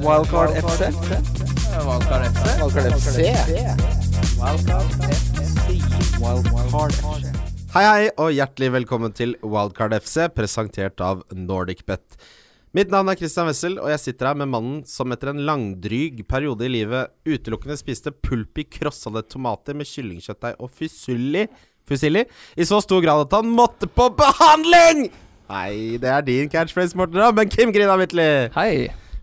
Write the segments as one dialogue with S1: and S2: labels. S1: Wildcard FC.
S2: Valkar FC.
S1: Wildcard FC. Wildcard FC.
S3: Hei hei, og hjertelig velkommen til Wildcard FC, presentert av NordicBet. Mitt navn er Christian Wessel, og jeg sitter her med mannen som etter en langdryg periode i livet utelukkende spiste pulpi krossede tomater med kyllingkjøttdeig og fusilli, fusilli i så stor grad at han måtte på behandling! Nei, det er din catchphrase, Morten Rammen, Kim Grina Midtly!
S4: Hei.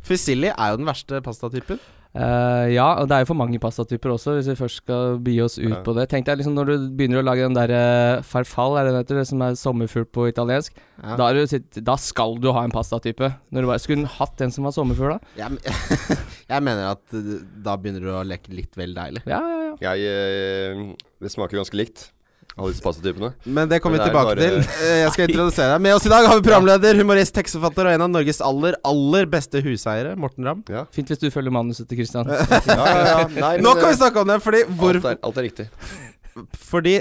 S3: Fusilli er jo den verste pastatypen.
S4: Eh, ja, og det er jo for mange pastatyper også, hvis vi først skal by oss ut på det. Tenk deg liksom når du begynner å lage den der eh, farfall, er det den heter, det som er sommerfugl på italiensk.
S3: Ja.
S4: Da, er du, sitt- da skal du ha en pastatype. Når du bare skulle hatt den som var sommerfugl, da.
S3: Jeg, jeg mener at eh, da begynner du å leke litt vel deilig.
S4: Ja, ja, ja.
S5: Jeg eh, Det smaker ganske likt, alle disse pastatypene.
S3: Men det kommer
S5: Men det
S3: vi
S5: er
S3: tilbake
S5: bare-
S3: til. Eh, Jeg skal introdusere deg. Med oss i dag har vi programleder, humorist, tekstforfatter og en av Norges aller, aller beste huseiere, Morten Ramm.
S4: Fint hvis du følger manuset til Christian.
S5: Ja, ja, ja. Nei,
S3: Nå
S5: men,
S3: kan vi
S5: eh,
S3: snakke om det, fordi, hvor,
S5: alt, er, alt er riktig.
S3: fordi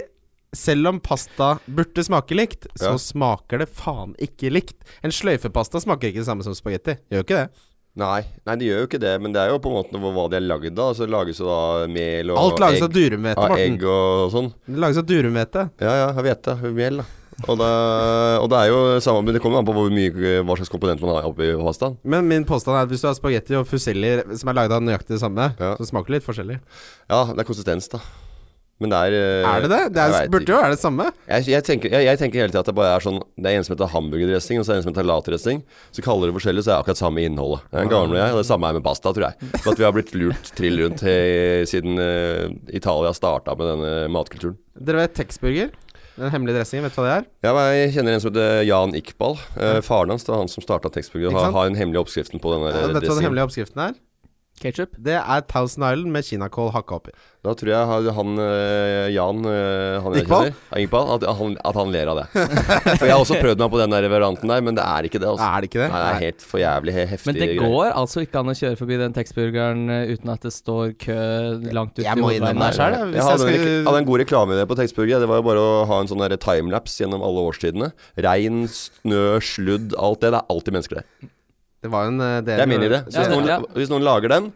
S3: selv om pasta burde smake likt, så
S5: Ja.
S3: smaker det faen ikke likt. En sløyfepasta smaker ikke det samme som spagetti. Gjør jo ikke det.
S5: Nei, nei, de gjør jo ikke det, men det er jo på en måte hvor- hva de er lagd av. Altså, det lages jo da mel og
S3: Alt
S5: egg,
S3: lages av durumhvete,
S5: av
S3: Morten.
S5: egg og sånn.
S3: Det lages av durumhvete.
S5: Ja, ja, jeg vet det. Mel, da. Og det, og det er jo samme, men det kommer an på hvor mye, hva slags komponent man har oppi pastaen.
S3: Men min påstand er at hvis du har spagetti og fusilli som er laget av nøyaktig det samme,
S5: Ja.
S3: så smaker det litt forskjellig.
S5: Ja, det er konsistens, da. Men det er eh,
S3: Er det det? Det
S5: jeg
S3: er,
S5: vet
S3: burde
S5: ikke.
S3: jo være det samme.
S5: Jeg, jeg, tenker, jeg, jeg tenker hele tida at det bare er sånn Det er en som heter hamburgerdressing, og så er det en som heter latdressing. Så kaller det forskjellig, så er det akkurat samme innholdet. Det er en gammel jeg, og det samme er med pasta, tror jeg. Så at vi har blitt lurt trill rundt he, siden eh, Italia starta med denne matkulturen.
S3: Dere vet Texburger? Den hemmelige dressingen, vet du hva det er?
S5: Ja, men jeg kjenner en som heter Jan Iqbal. Eh, faren hans det var han som starta Textburger
S3: Ikke
S5: og har,
S3: sant?
S5: har den hemmelige oppskriften på denne
S3: Ja, vet du hva den
S5: dressingen.
S3: hemmelige oppskriften er?
S4: Ketchup?
S3: Det er Thousand Island med kinakål hakka oppi.
S5: Da tror jeg han- han eh, Jan eh, han jeg
S3: Iqbal?
S5: kjenner, ja, Iqbal, at, han, at han ler av det. For jeg har også prøvd meg på den der varianten der, men det er ikke det. altså
S3: Er det ikke det?
S5: Nei, det er helt for jævlig he- heftig
S4: Men det
S5: greier.
S4: går altså ikke an å kjøre forbi den Texburgeren eh, uten at det står kø langt ut
S3: Jeg må innrømme
S4: der
S3: det selv,
S4: selv.
S3: jeg. Hvis
S5: Jeg hadde,
S3: jeg
S5: en,
S3: skulle-
S5: hadde en god reklameidé på Textburger. Det var jo bare å ha en sånn der timelapse gjennom alle årstidene. Regn, snø, sludd, alt det. Det er alltid mennesker der.
S3: Det var jo en eh, del
S5: Det er min idé. Så
S4: Ja,
S5: hvis, noen,
S4: ja.
S5: hvis noen lager den,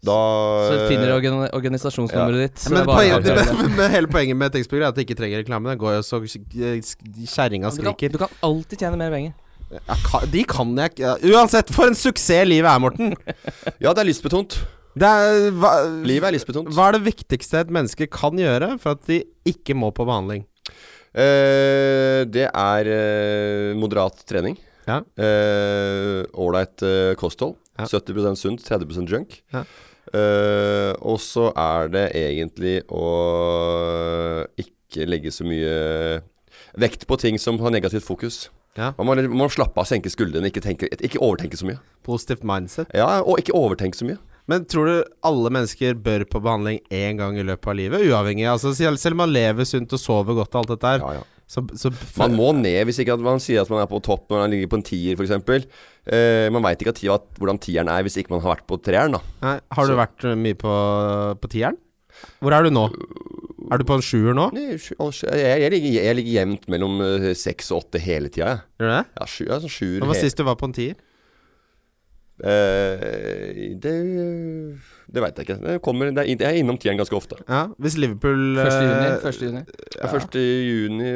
S5: da
S4: Så du finner organ- organisasjonsnummeret ditt. så
S3: Men
S4: det er bare å
S3: poenget,
S4: gjøre det.
S3: men, men hele poenget med Texburger er at de ikke trenger reklame. Det går jo så eh, sk- kjerringa
S4: Du kan,
S3: skriker.
S4: du kan alltid tjene mer penger.
S3: Ja, ka- de kan jeg ikke ja, Uansett, for en suksess livet er, Morten!
S5: Ja, det er lystbetont.
S3: Det er, hva,
S5: Livet er lystbetont.
S3: hva er det viktigste et menneske kan gjøre for at de ikke må på behandling?
S5: Eh, det er eh, moderat trening.
S3: Ja.
S5: Eh, Ålreit eh, kosthold.
S3: Ja.
S5: 70 sunt, 30 junk.
S3: Ja.
S5: Eh, og så er det egentlig å ikke legge så mye vekt på ting som har negativt fokus.
S3: Ja.
S5: Man, må, man må slappe av, senke skuldrene, ikke, tenke, ikke overtenke så mye.
S3: Positivt mindset.
S5: Ja, Og ikke overtenke så mye.
S3: Men tror du alle mennesker bør på behandling én gang i løpet av livet? Uavhengig. Altså, selv selv om man lever sunt og sover godt og alt dette her,
S5: Ja, ja.
S3: så, så
S5: Man må ned hvis ikke at man sier at man er på topp når man ligger på en tier, f.eks. Eh, man veit ikke at, ti- at, hvordan tieren er hvis ikke man har vært på treeren, da.
S3: Nei, har du
S5: Så-
S3: vært uh, mye på, på tieren? Hvor er du nå? Er du på en sjuer nå?
S5: Nei, sju- å, sju- Jeg, jeg, ligger, jeg ligger jevnt mellom eh, seks og åtte hele tida, jeg.
S3: Gjør du det?
S5: Ja, sju, jeg er sånn sjuer.
S3: Når var
S5: he-
S3: sist du var på en tier?
S5: Eh, det det veit jeg ikke. Det kommer, det er, inn- jeg er innom tieren ganske ofte.
S3: Ja, Hvis Liverpool eh,
S4: 1. juni. 1. juni.
S5: Ja. Første juni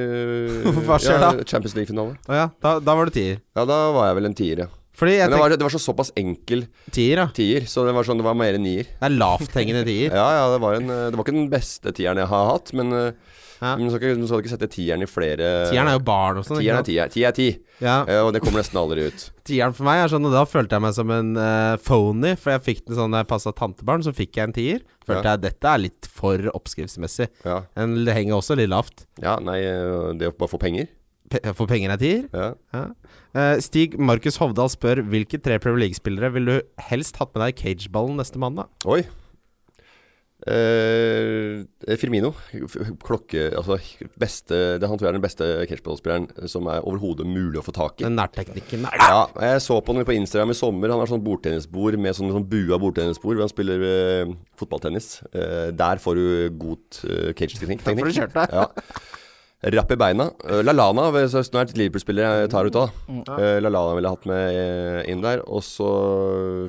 S5: eh,
S3: Hva skjer
S5: ja,
S3: da?
S5: Champions League-finale.
S3: Å ja, da, da var du tier.
S5: Ja, da var jeg vel en tier, ja.
S3: Fordi jeg
S5: Men det
S3: tenker
S5: var, det var så såpass enkel
S3: tier, ja.
S5: tier, så det var sånn, det var mer en nier.
S3: Det er lavthengende tier.
S5: Ja, ja, det var, en, eh, det var ikke den beste tieren jeg har hatt, men eh,
S3: Ja.
S5: men du skal, ikke- du skal ikke sette tieren i flere
S3: Tieren er jo barn og sånn.
S5: Tieren er
S3: ikke sant?
S5: ti, er- ti er ti,
S3: Ja,
S5: eh, og det kommer nesten aldri ut.
S3: Tieren for meg er sånn, og da følte jeg meg som en eh, phony. For jeg fikk den sånn da jeg passa tantebarn, så fikk jeg en tier. Følte jeg dette er litt for oppskriftsmessig.
S5: Ja,
S3: Den henger også litt lavt.
S5: ja nei, eh, det å bare få penger
S3: Pe for penger er tier.
S5: ja.
S3: Ja. Eh, Stig Markus Hovdal spør hvilke tre Premier League-spillere ville du helst hatt med deg i cageballen neste mandag?
S5: Oi. Eh, Firmino. F- Klokke Altså, beste det, Han tror jeg er den beste catchball-spilleren som er overhodet mulig å få tak i.
S3: Den nærteknikken der.
S5: Ja, jeg så på han på Instagram i sommer. Han har sånn bordtennisbord med sånn, sånn bua bordtennisbord hvor han spiller eh, fotballtennis. Eh, der får du god eh, cage-teknikk.
S3: får du kjørt deg.
S5: Ja. Rapp i beina. Eh, Lallana, hvis- hvis nå er det Liverpool-spiller jeg tar ut av. da. Eh, Lallana ville jeg hatt med eh, inn der. Og så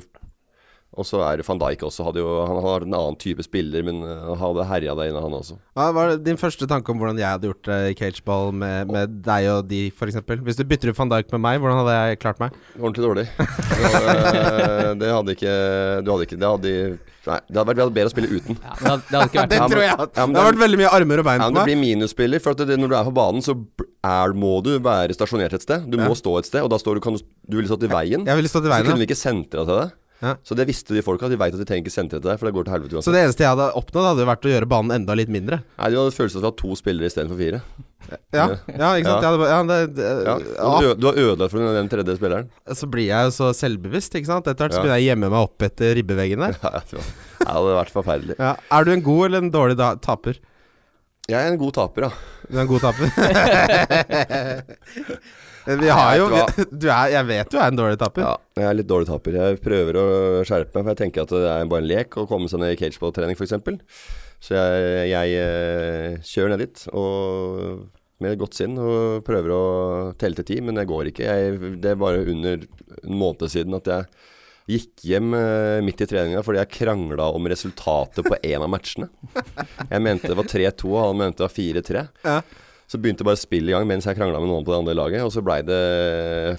S5: Og så er det van Dijk også. Hadde jo, han har en annen type spiller, men eh, han hadde herja der inne, han også.
S3: Hva var det- din første tanke om hvordan jeg hadde gjort det i cageball med, med deg og de, f.eks.? Hvis du bytter ut van Dijk med meg, hvordan hadde jeg klart meg?
S5: Ordentlig dårlig. Eh, det hadde ikke Du hadde ikke Det hadde, nei, det hadde vært vi hadde bedre å spille uten.
S4: Ja, det, hadde- det hadde ikke vært
S3: Det
S5: Ja, men-
S3: tror jeg at-
S5: ja, men
S3: Det har
S5: det-
S3: vært veldig mye armer og bein
S5: Ja,
S3: på
S5: men det
S3: meg.
S5: blir minusspiller, for at det, når du er på banen, så b- er, må du være stasjonert et sted. Du må stå et sted, og da står du, kan du, du ville stått i veien.
S3: Jeg ville stått i
S5: Så kunne
S3: veien.
S5: vi ikke sentra til deg.
S3: Ja.
S5: Så det visste de folka. De veit at de trenger ikke sentre til deg, for det går til helvete
S3: Så
S5: uansett.
S3: det eneste jeg hadde oppnådd, hadde jo vært å gjøre banen enda litt mindre.
S5: Nei, De hadde følelsen av å ha to spillere istedenfor fire.
S3: Ja, ja ikke sant? Jeg hadde, bare- ja, det, det,
S5: Ja.
S3: ja,
S5: Og Du, ø- du har ødelagt for den tredje spilleren.
S3: så blir jeg jo så selvbevisst, ikke sant. Etter hvert så
S5: Ja.
S3: begynner jeg å gjemme meg opp etter ribbeveggen der.
S5: Ja, jeg tror- Nei, det hadde vært forferdelig.
S3: Ja. Er du en god eller en dårlig da taper?
S5: Jeg er en god taper, ja.
S3: Du er en god taper. vi har jo
S5: Nei, vet
S3: vi, du er, Jeg vet du er en dårlig taper.
S5: ja. Jeg er litt dårlig taper. Jeg prøver å skjerpe meg, for jeg tenker at det er bare en lek å komme seg ned i cageball-trening, f.eks. Så jeg, jeg eh, kjører ned dit og med godt sinn og prøver å telle til ti, men det går ikke. Jeg, det er bare under en måned siden at jeg gikk hjem eh, midt i treninga fordi jeg krangla om resultatet på én av matchene. Jeg mente det var 3-2, og han mente det var 4-3.
S3: Ja.
S5: Så begynte bare spillet i gang mens jeg krangla med noen på det andre laget, og så blei det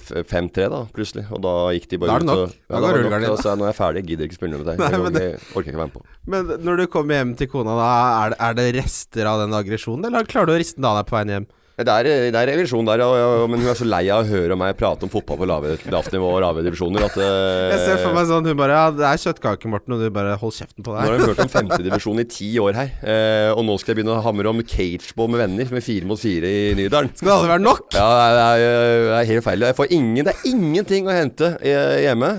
S5: f- 5-3, da, plutselig. Og da gikk de
S3: Da
S5: bare
S3: er det nok.
S5: ut og
S3: Da
S5: Ja,
S3: går
S5: var det
S3: rullegardinen.
S5: nok. Da sa jeg nå er jeg ferdig, jeg gidder ikke spille med deg.
S3: Nei,
S5: Jeg,
S3: men
S5: går- jeg orker ikke være med på.
S3: Men når du kommer hjem til kona, da er det, er det rester av den aggresjonen, eller klarer du å riste den av deg på veien hjem?
S5: Det er, det er revisjon der, og, og, men hun er så lei av å høre meg prate om fotball på lave- lavt nivå og lave divisjoner at eh,
S3: Jeg ser for meg sånn, hun bare Ja, det er kjøttkake, Morten, og du bare Hold kjeften på
S5: Nå har
S3: deg.
S5: de hørt om femtedivisjon i ti år her, eh, og nå skal jeg begynne å hamre om cageball med venner med fire mot fire i Nydalen.
S3: Skal det aldri være nok?
S5: Ja, det er, det er helt feil. Jeg får ingen, det er ingenting å hente eh, hjemme.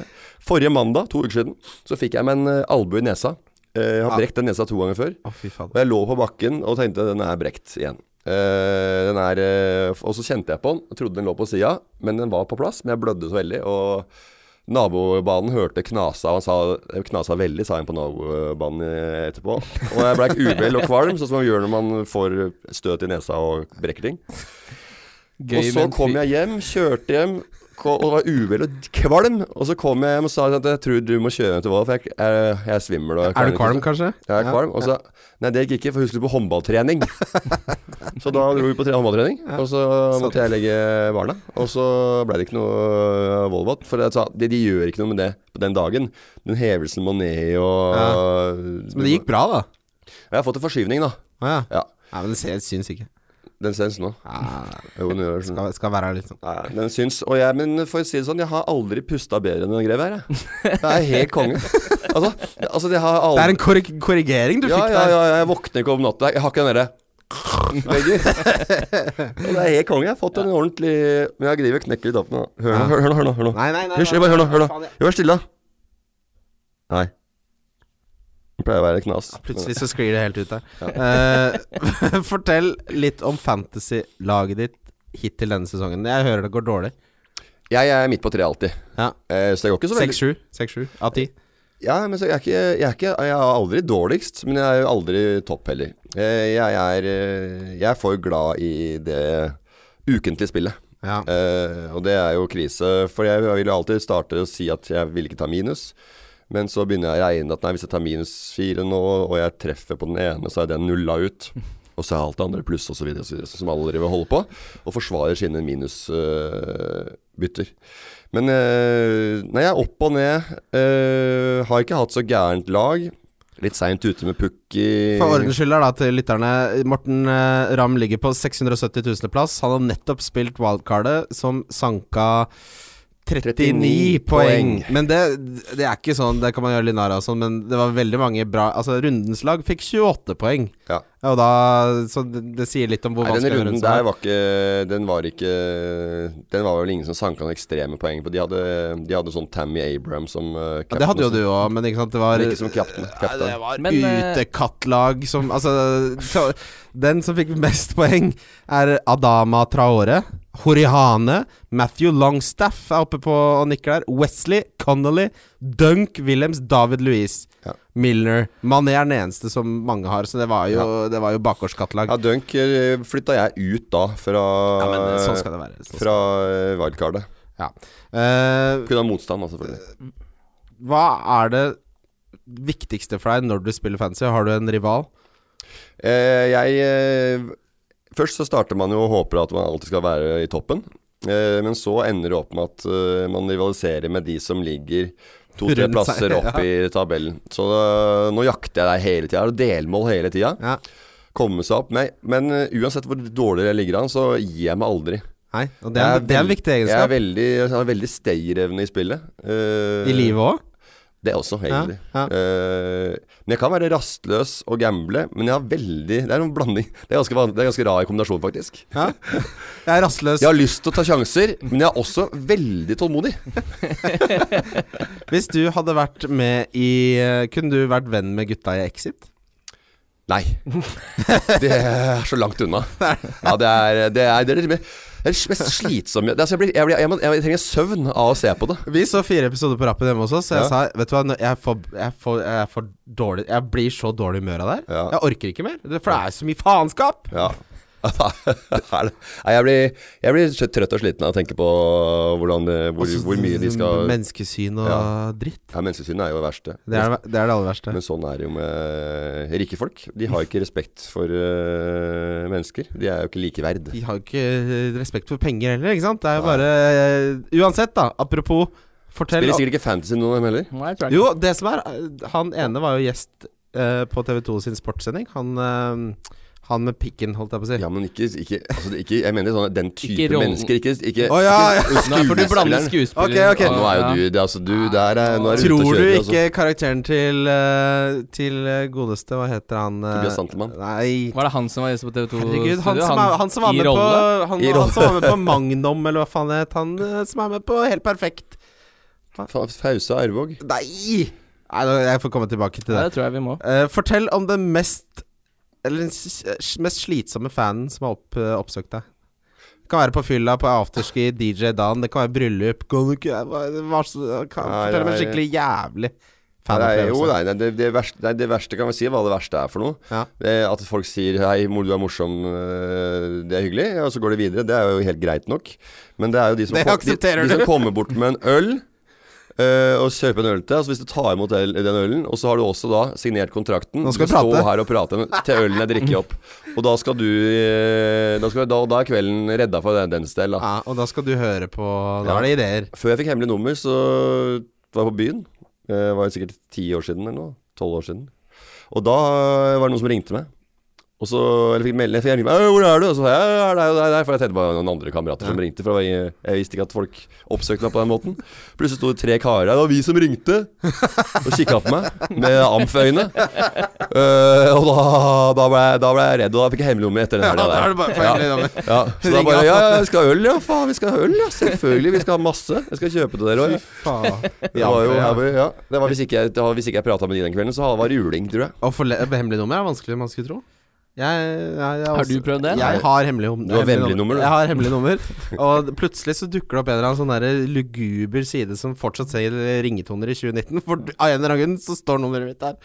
S5: Forrige mandag, to uker siden, så fikk jeg meg en eh, albue i nesa. Eh, Jeg har brekt den nesa to ganger før.
S3: Å, fy faen.
S5: Og jeg lå på bakken og tenkte den er brekt igjen. Eh, den er, eh, f- og så kjente jeg på den, og trodde den lå på sida, men den var på plass. Men jeg blødde så veldig, og nabobanen hørte knasa, og han sa eh, knasa veldig, sa han på nabobanen eh, etterpå. Og jeg blei uvel og kvalm, sånn som man gjør når man får støt i nesa og brekker ting. Og
S4: gøy.
S5: så
S4: men
S5: kom
S4: fy-
S5: jeg hjem, kjørte hjem ko- og var uvel og kvalm. Og så kom jeg hjem og sa at jeg tror du må kjøre hjem til Vold, for jeg, jeg, jeg er svimmel. Og jeg
S3: Er du
S5: ikke».
S3: kvalm, kanskje?
S5: Jeg er kvalm. Og så Nei, det gikk ikke, for hun skulle på håndballtrening. så da dro vi på tre- håndballtrening, og så måtte jeg legge barna. Og så ble det ikke noe Volvat. For jeg sa de, de gjør ikke noe med det på den dagen. Den hevelsen må ned og øh,
S3: Men det gikk bra, da.
S5: Jeg har fått en forskyvning, da.
S3: Å ja.
S5: Ja.
S3: Nei, men det ser- syns ikke.
S5: Den syns nå. Jo, den gjør det.
S3: Skal, skal være her litt sånn.
S5: Nei, den syns. Og jeg, men for å si det sånn, jeg har aldri pusta bedre enn den grev her, jeg. Det er helt konge. Altså, altså det har
S3: Det
S5: aldri
S3: er en korrig korrigering du
S5: ja,
S3: fikk
S5: ja,
S3: der.
S5: ja, jeg våkner ikke om natta. Jeg har ikke den derre lenger. Og det er helt konge. Jeg har fått en ordentlig Men jeg driver og knekker litt opp nå. Hør nå, hør, hør nå. Hør nå, hør nå.
S3: Nei, nei, nei.
S5: Hysj, bare hør nå. Hør nå. Jo, Vær stille, da. Nei. Det pleier å være knas.
S3: Plutselig så sklir det helt ut der. Eh, fortell litt om fantasy-laget ditt hittil denne sesongen. Jeg hører det går dårlig.
S5: Jeg er midt på treet alltid,
S3: Ja.
S5: Eh, så det går ikke så veldig
S3: 6-7 6-7 av 10.
S5: Ja, men så jeg, er ikke, jeg, er ikke, jeg er aldri dårligst, men jeg er jo aldri topp heller. Eh, Jeg er, eh, jeg er for glad i det ukentlige spillet.
S3: Ja.
S5: Eh, og det er jo krise, for jeg vil jo alltid starte å si at jeg vil ikke ta minus. Men så begynner jeg å regne at nei, hvis jeg tar minus fire nå, og jeg treffer på den ene, så er den nulla ut. Og så er alt det andre pluss, og så videre, og så videre, sånn som alle driver og holder på. Og forsvarer sine minusbytter. Men eh, nei, jeg er opp og ned. eh, har ikke hatt så gærent lag. Litt seint ute med pukk i
S3: For ordens skyld her da til lytterne. Morten eh, Ramm ligger på 670 000. plass. Han har nettopp spilt wildcardet, som sanka 39,
S5: 39
S3: poeng.
S5: poeng.
S3: Men det, det er ikke sånn, det kan man gjøre litt narr av og sånn, men det var veldig mange bra Altså, rundens lag fikk 28 poeng.
S5: Ja.
S3: Og da, så det, det sier litt om hvor
S5: Nei,
S3: vanskelig
S5: den
S3: den
S5: runden
S3: runden er.
S5: der var ikke Den var ikke Den var vel ingen som sanka noen ekstreme poeng på. De hadde, de hadde sånn Tammy Abraham som uh,
S3: Ja, det hadde jo du òg, men ikke sant, det var
S5: Men ikke som kapten. kapten.
S3: var
S4: Men, eh,
S3: utekattlag som Altså, så, den som fikk mest poeng, er Adama Traore. Horihane. Matthew Longstaff er oppe på og nikker der. Wesley, Connolly, Dunk, Williams, David Louise.
S5: Ja.
S3: Milner Mané er den eneste som mange har, så det var jo, det var jo bakgårdskattlag.
S5: Ja, Dunk eh, flytta jeg ut da, fra
S3: Ja, men eh, sånn skal det være. Sånn. skal-
S5: Fra eh, wildcardet.
S3: Ja. Eh,
S5: Pga. motstand, altså, selvfølgelig.
S3: hva er det viktigste for deg når du spiller fancy? Har du en rival?
S5: Eh, jeg eh, Først så starter man jo og håper at man alltid skal være i toppen. Eh, men så ender det opp med at eh, man rivaliserer med de som ligger to-tre
S3: Rundt seg,
S5: plasser opp i tabellen. Så eh, nå jakter jeg deg hele tida. Delmål hele tida.
S3: Ja.
S5: Komme seg opp. Men, men eh, uansett hvor dårlig jeg ligger an, så gir jeg meg aldri.
S3: Nei, og det er,
S5: Jeg
S3: det er en
S5: veld-
S3: viktig
S5: Jeg, er
S3: egenskap.
S5: veldig, jeg har veldig stayerevne i spillet. Eh,
S3: I livet òg.
S5: Det også, egentlig.
S3: Ja, ja.
S5: Eh, men jeg kan være rastløs og gamble, men jeg har veldig Det er en blanding. Det er ganske, van- det er ganske rar kombinasjon, faktisk.
S3: Ja. Jeg er rastløs.
S5: Jeg har lyst til å ta sjanser, men jeg er også veldig tålmodig.
S3: Hvis du hadde vært med i eh, Kunne du vært venn med gutta i Exit?
S5: Nei. Det er så langt unna. Ja, det er det, er, det, er det mer- det er det mest slitsomme det er, altså, jeg, blir, jeg, blir, jeg, må- jeg trenger søvn av å se på det.
S3: Vi så fire episoder på rappen hjemme hos oss, og
S5: Ja.
S3: jeg sa Vet du hva, nå- jeg får, jeg, får, jeg får dårlig Jeg blir så dårlig humør av det her.
S5: Ja.
S3: Jeg orker ikke mer. det- For det er så mye faenskap!
S5: Ja. Nei, jeg blir, jeg blir så trøtt og sliten av å tenke på hvordan, det- hvor,
S3: Altså,
S5: hvor mye de skal
S3: Menneskesyn og
S5: Ja.
S3: dritt.
S5: Ja, Menneskesynet er jo det verste.
S3: Det er det, det er det aller verste.
S5: Men sånn er det jo med rike folk. De har ikke respekt for eh, mennesker. De er jo ikke likeverd.
S3: De har jo ikke eh, respekt for penger heller, ikke sant? Det er jo bare eh, Uansett, da. Apropos, fortell
S5: Spiller sikkert ikke fantasy noen av dem heller.
S4: Nei, jeg tror ikke.
S3: Jo, det som er eh, Han ene var jo gjest eh, på TV2 sin sportssending. Han, eh, han med pikken, holdt jeg på å si.
S5: Ja, men ikke, ikke, altså, det- ikke Jeg mener sånn, den type
S4: Ikke rollen.
S5: mennesker. Ikke, ikke,
S3: Å, ja, ja.
S5: ikke
S4: Nei, for du blander
S5: skuespilleren.
S4: skuespiller
S3: Ok, ok.
S5: Nå er jo du det, er altså, du der er, nå er ute
S3: Tror
S5: og
S3: du
S5: kjører. altså.
S3: ikke karakteren til, eh, til eh, godeste Hva heter han? eh,
S5: Tobias Santelmann.
S3: Nei.
S4: Var det han som var gjest på TV 2?
S3: Herregud, Mm, han som, er, han, som var
S4: i
S3: med på,
S4: rolle.
S3: han,
S5: I
S3: han
S5: rolle.
S3: som var med på Magnum, eller hva faen det het. Han eh, som er med på Helt perfekt.
S5: Fa- Fausa Arvåg.
S3: Nei! Nei, nå- jeg får komme tilbake til
S4: Ja,
S3: det.
S4: det tror jeg vi må.
S3: Eh, fortell om den mest Eller den s- s- mest slitsomme fanen som har opp, eh, oppsøkt deg. Det kan være på fylla, på afterski, DJ Dan, det kan være bryllup kan du ikke, hva, det var så, kan,
S5: Nei,
S3: Fortell om en
S5: nei.
S3: skikkelig jævlig
S5: Nei, jo,
S3: fanopplevelse.
S5: nei, nei, det, det, verste, nei, det verste kan vi si hva det verste er for noe.
S3: Ja.
S5: Eh, At folk sier 'hei, mor, du er morsom', eh, det er hyggelig, og så går de videre. Det er jo helt greit nok. Men det er jo de som,
S3: Det
S5: kom, de,
S3: aksepterer
S5: de
S3: du.
S5: som kommer bort med en øl eh, og kjøper en øl til deg. Altså hvis du tar imot el, den ølen, og så har du også da signert kontrakten
S3: Nå skal
S5: du
S3: vi prate.
S5: Stå her og prate med- til ølen er drukket opp. Og da skal du eh, Da, skal, da, da er kvelden redda for den, dens del. Da.
S3: Ja, og da skal du høre på Da
S5: Ja.
S3: er det ideer.
S5: Før jeg fikk hemmelig nummer, så var jeg på byen. Det var jo sikkert ti år siden eller noe. Tolv år siden. Og da var det noen som ringte meg. Og så, eller fikk melding, fikk jeg ringte meg, «Øy, hvor er du? Og så sa jeg, «Jeg er der, jeg er der, for jeg tenkte bare noen andre kamerater som ringte, for jeg, jeg visste ikke at folk oppsøkte meg på den måten. Plutselig sto det tre karer her, det var vi som ringte, og kikket på meg med amføyne. Eh, og da, da, ble jeg, da ble jeg redd, og da fikk jeg hemmelig nummer etter den
S3: Ja,
S5: helgen
S3: da er det bare feil
S5: Ja.
S3: nummer.
S5: Ja, så da bare Ja, ja, vi skal ha øl, ja. Faen, vi skal ha øl, ja. Selvfølgelig. Vi skal ha masse. Jeg skal kjøpe til dere òg.
S3: Faen.
S5: Det var jo her hvor- ja. Det var hvis ikke jeg, det var, hvis ikke jeg prata med de den kvelden, så var det juling, tror jeg.
S3: Å få le- hemmelig nummer er vanskeligere enn man skulle tro. Jeg, jeg, jeg,
S4: Har du prøvd det?
S3: Jeg har hemmelig, hom-
S5: Du har vennlig nummer, du.
S3: Jeg har hemmelig nummer. Og plutselig så dukker det opp en eller annen sånn der luguber side som fortsatt selger ringetoner i 2019. For du- av en eller annen grunn så står nummeret mitt der.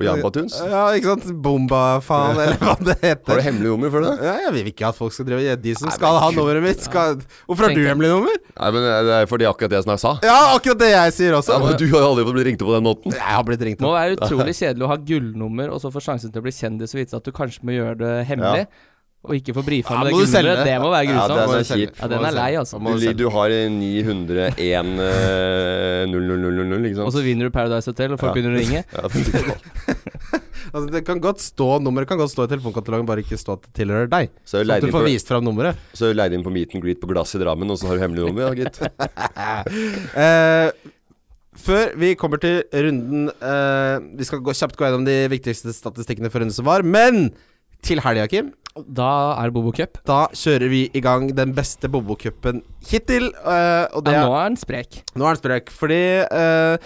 S5: På Jambatunes.
S3: Ja, ikke sant? Bomba-faen, eller hva det
S5: Har du
S3: heter.
S5: hemmelig nummer for det?
S3: Ja, jeg vil ikke at folk skal drive De som
S5: Nei,
S3: skal
S5: men
S3: ha
S5: kutt,
S3: nummeret mitt, skal Hvorfor har
S4: Tenk
S3: du
S4: deg.
S3: hemmelig nummer?
S5: Nei, men eh, det er fordi akkurat det som jeg sa.
S3: Ja, akkurat det jeg sier
S5: Ja,
S3: også.
S5: men du har jo aldri fått bli ringt opp på den måten.
S3: Jeg har blitt ringt
S4: Må
S3: opp.
S4: være utrolig kjedelig å ha gullnummer, og så få sjansen til å bli kjendis og vite at du kanskje må gjøre det hemmelig, og ikke få brifa
S3: Ja,
S4: med det
S3: må du selge
S4: gullnummeret.
S3: det.
S4: Det må være
S5: Ja,
S4: grusomt.
S5: det
S4: Ja,
S5: er så kjipt.
S4: den er lei, altså.
S3: Må
S5: Du,
S3: selge.
S5: du har 901 eh, 0000, ikke sant.
S4: Og så vinner du Paradise Hotel, og folk
S5: Ja.
S4: begynner å ringe.
S5: Ja, fy faen.
S3: Altså, det kan godt stå Nummeret kan godt stå i telefonkatalogen, bare ikke stå at det tilhører deg.
S5: Så jeg
S3: Sånn at
S5: leide
S3: du
S5: inn på,
S3: får vist fram nummeret.
S5: så jeg leide inn på meet and greet på Glass i Drammen, og så har du hemmelig nummer, ja gitt.
S3: Eh, før vi kommer til runden eh, Vi skal gå, kjapt gå gjennom de viktigste statistikkene for runden som var. Men til helga, Kim,
S4: Da er det Bobo Cup.
S3: da kjører vi i gang den beste Bobo-cupen hittil. Eh, og det
S4: Ja,
S3: er,
S4: nå er han sprek.
S3: nå er den sprøk, fordi eh,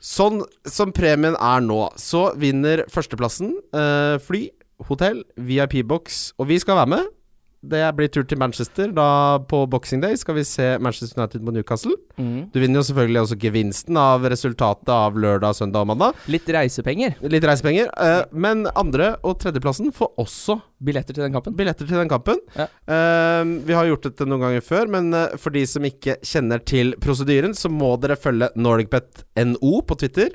S3: Sånn som premien er nå, så vinner førsteplassen eh, fly, hotell, VIP-boks, og vi skal være med. Det blir tur til Manchester. Da på Boxing Day skal vi se Manchester United mot Newcastle.
S4: Mm.
S3: Du vinner jo selvfølgelig også gevinsten av resultatet av lørdag, søndag og mandag.
S4: Litt reisepenger.
S3: Litt reisepenger. eh, men andre- og tredjeplassen får også
S4: Billetter til den kampen.
S3: billetter til den kampen.
S4: Ja.
S3: Eh, vi har gjort dette noen ganger før, men eh, for de som ikke kjenner til prosedyren, så må dere følge NordicBet.no på Twitter.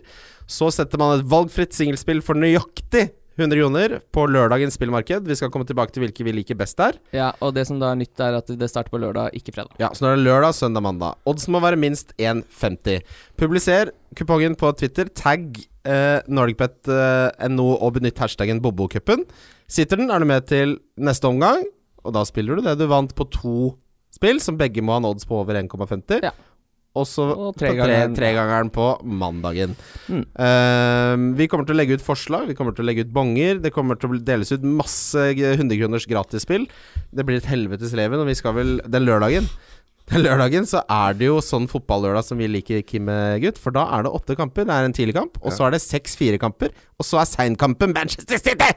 S3: Så setter man et valgfritt singelspill for nøyaktig 100 kroner på lørdagens spillmarked. Vi skal komme tilbake til hvilke vi liker best der.
S4: Ja, og det som da er nytt, er at det starter på lørdag, ikke fredag.
S3: Ja, så nå er det lørdag, søndag, mandag. Odds må være minst 1,50. Publiser kupongen på Twitter. Tagg eh, nordicbet.no og benytt hashtaggen Bobokupen. Sitter den, er du med til neste omgang, og da spiller du det du vant på to spill, som begge må ha en odds på over 1,50.
S4: Ja.
S3: Og så
S4: Og
S3: tre
S4: tregangeren.
S3: tregangeren på mandagen.
S4: Mm.
S3: Eh, vi kommer til å legge ut forslag, vi kommer til å legge ut bonger. Det kommer til å bli- deles ut masse 100-kroners gratisspill. Det blir et helvetes leven, og vi skal vel Den lørdagen den lørdagen så er det jo sånn fotballørdag som vi liker, Kim eh, gutt. For da er det åtte kamper. Det er en tidlig kamp, og så er det seks firekamper. Og så er seinkampen Manchester City!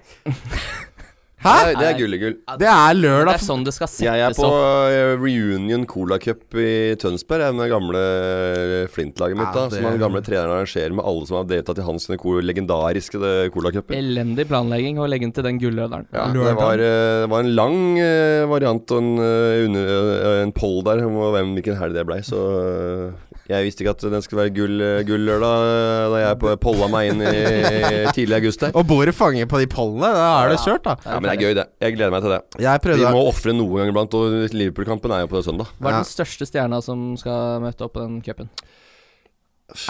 S3: Hæ?
S5: Nei, det er gulligull.
S3: Det er
S4: Det
S3: lørdag.
S4: er sånn det skal settes
S5: Jeg er på
S4: opp.
S5: eh, reunion Cola Cup i Tønsberg. Jeg er med det gamle eh, Flint-laget mitt,
S3: Ja,
S5: da.
S3: det-
S5: Som han gamle treneren arrangerer med alle som har deltatt i hans sine co- legendariske eh, Cola Cuper.
S4: Elendig planlegging å legge den til den gulløderen.
S5: Ja, det var, eh, det var en lang eh, variant og en, eh, under, eh, en poll der om hvem, hvilken helg det blei. Så eh, jeg visste ikke at den skulle være gull, eh, gullørdag eh, da jeg på- polla meg inn i, i tidlig august der.
S3: Og bordet fanger på de pollene. Da er det kjørt, da.
S5: Ja, men det er gøy, det. Jeg gleder meg til det.
S3: Jeg
S5: Vi
S3: prøvde
S5: må ofre noen ganger blant, og Liverpool-kampen er jo på søndag.
S4: Hva er
S3: Ja.
S4: den største stjerna som skal møte opp på den cupen?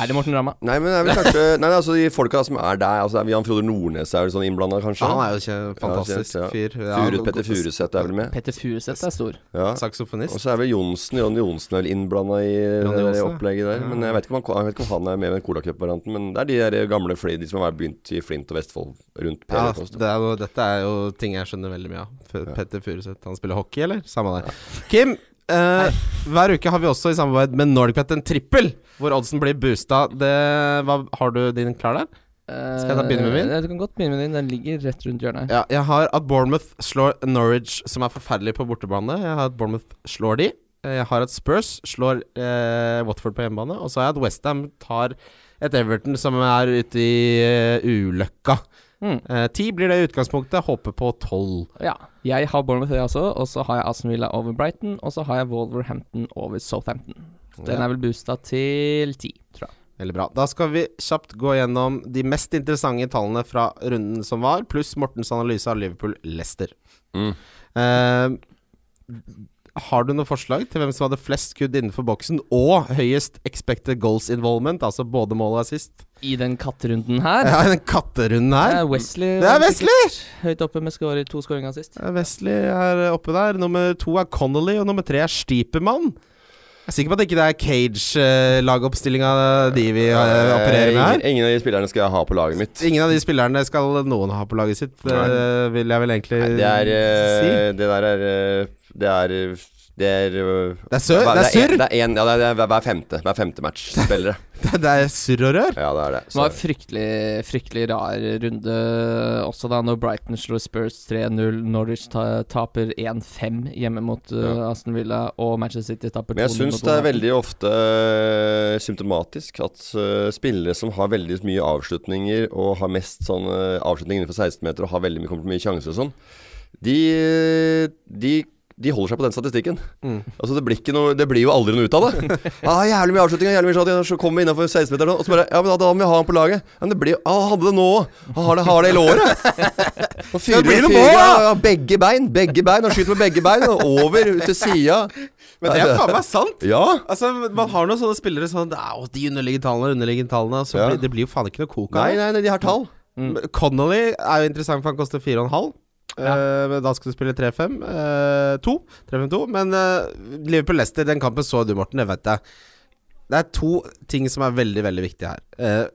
S4: Er det Morten Ramma?
S5: Nei, men det er vel kanskje Nei, altså de folka som er der altså, det er Jan Frode Nordnes er vel sånn innblanda, kanskje?
S3: Han er jo ikke en fantastisk
S5: Ja,
S3: fyr. Ja,
S5: Furut,
S3: han-
S5: Petter Furuseth er vel med.
S4: Petter Furuseth er stor.
S5: Ja. Og
S3: Saksofonist.
S5: så er vel Johnsen Jonny Johnsen er vel innblanda i det der
S3: Jonny Johnsen, ja. Mm.
S5: opplegget der. Men jeg vet, ikke om han, jeg vet ikke om han er med i den Cola Cup-varianten. Men det er de der gamle flere, de som har begynt i Flint og Vestfold rundt
S3: Ja,
S5: PV-post.
S3: det er jo, dette er jo ting jeg skjønner veldig mye av. F- Petter Furuseth, han spiller hockey, eller? Samme det. Kim, eh, hver uke har vi også i samarbeid med Nordicbet en trippel, hvor oddsen blir boosta. Det, hva, har du din klar der? Skal jeg da begynne med min?
S4: Eh, Du kan godt begynne med din. Den ligger rett rundt hjørnet.
S3: Ja, jeg har at Bournemouth slår Norwich, som er forferdelig på bortebane. Jeg har at Bournemouth slår de. Eh, Jeg har at Spurs slår eh, Watford på hjemmebane. Og så har jeg at Westham tar et Everton som er ute i eh, ulykka.
S4: Mm.
S3: Eh, Ti blir det i utgangspunktet. Håper på tolv.
S4: Ja. Jeg har Bournemouth, jeg også. Og så har jeg Aston Villa over Brighton. Og så har jeg Wolverhampton over Southampton. Den er vel boosta til ti, tror jeg.
S3: Veldig bra. Da skal vi kjapt gå gjennom de mest interessante tallene fra runden som var, pluss Mortens analyse av Liverpool-Lester.
S5: Mm.
S3: har du noe forslag til hvem som hadde flest skudd innenfor boksen og høyest expected goals involvement, altså både mål og assist?
S4: I den katterunden her
S3: Ja, den katterunden
S4: Det
S3: her.
S4: er Wesley
S3: Det er Wesley!
S4: høyt oppe med scorer, to skåringer sist.
S3: Ja, Wesley er oppe der. Nummer to er Connolly, og nummer tre er Stipemann. Jeg er sikker på at ikke det er Cage-lagoppstillinga de vi eh, opererer med her.
S5: ingen, ingen av de spillerne skal jeg ha på laget mitt.
S3: Ingen av de spillerne skal noen ha på laget sitt,
S5: Nei.
S3: eh, vil jeg vel egentlig
S5: Nei, det er
S3: si.
S5: eh, Det der er eh, Det er det er, eh,
S3: Det er sør-
S5: hver-
S3: det er surr!
S5: en- Det er en, ja, det er, det er hver- hver femte Hver femte match spillere.
S3: Det er surr og rør.
S5: Ja, det er det.
S4: Det var en fryktelig, fryktelig rar runde også da, når Brighton slo Spurs 3-0, Norwich ta taper 1-5 hjemme mot uh,
S5: Ja.
S4: Aston Villa, og Manchester City taper 2-0
S5: Men jeg syns det er veldig ofte eh, symptomatisk at eh, spillere som har veldig mye avslutninger, og har mest sånn eh, avslutning innenfor 16-meter og har veldig mye, kommer til mye sjanser og sånn, de, de, de holder seg på den statistikken.
S3: Mm.
S5: Altså det blir, ikke noe, det blir jo aldri noe ut av det. ah, jævlig mye avslutninger, jævlig mye avslutninger, så kommer vi innafor 16-meteren, og så bare Ja, men da- da må vi ha han på laget. Ja, Men det blir jo ah, Han hadde det nå òg. Han har det, har det i låret. Og fyrer,
S3: blir det
S5: og
S3: mål,
S5: fyrer,
S3: da!
S5: ja, ja, Begge bein, begge bein. Han skyter med begge bein, og over, ut til sida.
S3: Men det er faen meg sant!
S5: Ja!
S3: Altså, Man har noen sånne spillere sånn det er jo De underliggende tallene, underliggende tallene. Så
S5: Ja.
S3: blir, det blir jo faen ikke noe kok av
S5: Nei,
S3: det.
S5: nei, nei, de har tall.
S3: Men Connolly er jo interessant, for han koster 4,5. Eh, men da skal du spille 3-5. eh, 2. 3-5-2. Men eh, Liverpool-Leicester, den kampen så du, Morten. Det vet jeg. Det er to ting som er veldig, veldig viktige her. Eh,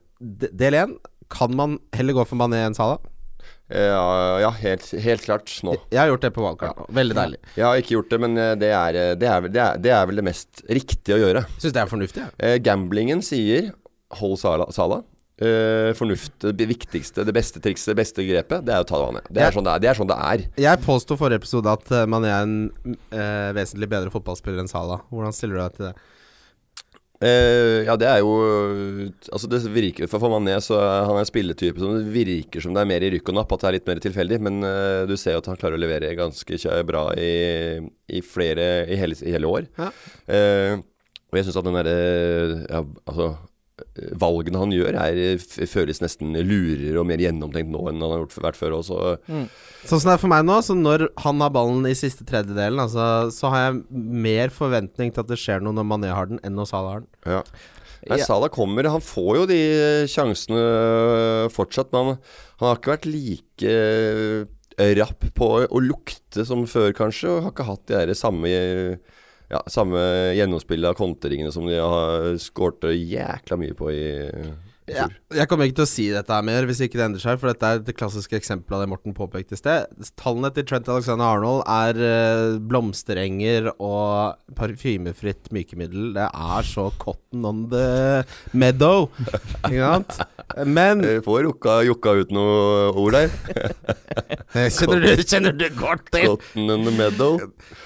S3: de- del én, kan man heller gå for Mané enn Salah?
S5: Ja, ja helt, helt klart nå.
S3: Jeg har gjort det på valgkart nå. Veldig deilig.
S5: Jeg har ikke gjort det, men eh, det er, eh, det er, vel- det er, det er vel det mest riktige å gjøre.
S3: Syns det er fornuftig, jeg.
S5: Eh, gamblingen sier hold Sala, Sala eh, fornuft, det viktigste, det beste trikset, det beste grepet, det er å ta det vannet. Det er sånn det er. Det er, sånn det er.
S3: Jeg påsto forrige episode at eh, Mané er en eh, vesentlig bedre fotballspiller enn Salah. Hvordan stiller du deg til det?
S5: Eh, ja, det er jo Altså, det virker For for Mané så er han en spilletype som det virker som det er mer i rykk og napp, at det er litt mer tilfeldig, men eh, du ser jo at han klarer å levere ganske kjø- bra i, i flere I hele, i hele år.
S3: Ja.
S5: Eh, og jeg syns at den derre ja, Altså eh, Valgene han gjør, er, f- føles nesten lurere og mer gjennomtenkt nå enn han har gjort, vært før. Også.
S3: Sånn som det er for meg nå, så når han har ballen i siste tredjedelen, altså, så har jeg mer forventning til at det skjer noe når Mané har den, enn når Salah har den.
S5: Ja. Nei,
S3: Ja.
S5: Salah kommer. Han får jo de sjansene fortsatt, men han, han har ikke vært like eh, rapp på å lukte som før, kanskje. Og har ikke hatt de der samme ja, samme gjennomspillet av konteringene som de har skåret jækla mye på i i
S3: Ja,
S5: fjor.
S3: jeg kommer ikke til å si dette her mer hvis ikke det endrer seg, for dette er det klassiske eksempelet av det Morten påpekte i sted. Tallene til Trent Alexander Arnold er eh, blomsterenger og parfymefritt mykemiddel. Det er så cotton on the meadow, ikke sant? Men
S5: Eh, Får jokka, jokka ut noe ord der.
S3: Kjenner du, kjenner du godt til?
S5: Cotton and the Meadow.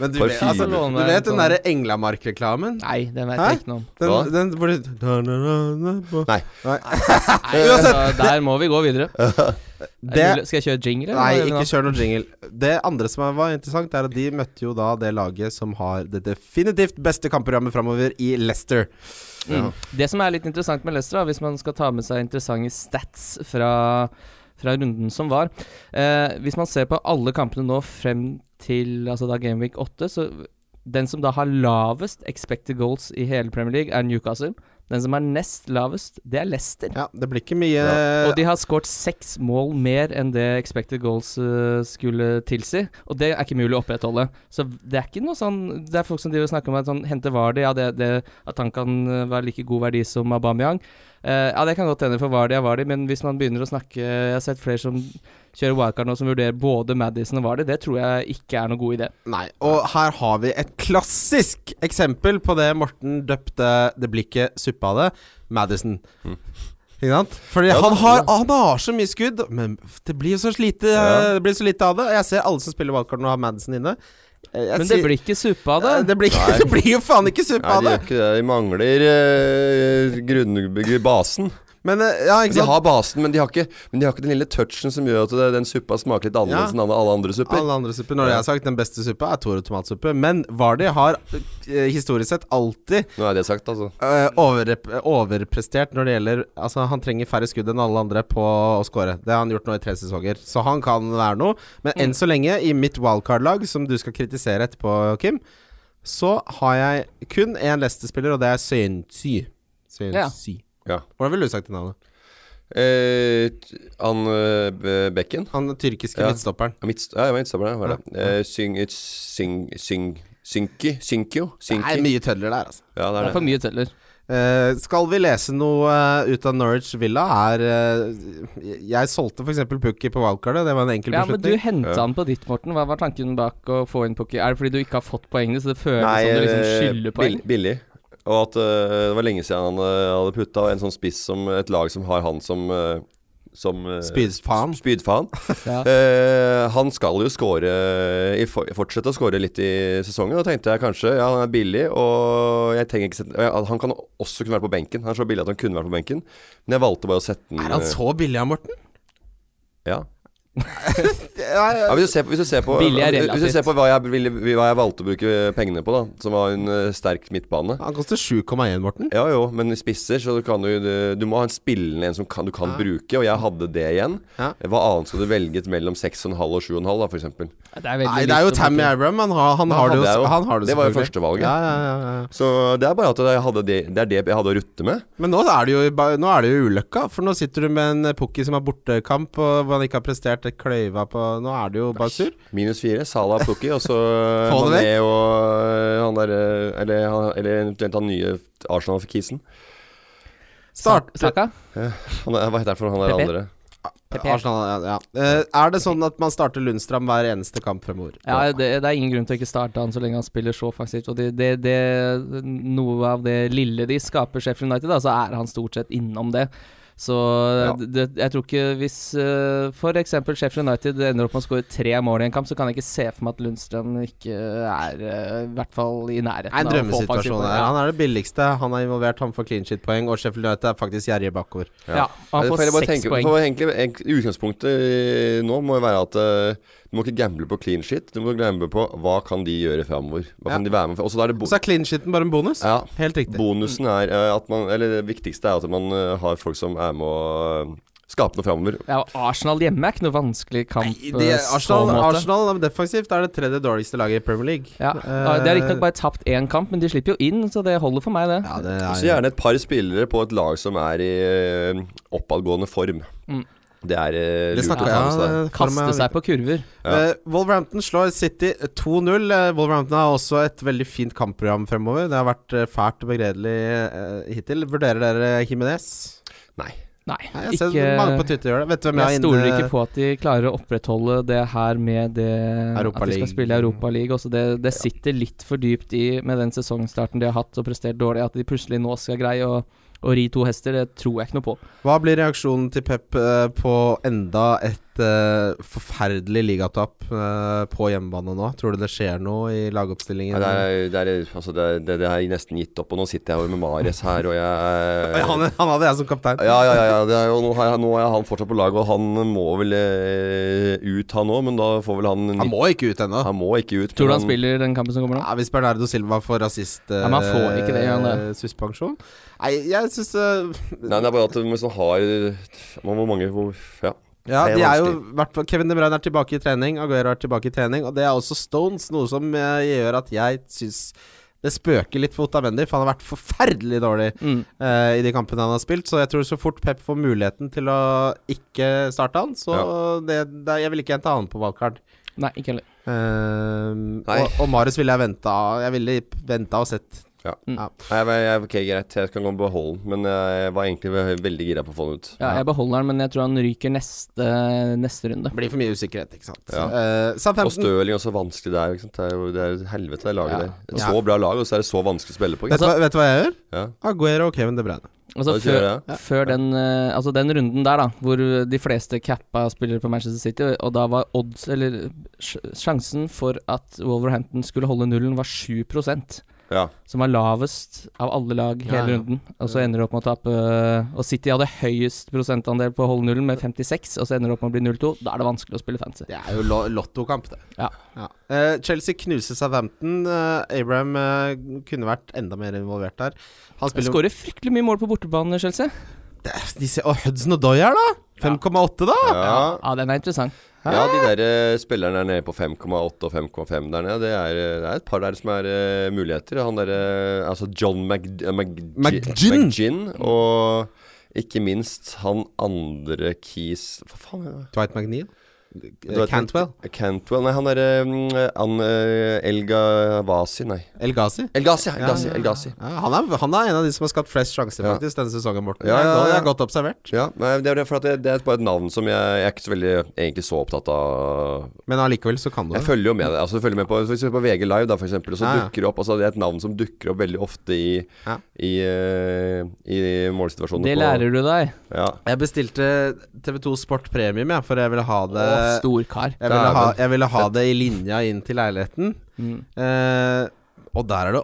S3: Men du, vet- altså, du vet den derre Englamark-reklamen?
S4: Nei, den vet
S3: Hæ?
S4: jeg ikke noe om.
S5: Hva?
S3: Den, den hvor det da, da, da, da,
S5: Nei.
S3: Nei.
S4: Nei,
S3: Uansett.
S4: altså, der må vi gå videre.
S3: Det-
S4: Skal jeg kjøre jingle? eller?
S3: Nei, ikke kjør noen jingle. Det andre som var interessant, er at de møtte jo da det laget som har det definitivt beste kampprogrammet framover i Leicester.
S4: Mm. Det som er litt interessant med Leicester, da, hvis man skal ta med seg interessante stats fra, fra runden som var eh, Hvis man ser på alle kampene nå frem til altså da Gameweek 8, så den som da har lavest expected goals i hele Premier League, er Newcastle. Den som er nest lavest, det er Leicester.
S3: Ja, det blir ikke mye
S4: Og de har skåret seks mål mer enn det expected goals eh, skulle tilsi. Og det er ikke mulig å opprettholde. Så det er ikke noe sånn Det er folk som driver og snakker om at sånn, hente Vardy, ja, det, det, at han kan eh, være like god verdi som Aubameyang. Eh, ja, det kan godt hende for Vardy er Vardy, men hvis man begynner å snakke Jeg har sett flere som kjører wildcard nå, som vurderer både Madison og Vardy. Det tror jeg ikke er noe god idé.
S3: Nei. Og her har vi et klassisk eksempel på det Morten døpte Det blir ikke suppe av det, Madison. Ikke sant? Fordi
S5: Ja,
S3: han,
S5: det-
S3: har, han har så mye skudd, men det blir jo så lite,
S5: Ja.
S3: det blir så lite av det. Og jeg ser alle som spiller wildcard nå, har Madison inne. Eh, jeg
S4: Men det
S3: sier-
S4: blir ikke suppe av det.
S3: Det blir, ikke,
S5: Nei.
S3: det blir jo faen ikke suppe
S5: Nei,
S3: av
S5: de
S3: det!
S5: gjør ikke det. De mangler eh, grunn- basen.
S3: Men eh, ja, ikke
S5: De
S3: sant?
S5: har basen, men de har, ikke, men de har ikke den lille touchen som gjør at det, den suppa smaker litt annerledes
S3: Ja.
S5: enn alle andre supper.
S3: Alle andre supper. Når det er sagt, den beste suppa er Toro tomatsuppe. Men Vardi har eh, historisk sett alltid
S5: Nå er det sagt, altså.
S3: eh, overrep overprestert når det gjelder Altså, han trenger færre skudd enn alle andre på å score. Det har han gjort nå i tre sesonger, så han kan være noe. Men enn så lenge, i mitt wildcard-lag, som du skal kritisere etterpå, Kim, så har jeg kun én Leicester-spiller, og det er Søynsy.
S4: Ja.
S3: Søynsy.
S5: Ja.
S3: Hvordan ville du sagt det navnet?
S5: Eh, t- han eh, Be- Bekken
S3: Han tyrkiske
S5: Ja.
S3: midtstopperen.
S5: Ja, midtst- ja, jeg var midtstopper der. Var det. Eh, syng, et syng, syng, synki? Synkio?
S3: Det er
S5: Synki?
S3: mye tødler der, altså.
S5: Ja, det
S4: Det
S5: er
S4: er for
S5: det.
S4: mye tøller.
S3: Eh, skal vi lese noe eh, ut av Norwich Villa? Er, eh, jeg solgte f.eks. Pukki på wildcardet. Det var en enkel
S4: Ja, men du
S3: beslutning.
S4: henta
S5: Ja.
S4: han på ditt, Morten. Hva var tanken bak å få inn Pukki? Er det fordi du ikke har fått poengene, så det føles som du liksom
S5: eh,
S4: skylder poeng?
S5: bill- billig. Og at eh, det var lenge siden han eh, hadde putta en sånn spiss som et lag som har han som eh, som eh,
S3: Spydfaen.
S5: Spydfaen.
S4: Ja.
S5: Eh, han skal jo score i for, fortsette å score litt i sesongen. Og tenkte jeg kanskje ja, han er billig, og jeg trenger ikke sette, ja, Han kan også kunne vært på benken. Han er så billig at han kunne vært på benken. Men jeg valgte bare å sette den eh,
S3: Er han så billig, ja, Morten?
S5: ja. ja, hvis, du ser på, hvis, du ser på,
S4: Billig er
S5: hvis du
S4: relativt.
S5: ser på hva, jeg ville, hva jeg valgte å bruke pengene på, da, som var en eh, sterk midtbane
S3: Han koster 7,1, Morten.
S5: Ja jo, men i spisser så du kan du, du må ha en spillende en som kan, du kan bruke, og jeg hadde det igjen.
S3: Ja.
S5: Hva annet skal du velge mellom 6,5 og 7,5 da, for eksempel?
S4: Det er veldig
S3: Nei, det er jo
S4: likt å
S3: Tammy
S4: bruke.
S3: Abraham. Han har, han
S5: Men
S3: har det
S5: hadde jeg
S3: jo.
S5: jo.
S3: Han har
S5: Det var
S3: det,
S5: jo
S3: selvfølgelig.
S5: førstevalget.
S3: Ja, ja, ja, ja.
S5: Så det er bare at jeg hadde det, det er det jeg hadde å rutte med.
S3: Men nå er det jo, i ba- nå er det jo ulykka, for nå sitter du med en eh, Pukki som har bortekamp, og hvor han ikke har prestert det kløyva på Nå er det jo bare sur.
S5: Minus fire, Salah Pukki, og så
S3: Få det
S5: Mané og øh, han derre eller, han- eller eventuelt han nye Arsenal for Kisen.
S3: Start.
S4: Saka?
S5: Han er, hva heter han for noe, han der
S4: Pepe?
S5: andre?
S4: PP.
S3: Arsenal, ja, ja. Eh, Er det sånn at man starter Lundstrand hver eneste kamp fremover?
S4: Ja, det, det er ingen grunn til å ikke starte han så lenge han spiller så offensivt. Og det, det, det, noe av det lille de skaper Sheffield United, da, så er han stort sett innom det. Så
S5: Ja.
S4: det, jeg tror ikke hvis eh, for eksempel Sheffield United ender opp med å skåre tre mål i en kamp, så kan jeg ikke se for meg at Lundstrøm ikke er eh, i hvert fall i nærheten
S3: Det er en
S4: av å få offensiv
S3: drømmesituasjon.
S4: poeng.
S3: her. Han er det billigste. Han er involvert, han får clean shit-poeng. Og Sheffield United er faktisk gjerrige bakover.
S4: Ja. ja,
S5: Nei,
S4: han får
S5: det får jeg bare
S4: seks
S5: tenke-
S4: poeng.
S5: for egentlig, egentlig, utgangspunktet eh, nå må jo være at eh, du må ikke gamble på clean shit. Du må gamble på hva kan de gjøre framover. Hva
S3: Ja.
S5: kan de være med for? Og så da er det bo
S3: Og så er clean shiten bare en bonus.
S5: ja,
S3: Helt riktig.
S5: bonusen er eh, at man Eller det viktigste er at man eh, har folk som er med å eh, skape noe framover.
S4: Ja, og Arsenal hjemme er ikke noe vanskelig kamp.
S3: I det,
S4: eh, så
S3: Arsenal,
S4: måte.
S3: Arsenal eh, defensivt er det tredje dårligste laget i Premier League.
S4: Ja.
S3: Eh,
S4: De har riktignok bare tapt én kamp, men de slipper jo inn, så det holder for meg, det.
S3: ja, det
S5: Så
S3: er,
S5: gjerne et par spillere på et lag som er i eh, oppadgående form.
S4: Mm.
S5: Det er eh, lurt
S3: Det
S5: å ta
S3: snakka
S5: med
S3: jeg
S5: seg.
S3: om. altså.
S4: Kaste seg på kurver.
S5: Ja.
S3: Eh, Wolverhampton slår City 2-0. Eh, Wolverhampton har også et veldig fint kampprogram fremover. Det har vært eh, fælt og begredelig eh, hittil. Vurderer dere Jimenez?
S5: Nei.
S4: Nei,
S3: Nei, jeg
S4: ikke
S3: ser mange på Twitter eh, gjør det. Vet du hvem jeg,
S4: Jeg
S3: har
S4: stoler
S3: inne?
S4: ikke på at de klarer å opprettholde det her med det
S3: Europa
S4: at de
S3: League.
S4: skal spille Europaliga. Det, det sitter litt for dypt i med den sesongstarten de har hatt og prestert dårlig. At de plutselig nå skal greie å, å ri to hester, det tror jeg ikke noe på.
S3: Hva blir reaksjonen til Pep eh, på enda et eh, forferdelig ligatap eh, på hjemmebane nå? Tror du det skjer noe i lagoppstillingen?
S5: Nei, det, er, det, er, altså det, er- det, det har jeg nesten gitt opp, og nå sitter jeg jo med Mares her, og jeg
S3: Ja, han, han hadde jeg som kaptein.
S5: Ja, ja, ja. ja det er jo, nå, har jeg, nå er han fortsatt på laget, og han må vel eh, ut, han òg, men da får vel han
S3: Han må ikke ut ennå.
S5: han må ikke ut.
S4: Tror du
S5: men
S4: han
S3: Mm.
S4: spiller den kampen som kommer nå?
S3: Ja, hvis Bernardo Silva får rasist eh,
S4: Ja, men han får ikke det, gjør han
S3: Suspensjon? Nei, jeg eh, syns
S5: Nei, det er bare at hvis han har man, Hvor mange hvor, Ja.
S3: Ja,
S5: Det er
S3: de er jo
S5: vanskelig.
S3: hvert fall- Kevin De Bruyne er tilbake i trening, Aguero er tilbake i trening, og det er også Stones, noe som eh, gjør at jeg syns det spøker litt for Otamendi, for han har vært forferdelig dårlig
S4: Mm.
S3: eh, i de kampene han har spilt. Så jeg tror så fort Pep får muligheten til å ikke starte han, så det, det, jeg vil ikke hente han på valgkart.
S4: Nei, ikke heller.
S5: Nei.
S3: og, og Marius ville jeg venta Jeg ville venta og sett.
S5: Nei, jeg, jeg, ok, greit, jeg kan gå og beholde den, men jeg var egentlig ve- veldig gira på å få den ut.
S4: Ja, jeg beholder han, men jeg tror han ryker neste, neste runde.
S3: Det blir for mye usikkerhet, ikke sant.
S5: Ja.
S3: Eh,
S5: Og
S3: Southampton
S5: Stirling også vanskelig der. Ikke sant? Det er jo det er et helvete, det laget
S4: Ja.
S5: der. Et så bra lag, og så er det så vanskelig å spille på. Ikke?
S3: vet,
S5: sant?
S3: du hva, vet du hva jeg gjør?
S5: Ja.
S3: Aguero og Kevin De Bruyne.
S4: Altså,
S5: Ja, det tror
S4: før,
S5: jeg,
S4: før den, eh, altså den runden der, da, hvor de fleste cappa spillere på Manchester City, og da var odds Eller sj- sjansen for at Wolverhampton skulle holde nullen, var 7
S5: Ja.
S4: som var lavest av alle lag hele
S3: Ja, ja.
S4: runden. Og så ender det opp med å tape eh, Og City hadde høyest prosentandel på å holde nullen, med 56, og så ender det opp med å bli 0-2. Da er det vanskelig å spille fancy.
S3: Det er jo lo lottokamp, det.
S4: Ja.
S3: Eh, Chelsea knuser Southampton. Eh, Abraham eh, kunne vært enda mer involvert der. Han
S4: De
S3: spiller
S4: skårer fryktelig mye mål på bortebane, Chelsea.
S3: de ser, Og Hudson og Doy her, da! 5,8, da!
S5: Ja.
S4: Ja, den er interessant.
S5: ja, de der eh, spillerne der nede på 5,8 og 5,5 der nede, det er, eh, det er et par der som er eh, muligheter. Han derre Altså John McG McG-
S3: McGinn.
S5: McGinn, og ikke minst han andre keys Hva faen er det?
S3: Dwight McNeil. Eh,
S5: Du vet,
S3: Cantwell.
S5: Cantwell Nei, han derre Han eh, Elga Vasi, nei.
S3: El Ghazi.
S5: El Ghazi, ja, El
S3: Ja,
S5: Ghazi.
S3: ja,
S5: El Ghazi.
S3: Ja, han, er, han er en av de som har skapt flest sjanser
S5: Ja.
S3: faktisk denne sesongen, Morten.
S5: Ja,
S3: Det er
S5: ja,
S3: godt- Det
S5: ja.
S3: er godt observert.
S5: Ja, nei, det er det, for at det, det er bare et navn som jeg, jeg er ikke så veldig egentlig så opptatt av.
S3: Men allikevel så kan du
S5: Jeg
S3: det.
S5: følger jo med det. Altså, jeg følger med på, hvis du ser på VG Live, da, for eksempel, så
S3: Ja, ja.
S5: dukker det opp altså, Det er et navn som dukker opp veldig ofte i,
S3: Ja.
S5: i, eh, i målsituasjoner.
S4: Det lærer du deg.
S5: Ja.
S3: Jeg bestilte TV2 Sport Premium, jeg, for jeg ville ha det
S4: Å, stor kar.
S3: jeg ville,
S5: Dæven.
S3: ha, jeg ville ha det i linja inn til leiligheten.
S4: Mm.
S3: Eh, og der er det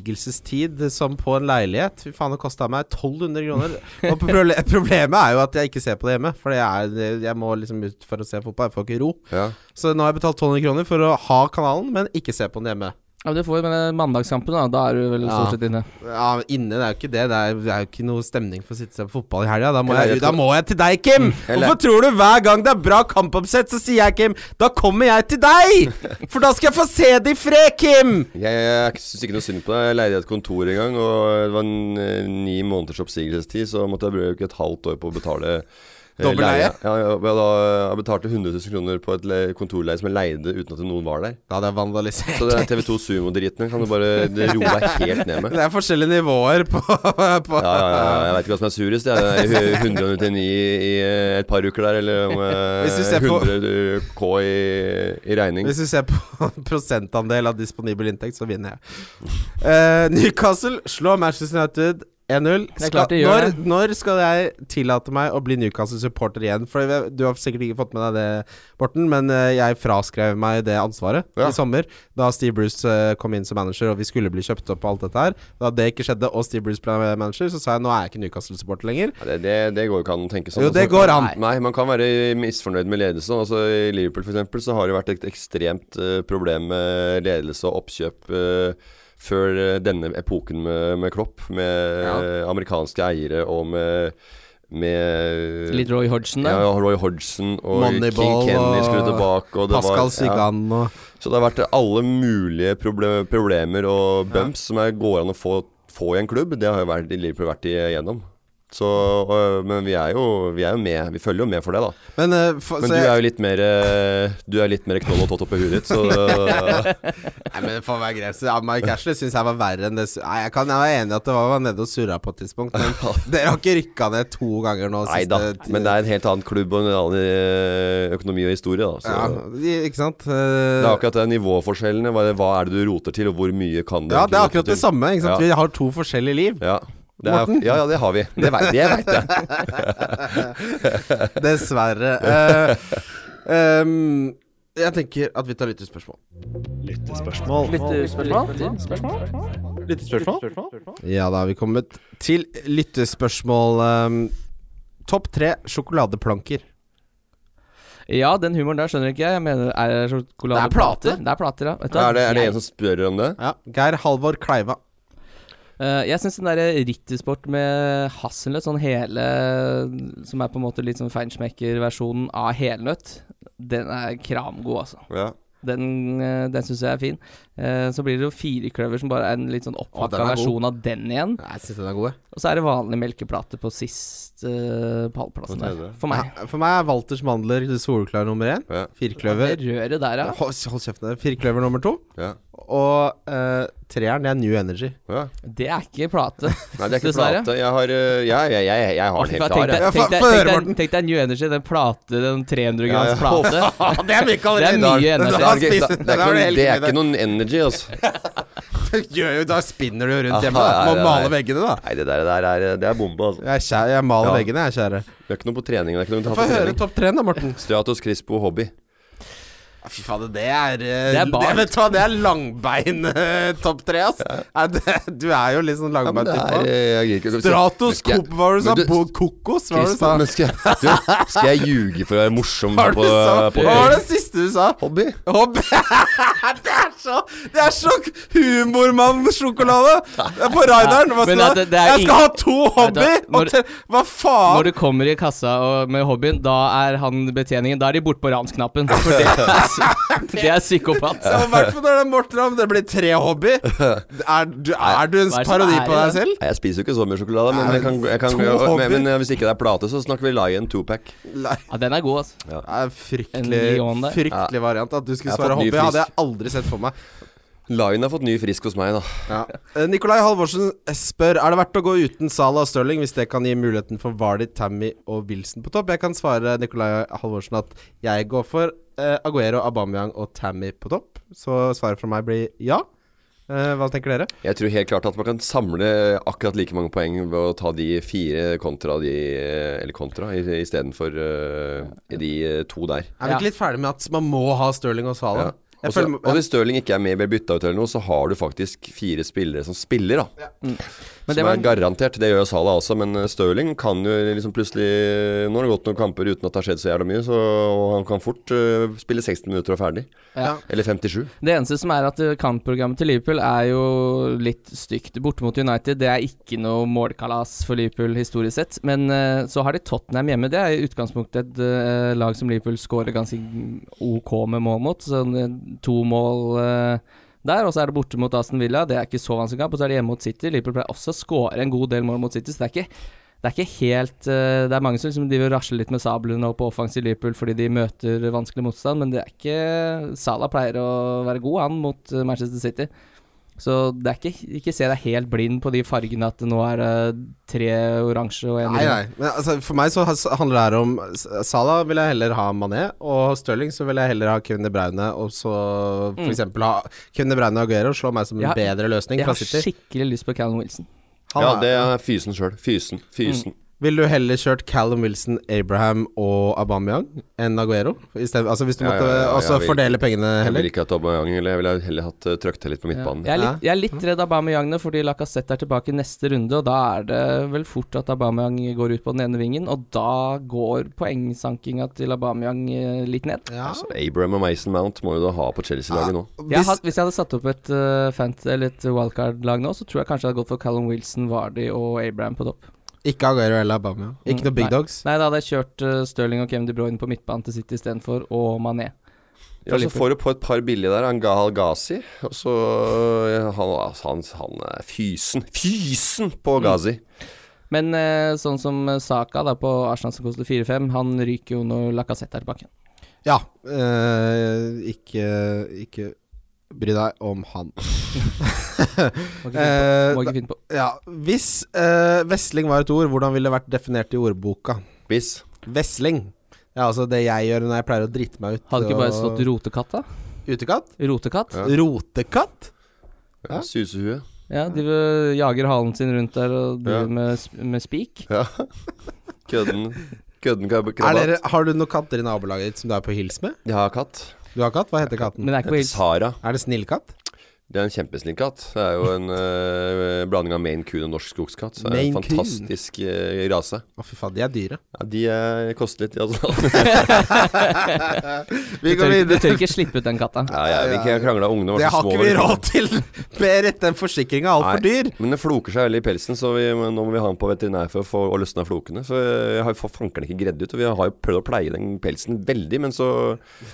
S3: oppsigelsestid som på en leilighet. Fy faen, det kosta meg 1200 kroner. Og proble problemet er jo at jeg ikke ser på det hjemme, for jeg, er, jeg må liksom ut for å se fotball. Jeg får ikke ro.
S5: Ja.
S3: Så nå har jeg betalt 1200 kroner for å ha kanalen, men ikke se på den hjemme.
S4: Ja, men du får jo med den mandagskampen, da. Da er du vel
S3: Ja.
S4: stort sett inne.
S3: Ja, inne, det er jo ikke det. Det er, det er jo ikke noe stemning for å sitte og se på fotball i helga. Da, må
S5: Eller
S3: jeg-
S5: jeg
S3: da
S5: tror-
S3: må jeg til deg, Kim!
S5: Eller-
S3: Hvorfor tror du hver gang det er bra kampoppsett, så sier jeg, Kim, da kommer jeg til deg! For da skal jeg få se det i fred, Kim!
S5: Jeg, jeg syns ikke noe synd på deg. Jeg leide et kontor en gang, og det var en, eh, ni måneders oppsigelsestid, så måtte jeg bruke et halvt år på å betale eh,
S3: Dobbel leie?
S5: Ja, ja, ja, da, jeg betalte 100 000 kroner på et le- kontorleie som jeg leide uten at noen var der.
S3: Da hadde jeg vandalisert.
S5: Så det er TV2 Sumo-driten kan du bare roe deg helt ned med.
S3: Det er forskjellige nivåer på, på
S5: Ja, ja, ja, jeg veit ikke hva som er surest. Jeg er i 199 i eh, et par uker der, eller om eh,
S3: Hvis du ser på-
S5: 100 K i, i regning.
S3: Hvis du ser på prosentandel av disponibel inntekt, så vinner jeg. Eh, Newcastle slår Manchester United 1-0.
S4: Det er
S3: Skal-
S4: klart de
S3: Når,
S4: gjør
S3: når skal jeg tillate meg å bli Newcastle-supporter igjen? For jeg- du har sikkert ikke fått med deg det, Borten, men eh, jeg fraskrev meg det ansvaret
S5: Ja.
S3: i sommer. Da Steve Bruce eh, kom inn som manager og vi skulle bli kjøpt opp og alt dette her. Da det ikke skjedde og Steve Bruce ble manager, så sa jeg nå er jeg ikke Newcastle-supporter lenger.
S5: Nei, Det, det, det går jo ikke an å tenke sånn.
S3: Jo, det går an.
S5: Nei, man kan være misfornøyd med ledelsen. Altså, I Liverpool for eksempel, så har det vært et ekstremt eh, problem med ledelse og oppkjøp eh, før eh, denne epoken med, med Klopp, med eh, amerikanske eiere og med, med
S4: Litt Roy Hodgson der.
S5: ja, Roy Hodgson og King
S3: Moneyball
S5: Kenny skulle
S3: og
S5: tilbake. Og det
S3: Pascal
S5: var, ja.
S3: Sigan og
S5: Så det har vært alle mulige proble problemer og bumps som er, går an å få, få i en klubb. Det har jo vært, Liverpool vært igjennom. Så, øh, men vi er, jo, vi er jo med. Vi følger jo med for det, da.
S3: Men, eh, for,
S5: Men du
S3: så jeg-
S5: er jo litt mer øh, Du er litt mer knoll og tott oppi huet ditt, så øh,
S3: Nei, men det får være greit. Så, ja, Mike Ashley syns jeg var verre enn det su- Nei, jeg, kan, jeg var enig i at det var, var nede og surra på et tidspunkt, men dere har ikke rykka ned to ganger nå
S5: Nei da.
S3: siste
S5: Men det er eh, en helt annen klubb og en annen øh, økonomi og historie, da. Så.
S3: ja, de- Ikke sant? Eh,
S5: Det er akkurat det nivåforskjellene. Hva, hva er det du roter til, og hvor mye kan du
S3: ja, det er
S5: egentlig rote
S3: akkurat det
S5: til?
S3: samme. Ikke
S5: Ja.
S3: sant? Vi har to forskjellige liv.
S5: Ja. Det er,
S3: Morten?
S5: ja, ja, det har vi. Det vet, det vet jeg.
S3: Dessverre. Eh, ehm, jeg tenker at vi tar lyttespørsmål.
S1: Lyttespørsmål.
S3: Ja, da har vi kommet til lyttespørsmål. ehm, Topp tre sjokoladeplanker.
S4: Ja, den humoren der skjønner ikke jeg. Jeg mener, er det sjokolade
S3: Det er plate.
S4: Det er plater, ja. Vet du hva?
S5: Er det, er det
S4: Jeg-
S5: en som spør om det?
S3: Ja. Geir Halvor Kleiva.
S4: Eh, jeg syns den derre rittersport med hasselnøtt, sånn hele Som er på en måte litt sånn feinschmecker-versjonen av helnøtt, den er kramgod, altså.
S5: Ja.
S4: Den, eh, den syns jeg er fin. Eh, så blir det jo firekløver som bare er en litt sånn
S3: Å, den er
S4: opphakka
S3: god.
S4: versjon av den igjen.
S3: Jeg syns den er god, jeg.
S4: Og så er det vanlig melkeplate på sist eh, pallplassen
S5: På
S4: der.
S5: tredje.
S4: For meg.
S3: Ja, For meg er Walters mandler soleklar nummer én.
S5: Ja.
S3: Firkløver.
S4: Det røret der, ja.
S3: Hold, hold kjeften. Firkløver nummer to.
S5: Ja.
S3: Og eh, treeren, det er New Energy.
S5: ja.
S4: Det er ikke plate.
S5: Nei, det er ikke
S4: Dessverre.
S5: plate. Jeg har, øh, jeg, jeg, jeg, jeg har den helt
S4: tenk
S5: klar.
S4: deg,
S5: jeg.
S3: Ja,
S4: tenk deg,
S3: få høre,
S4: tenk deg,
S3: Morten.
S4: tenk deg New Energy, den plate, den 300
S5: Ja, ja.
S4: grams plate.
S3: Ah, det er mye
S4: Det er mye
S5: Det
S4: energi.
S5: er, ikke, det, det, er ikke, noen- det er ikke noen energy, altså.
S3: Gjør jo, da spinner du jo rundt
S5: Aha,
S3: hjemme. Da.
S5: ja,
S3: Må
S5: ja, ja.
S3: male veggene, da.
S5: Nei, det der, det der er, det er bombe, altså.
S3: Jeg, er kjære, jeg maler
S5: Ja.
S3: veggene, jeg, kjære.
S5: Det er ikke noe på trening. Det er ikke noe vi tar
S3: Få
S5: på
S3: høre
S5: trening.
S3: topp tre, da, Morten.
S5: Stratos Crispo Hobby.
S3: Fy fader, det er eh,
S4: Det er bart.
S3: vet du hva, det er langbein eh, topp tre, ass. Nei, det- Du er jo litt sånn
S5: Ja, men
S3: langbeint
S5: det er,
S3: utpå.
S5: øh, jeg gir ikke-
S3: Stratos,
S5: Skal jeg-
S3: Coop, hva var det du sa?
S5: Men
S3: Bo- Kokos, hva var det du sa?
S5: Crispo, men skal, jeg- du, skal jeg ljuge for å være morsom
S3: Hva var det
S5: på,
S3: du
S4: eh,
S3: sa?
S5: på
S3: Hva var det siste du sa?
S5: Hobby?
S3: Hopp. det er så Det er så humormann-sjokolade! Det er på Raideren. Hva
S4: Men
S3: skal
S4: at
S3: det,
S4: det- det er
S3: jeg skal
S4: ingen-
S3: ha to hobby!
S4: Vet du
S3: og
S4: hva, når-
S3: tre- Hva
S4: Når
S3: faen?
S4: du kommer i kassa og, med hobbyen, da er han betjeningen Da er de borte på ransknappen. For det, er psy- det er psykopat.
S3: I hvert fall når det er Morten Ramm. Det blir tre hobby. Er du, er du en
S4: Hva er det som
S3: parodi
S4: er i
S3: på deg
S4: det?
S3: selv?
S5: Nei, jeg spiser jo ikke så mye sjokolade, men,
S3: Nei,
S5: jeg kan, jeg kan,
S3: to hobby.
S5: men, men hvis ikke det er plate, så snakker vi Lion 2-pack.
S3: Nei,
S4: Ja, den er god, altså.
S3: det er en
S4: En
S3: fryktelig,
S4: lion der.
S3: fryktelig variant. At du skulle
S5: Jeg har
S3: svare
S5: fått ny
S3: hobby, hadde
S5: fisk.
S3: jeg aldri sett for meg.
S5: Lion har fått ny frisk hos meg, da.
S3: Ja. Eh, Nikolai Halvorsen eh, spør Er det verdt å gå uten Salah og Stirling hvis det kan gi muligheten for Vardy, Tammy og Wilson på topp? Jeg kan svare Nikolai Halvorsen at jeg går for eh, Aguero, Aubameyang og Tammy på topp. Så svaret fra meg blir ja. Eh, hva tenker dere?
S5: Jeg tror helt klart at man kan samle akkurat like mange poeng ved å ta de fire kontra de Eller kontra istedenfor de eh, to der.
S3: Er vi
S4: Ja.
S3: ikke litt ferdig med at man må ha Stirling og
S5: Ja.
S3: Salah?
S5: Og
S3: Jeg
S5: så-
S3: føler,
S5: og hvis Stirling ikke er med blir bytta ut eller noe, så har du faktisk fire spillere som spiller, da.
S4: Men det
S5: som
S4: var
S5: er
S4: en-
S5: garantert. Det gjør jo Salah også, men eh, Stirling kan jo liksom plutselig Nå har det gått noen kamper uten at det har skjedd så jævla mye, så og han kan fort eh, spille 60 minutter og er ferdig.
S4: Ja.
S5: Eller 57.
S4: Det eneste som er at eh, kampprogrammet til Liverpool er jo litt stygt. Borte mot United, det er ikke noe målkalas for Liverpool historisk sett. Men eh, så har de Tottenham hjemme. Det er i utgangspunktet et eh, lag som Liverpool skårer ganske ok med mål mot. Sånn eh, to mål eh, der, og så er det borte mot Aston Villa. Det er ikke så vanskelig kamp. Og så er det hjemme mot City. Liverpool pleier også å skåre en god del mål mot City, så det er ikke det er ikke helt eh, Det er mange som liksom driver og rasler litt med sablene og på offensiv Liverpool fordi de møter vanskelig motstand, men det er ikke Salah pleier å være god, han, mot eh, Manchester City. Så det er ikke Ikke se deg helt blind på de fargene at det nå er eh, tre oransje og en
S3: Nei,
S4: grønn.
S3: nei. Men altså, for meg så has- handler det her om S- Salah vil jeg heller ha Mané, og Stirling så vil jeg heller ha Kevin De Bruyne, og så Mm. for eksempel ha Kevin De Bruyne og Aguero slår meg som en
S4: Ja,
S3: bedre løsning
S4: Jeg
S3: fra
S4: har
S3: City.
S4: skikkelig lyst på Callum Wilson.
S3: Han
S5: ja,
S3: er- Mm.
S5: det er fysen sjøl. Fysen. Fysen.
S3: Ville du heller kjørt Callum Wilson, Abraham og Aubameyang enn Aguero? I stedet, altså hvis du
S5: Ja,
S3: måtte
S5: ja, ja, ja,
S3: også
S5: jeg vil-
S3: fordele pengene
S5: Jeg
S3: heller?
S5: vil ikke ha Aubameyang, eller jeg ville heller hatt uh, trøkt til litt på midtbanen.
S4: Jeg er litt, jeg er litt redd Aubameyang nå, fordi Lacassette er tilbake i neste runde. Og da er det
S3: Mm.
S4: vel fort at Aubameyang går ut på den ene vingen, og da går poengsankinga til Aubameyang eh, litt ned.
S3: Ja.
S5: Altså, Abraham og Mason Mount må jo da ha på Chelsea-laget nå.
S4: Jeg
S3: Hvis,
S4: had, hvis jeg hadde satt opp et, eh, fant- eller et wildcard-lag nå, så tror jeg kanskje jeg hadde gått for Callum Wilson, Vardy og Abraham på topp.
S3: ikke Aguero eller Aubameyang. Ikke
S4: Mm,
S3: noe big
S4: nei.
S3: dogs.
S4: Nei, da hadde jeg kjørt eh, Sterling og Kevin De Bruyne på midtbanen til City istedenfor, og Mané.
S5: Ja, så får du på et par billige der. Han Gahal Ghazi. Og så øh, han, altså, han, han er fysen. Fysen på
S3: Mm.
S5: Ghazi!
S4: Men eh, sånn som Saka da på Arsenal som koster 4-5, han ryker jo når Lacassette er tilbake.
S3: Ja. eh, ikke, ikke bry deg om han.
S4: Må ikke finne på- må
S3: Eh,
S4: ikke finne på.
S3: ja. Hvis eh, vesling var et ord, hvordan ville det vært definert i ordboka?
S5: Biss.
S3: Vesling. Ja, altså det jeg gjør når jeg pleier å drite meg ut.
S4: Hadde ikke bare
S3: og-
S4: stått rotekatt, da?
S3: Utekatt?
S4: Rotekatt?
S5: Ja.
S3: Rotekatt?
S5: Ja. Susehue.
S4: Ja, de vil- jager halen sin rundt der og driver
S5: Ja. Mm.
S4: med, sp- med spik.
S5: Ja. Kødden. Kødden krab-
S3: Er
S5: krabba.
S3: dere, har du noen katter i nabolaget ditt som du er på hils med?
S5: Jeg har katt.
S3: Du har katt? Hva heter katten?
S4: Men det er ikke
S5: Heter
S4: på hils.
S5: Sara.
S3: Er det snillkatt?
S5: Det er en kjempesnill katt. Det er jo en øh, blanding av Maine Coon og norsk skogskatt. Så det er en
S3: Maine Coon.
S5: fantastisk øh, rase.
S3: Å, fy faen, de er dyre.
S5: Ja, de øh, koster litt, de altså.
S3: Vi
S4: Du tør, ikke- du tør ikke slippe ut den katta.
S5: Ja, jeg vil ikke krangle om ungene var
S3: Det
S5: så
S3: har
S5: små.
S3: ikke vi råd til, Berit. Den forsikringa er altfor
S5: Nei.
S3: dyr.
S5: Men det floker seg veldig i pelsen, så vi, må- nå må vi ha den på veterinær for å få å løsne av flokene. For jeg har jo fa- fanker den ikke gredd ut, og vi har jo prøvd å pleie den pelsen veldig, men så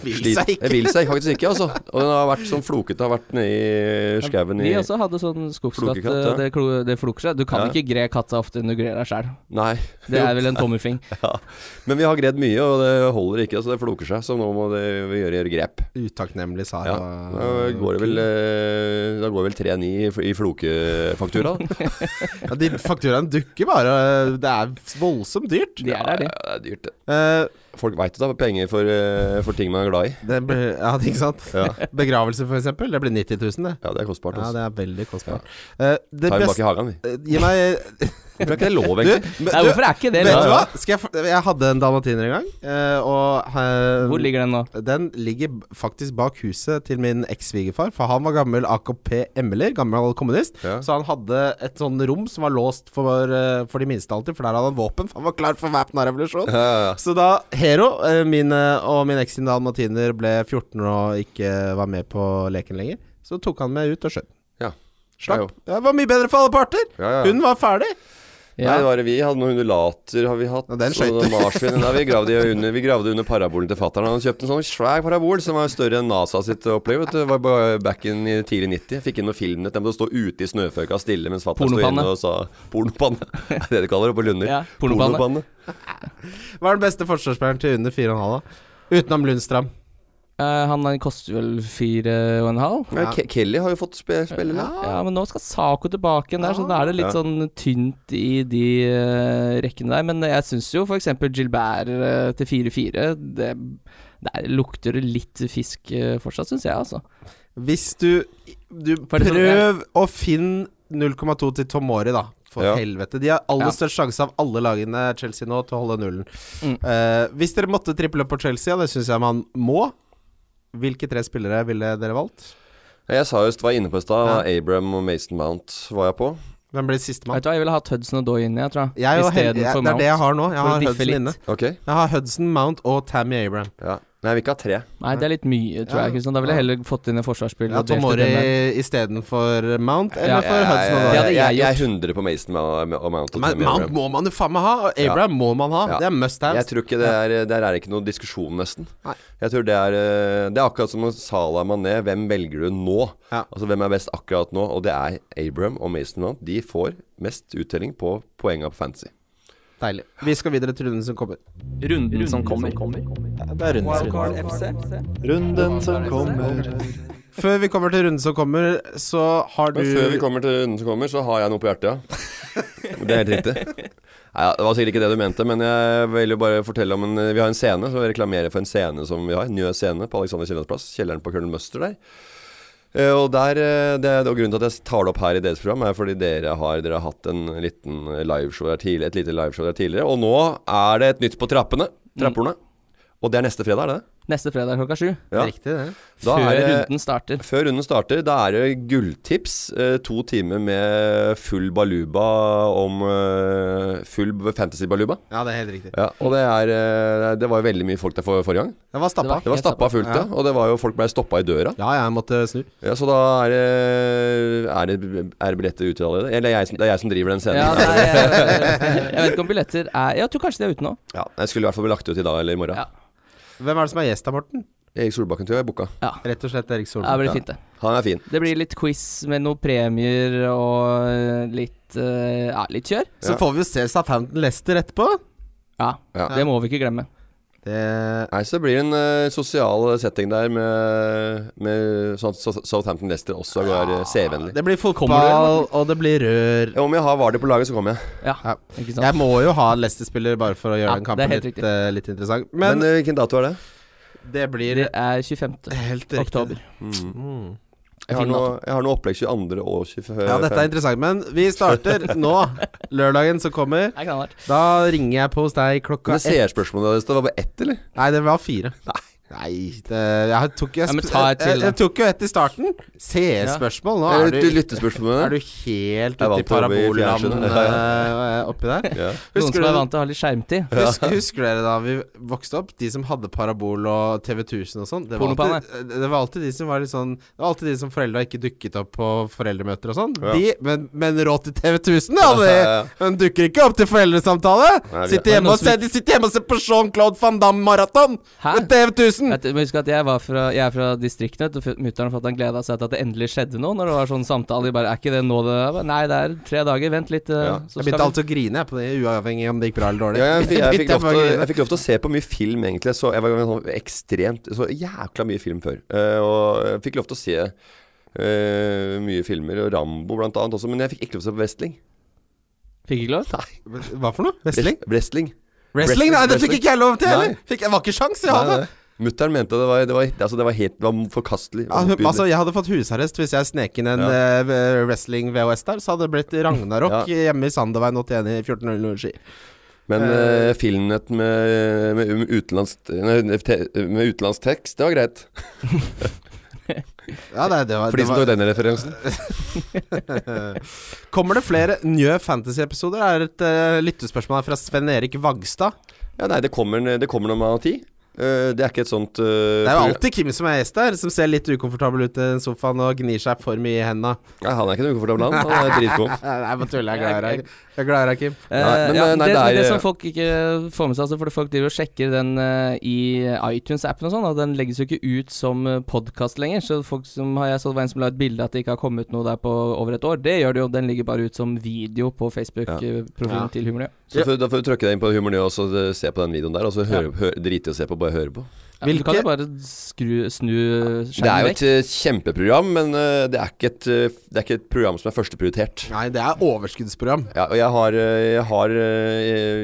S3: Vil
S5: slit-
S3: seg ikke.
S5: Jeg vil seg faktisk ikke, altså. Og den har vært sånn flokete, har vært nede i skauen
S4: Vi
S5: i
S4: også hadde sånn skogskatt.
S5: Flokekatt, ja.
S4: eh, Det, klo- det floker seg. Du kan
S5: Ja.
S4: ikke gre katta ofte enn du grer deg sjæl.
S5: Nei.
S4: Det er vel en tommelfing.
S5: Ja. Men vi har gredd mye, og det holder ikke, så det floker seg. Så nå må det, vi gjøre, gjøre grep.
S3: Utakknemlig Sara.
S5: Ja. Da går det vel, eh, da går det vel 3-9 i fl- i flokefaktura. da.
S3: Ja, de fakturaene dukker bare. Det er voldsomt dyrt.
S4: De er der, de.
S5: Ja, det er dyrt, det.
S3: Eh,
S5: Folk veit jo da penger for, eh, for ting man er glad i.
S3: det blir, ja, ikke sant?
S5: Ja.
S3: Begravelse, for eksempel. Det blir 90 000, det.
S5: Ja, det er kostbart.
S3: Ja,
S5: Altså.
S3: det er veldig kostbart. Eh, det
S5: Tar vi bak i
S3: beste
S5: hagen, vi.
S3: eh, Gi meg
S5: Det er ikke lov,
S3: Du,
S5: egentlig.
S3: men
S4: Nei,
S3: du,
S4: hvorfor er ikke det
S3: vet du hva?
S4: lov?
S3: Skal jeg, for- jeg hadde en dalmatiner en gang, eh, og eh,
S4: Hvor ligger den nå?
S3: Den ligger b- faktisk bak huset til min eks-svigerfar, for han var gammel AKP-emler, gammel kommunist.
S5: Ja.
S3: Så han hadde et sånn rom som var låst for, eh, for de minste alltid, for der hadde han våpen, for han var klar for væpna revolusjon. Så da Hero eh, min, eh, og min eks sin dalmatiner ble 14 og ikke eh, var med på leken lenger, så tok han meg ut og skjøt.
S5: Ja.
S3: Slapp. Det var mye bedre for alle parter!
S5: Ja, ja.
S3: Hun var ferdig!
S5: Nei, det
S4: Ja.
S5: var det vi hadde noen undulater har vi hatt.
S3: Ja, den
S5: så
S3: skøyt.
S5: marsvin, nei, vi, gravde i under, vi gravde under parabolen til fatter'n. Han kjøpte en sånn svær parabol som var større enn NASA sitt opplegg. Vet du. Det var bare back in i tidlig 90. Jeg fikk inn noe filmnett. Jeg måtte stå ute i snøføyka stille mens fatter'n sto
S4: Pornopanne.
S5: inne og sa Pornopanne. Det er det de kaller det på Lunder.
S4: Ja, pornopanne.
S3: Hva er den beste forsvarsspilleren til under 4,5? da? Utenom Lundstrand.
S4: Eh, han koster vel fire og en halv?
S5: Men Ke Kelly har jo fått spe spille nå.
S4: Ja, men nå skal Saco tilbake igjen der, så da er det litt
S5: Ja.
S4: sånn tynt i de eh, rekkene der. Men jeg syns jo f.eks. Gilbert eh, til 4-4 det, Der lukter det litt fisk eh, fortsatt, syns jeg, altså.
S3: Hvis du, du
S4: For det sånn, som-
S3: Prøv å finne 0,2 til Tomori, da. For
S5: Ja.
S3: helvete. De har aller
S4: Ja.
S3: størst sjanse av alle lagene Chelsea nå til å holde nullen.
S4: Mm.
S3: Eh, hvis dere måtte triple opp på Chelsea, og det syns jeg man må, hvilke tre spillere ville dere valgt?
S5: Jeg sa jo var inne på i stad. Abram og Mason Mount var jeg på.
S3: Hvem blir sistemann?
S4: Vet du hva, jeg ville hatt Hudson og Doy inni, jeg tror
S3: Jeg og Hel- jeg-
S4: Istedenfor
S3: Det er
S4: Mount.
S3: det jeg har nå. Jeg
S4: for å
S3: har
S4: diffe
S3: Hudson
S4: litt.
S3: inne.
S5: Ok.
S3: Jeg har Hudson, Mount og Tammy Abraham.
S5: Ja. Nei, vi ikke ha tre.
S4: Nei, det er litt mye, tror
S3: Ja.
S4: jeg. Kristian Da ville jeg heller fått inn en forsvarsspiller.
S3: Ja,
S4: og delt ut den der.
S3: Tomori istedenfor Mount, eller
S4: Ja,
S3: for Hudson og
S4: ja,
S3: Doyle?
S4: Det hadde
S5: jeg,
S4: jeg
S5: jeg er 100 på Mason Mount og Mount. og
S3: Men
S5: Tammy
S3: Mount
S5: Abraham.
S3: må man jo faen meg ha, og Abraham må man ha.
S5: Ja.
S3: Det er must have.
S5: Jeg tror ikke det er Der er det ikke noen diskusjon, nesten.
S3: Nei.
S5: Jeg tror Det er eh, Det er akkurat som med Salah Mané. Hvem velger du nå?
S3: Ja.
S5: Altså Hvem er best akkurat nå? Og det er Abram og Mason Mount. De får mest uttelling på poenga på Fantasy.
S3: Deilig. Vi skal videre til runden som kommer.
S4: Runden som kommer.
S1: Det er runden, runden som kommer.
S3: Før vi kommer til runden som kommer, så har du
S5: Men før vi kommer til runden som kommer, så har jeg noe på hjertet, ja. Det er helt riktig. Nei, ja, det var sikkert ikke det du mente, men jeg vil jo bare fortelle om en Vi har en scene, så jeg reklamerer for en scene som vi har. En ny scene på Alexander Kiellands plass. Kjelleren på Colonel Mustard der. Eh, Og, der, eh, det, er- og grunnen til at jeg tar det opp her i deres program, er fordi dere har, dere har hatt en liten liveshow der tidligere, et lite liveshow der tidligere. Og nå er det et nytt på trappene. Trapporene.
S4: Mm.
S5: Og det er neste fredag, er det det?
S4: Neste fredag klokka sju.
S5: Ja.
S3: Riktig, det.
S5: Da
S4: før
S5: er det,
S4: runden starter.
S5: før runden starter, da er det gulltips. eh, To timer med full baluba om eh, Full fantasy-baluba.
S3: Ja, det er helt riktig.
S5: Ja, og det, er, eh, det var jo veldig mye folk der for, forrige gang.
S3: Den var stappa.
S5: Det var
S4: Helt
S5: stappa fullt, ja. Og det var jo, folk blei stoppa i døra.
S3: Ja, jeg måtte snu.
S5: Ja, så da er det, er det, er det billetter ute allerede? Eller det er jeg som, det er jeg som driver den scenen.
S4: Ja, nei, jeg, jeg vet ikke om billetter er Jeg tror kanskje de er ute nå.
S5: Ja, jeg skulle i hvert fall bli lagt ut i dag eller i morgen.
S4: Ja.
S3: Hvem er det som er gjest da, Morten?
S5: Erik Solbakken tror jeg er booka.
S4: Ja,
S3: Rett og slett Erik
S4: det
S3: Solberg.
S4: blir fint, det.
S5: Han er fin.
S4: Det blir litt quiz med noen premier og eh, litt eh, Ja, litt kjør.
S3: Så
S5: Ja.
S3: får vi jo se Southampton Leicester etterpå.
S4: Ja,
S5: Ja.
S4: Det må vi ikke glemme.
S3: Det
S5: Nei, så det blir en eh, sosial setting der med, med sånn at Sou- Southampton Leicester også er eh, CV-vennlig.
S3: Det blir
S4: du,
S3: fotball, og det blir rør.
S5: Ja, Om jeg har Vardø på laget, så kommer jeg.
S4: Ja,
S3: Ja.
S4: ikke sant?
S3: Jeg må jo ha en Leicester-spiller bare for å gjøre
S4: Ja,
S3: den
S4: det
S3: kampen
S4: er helt
S3: litt,
S4: riktig.
S3: eh, litt interessant.
S5: Men,
S3: Men
S5: eh, hvilken dato er det?
S3: det blir
S4: Det er 25.
S3: helt riktig.
S4: oktober.
S5: Jeg har,
S4: Fin
S5: noe, jeg har noe opplegg 22. og 25.
S3: Ja, dette er interessant, men vi starter nå. Lørdagen som kommer.
S4: Det er knallhardt.
S3: Da ringer jeg på hos deg klokka
S5: Men
S3: ett.
S5: seerspørsmålet deres, det var bare ett, eller?
S3: Nei, det var fire. Nei, det, jeg tok jo
S4: Ja, men ta et til,
S3: jeg,
S4: da.
S3: jeg tok jo ett i starten. CE-spørsmål nå.
S5: Eller
S3: Er du,
S5: lyttespørsmålet?
S3: er du helt
S5: Jeg
S3: ute
S5: vant til
S3: i
S5: å bli
S3: parabolland
S5: fjernsynet. Ja,
S3: eh, oppi der?
S5: Ja.
S4: Noen
S3: Husker
S4: som
S3: du,
S4: er vant til å ha litt skjermtid.
S3: husk, husker dere da vi vokste opp? De som hadde parabol og TV 1000 og sånn. Det, var
S4: Pornopanne.
S3: alltid- det var alltid de som var litt sånn Det var alltid de som foreldra ikke dukket opp på foreldremøter og sånn.
S5: Ja.
S3: De, men, men råd til TV 1000 hadde de!
S5: Ja, ja.
S3: Men dukker ikke opp til foreldresamtale!
S5: Nei, vi-
S3: Sitter hjemme,
S4: Noen
S3: og
S4: som
S3: ser, de sitter hjemme og ser på Jean-Claude van Damme-maraton!
S4: Hæ?
S3: Med TV 1000!
S4: Vet du, men Husk at jeg, var fra, jeg er fra distriktene, og mutter'n og fatter'n gleda seg til at det endelig skjedde noe. Når det var sånn samtale. De bare 'Er ikke det nå det er?» Jeg bare, Nei, det er tre dager. Vent litt. eh,
S5: Ja.
S4: Så
S3: jeg
S4: skal
S3: begynte
S4: vi
S3: alltid å grine jeg, på det, uavhengig om det gikk bra eller dårlig.
S5: Ja, jeg, fikk- jeg, fikk
S3: Begynte
S5: lov til,
S3: bare å
S5: å-
S3: grine.
S5: jeg fikk lov til å se på mye film, egentlig. Så jeg var sånn ekstremt Så jækla mye film før. Eh, og jeg fikk lov til å se eh, mye filmer, og Rambo blant annet også. Men jeg fikk ikke lov til å se på wrestling.
S4: Fikk ikke lov?
S3: Hva for noe? Wrestling?
S5: Wrestling.
S3: Wrestling? Nei, det
S5: Wrestling.
S3: fikk ikke jeg lov til
S5: Nei.
S3: heller! Fikk, jeg var ikke sjans i å ha det!
S5: Mutter'n mente det var, det, var, altså, det var helt det var forkastelig.
S3: Ja, hun, altså, jeg hadde fått husarrest hvis jeg snek inn en
S5: Ja.
S3: eh, v- wrestling-VHS der, så hadde det blitt Ragnarok
S5: Ja.
S3: hjemme i Sandeveien 81 i 1400 ski.
S5: Men eh, filmnett med, med, med utenlandsk nei, te- Med utenlandsk tekst, det var greit.
S3: Ja, det, det var,
S5: For de
S3: det
S5: som
S3: var
S5: tok denne referansen.
S3: Kommer det flere Njø Fantasy-episoder? Det er et eh, lyttespørsmål her fra Sven-Erik Vagstad.
S5: Ja, nei, det kommer, det kommer når man har tid. Eh, det er ikke et sånt eh,
S3: Det er jo
S5: program-
S3: alltid Kim som er gjest der, som ser litt ukomfortabel ut i den sofaen og gnir seg for mye i henda.
S5: Nei, han er ikke noe ukomfortabel, han. Han er dritgod.
S3: Nei, bare tuller. Jeg er glad i deg. Jeg er glad i deg, Kim.
S4: Eh,
S5: Nei, men,
S4: ja,
S5: eh, nei,
S4: det,
S5: det er-
S4: det som folk ikke får med seg, altså, for folk driver og sjekker den eh, i iTunes-appen og sånn, og den legges jo ikke ut som podkast lenger. Så folk som har, jeg så det var en som la et bilde at det ikke har kommet noe der på over et år. Det gjør det jo, den ligger bare ut som video på Facebook-profilen
S3: Ja.
S4: til Humorøy.
S5: Så får- da får du trykke deg inn på Humor Nytt og så eh, se på den videoen der. Og så høre, høre, drite i å se på, bare høre på.
S4: Ja, du kan
S3: Hvilke-
S4: jo bare skru, snu
S5: Det er
S4: skjermen
S5: jo
S4: vekk.
S5: et eh, kjempeprogram, men eh, det er, ikke et, eh, det er ikke et program som er førsteprioritert.
S3: Nei, det er overskuddsprogram.
S5: Ja, og jeg har, eh, jeg, har, eh,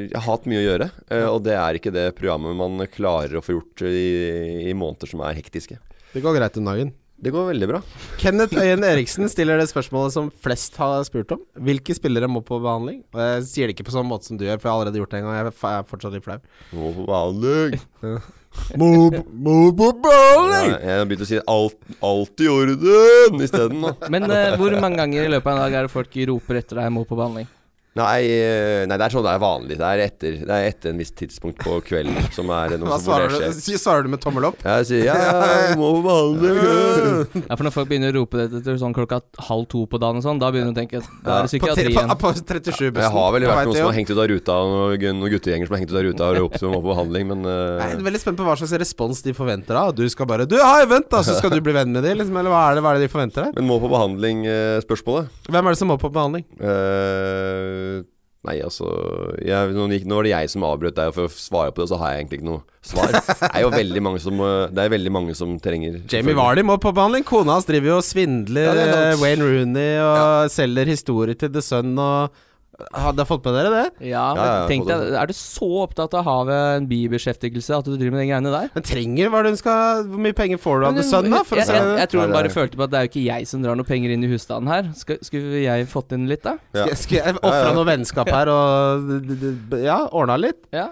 S5: jeg har hatt mye å gjøre, eh, og det er ikke det programmet man klarer å få gjort i, i måneder som er hektiske.
S3: Det går greit om dagen.
S5: Det går veldig bra.
S3: Kenneth Øyen Eriksen stiller det spørsmålet som flest har spurt om. Hvilke spillere må på behandling? Og jeg sier det ikke på sånn måte som du gjør, for jeg har allerede gjort det en gang. Jeg er fa- jeg er fortsatt litt flau.
S5: Å, vanlig.
S3: Må må på
S5: Ja,
S3: behandling!
S5: jeg har begynt å si alt, 'alt i orden' isteden nå.
S4: Men eh, hvor mange ganger i løpet av en dag er det folk roper etter deg må på behandling?
S5: Nei, eh, nei, det er sånn det er vanlig. Det er etter, det er etter en viss tidspunkt på kvelden som er noe
S3: Hva
S5: som hvor
S3: svarer
S5: det
S3: du?
S5: skjer.
S3: Si- Svarer du med tommel opp?
S5: Jeg sier ja, jeg må behandle
S4: Ja, For når folk begynner å rope det etter sånn klokka halv to på dagen og sånn, da begynner du å tenke at da er det
S3: På, tre-
S4: psykiatri
S3: på,
S4: igjen.
S3: på 37-bussen.
S5: Jeg har vel
S3: på vei
S5: vært noen
S3: til
S5: som har
S3: jobb.
S5: hengt ut av ruta, og noen noen guttegjenger som har hengt ut av ruta og ropt som var på behandling, men eh,
S3: Jeg er veldig spent på hva slags respons de forventer da. Du skal bare Du, hei, vent, da, så skal du bli venn med de, liksom. Eller hva er det, hva er det de forventer der?
S5: Men må eh, på behandling-spørsmålet.
S3: Hvem er det som må på behandling?
S5: nei, altså jeg, nå, gikk, nå var det jeg som avbrøt deg for å svare på det, så har jeg egentlig ikke noe svar. Det er jo veldig mange som, eh, det er veldig mange som trenger
S3: Jamie Vardy må på behandling. Kona hans driver jo og svindler
S5: Ja, det er sant.
S3: eh, Wayne Rooney og selger historier til The Sun og Hadde dere fått med dere det?
S4: Ja, men
S5: Ja, ja,
S4: tenk deg,
S5: fotograf.
S4: Er du så opptatt av havet, en bibeskjeftigelse, at du driver med de greiene der?
S3: Men trenger hva er det hun skal Hvor mye penger får du av
S4: Men
S3: The Sun, da? For å
S4: jeg,
S3: se
S4: jeg,
S3: det?
S4: jeg tror hun
S5: Nei,
S4: bare
S5: det
S4: følte på at det er jo ikke jeg som drar noen penger inn i husstanden her. Skal, skulle jeg fått inn litt, da?
S5: Ja.
S3: Skulle- Skulle jeg ofra noe vennskap her og d- d- d- Ja, ordna litt?
S4: Ja.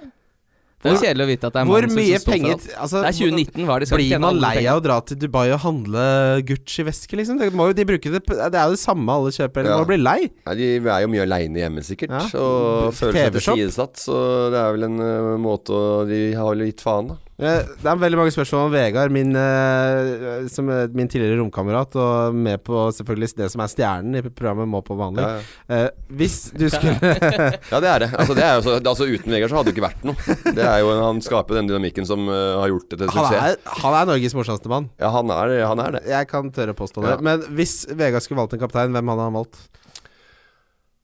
S4: Det er
S3: Hvor-
S4: kjedelig å vite at det er
S3: Hvor
S4: mannen som
S3: mye
S4: står for
S3: penger
S4: alt.
S3: altså,
S4: Det er 2019, var det. de Skal
S3: Blir man lei av å dra til Dubai og handle Gucci-veske, liksom? Det, må jo de bruke det, på- det er jo det samme alle kjøper. De
S5: Ja.
S3: må bli lei.
S5: Nei, de er jo mye aleine hjemme, sikkert.
S3: Ja.
S5: Og føler seg
S3: TV-shop.
S5: tilsidesatt. Så det er vel en eh, måte å De har vel gitt faen, da.
S3: Eh, Det er veldig mange spørsmål om Vegard, min, eh, som er min tidligere romkamerat, og med på selvfølgelig det som er stjernen i programmet Må på vanlig.
S5: Ja, ja.
S3: Eh, hvis du skulle
S5: Ja, det er det. Altså, det er jo så, altså Uten Vegard så hadde det ikke vært noe. Det er jo, Han skaper den dynamikken som eh, har gjort det til
S3: han,
S5: suksess.
S3: er, han er Norges morsomste mann.
S5: Ja, han er, han er det.
S3: Jeg kan tørre å påstå det.
S5: Ja.
S3: Men hvis Vegard skulle valgt en kaptein, hvem hadde han valgt?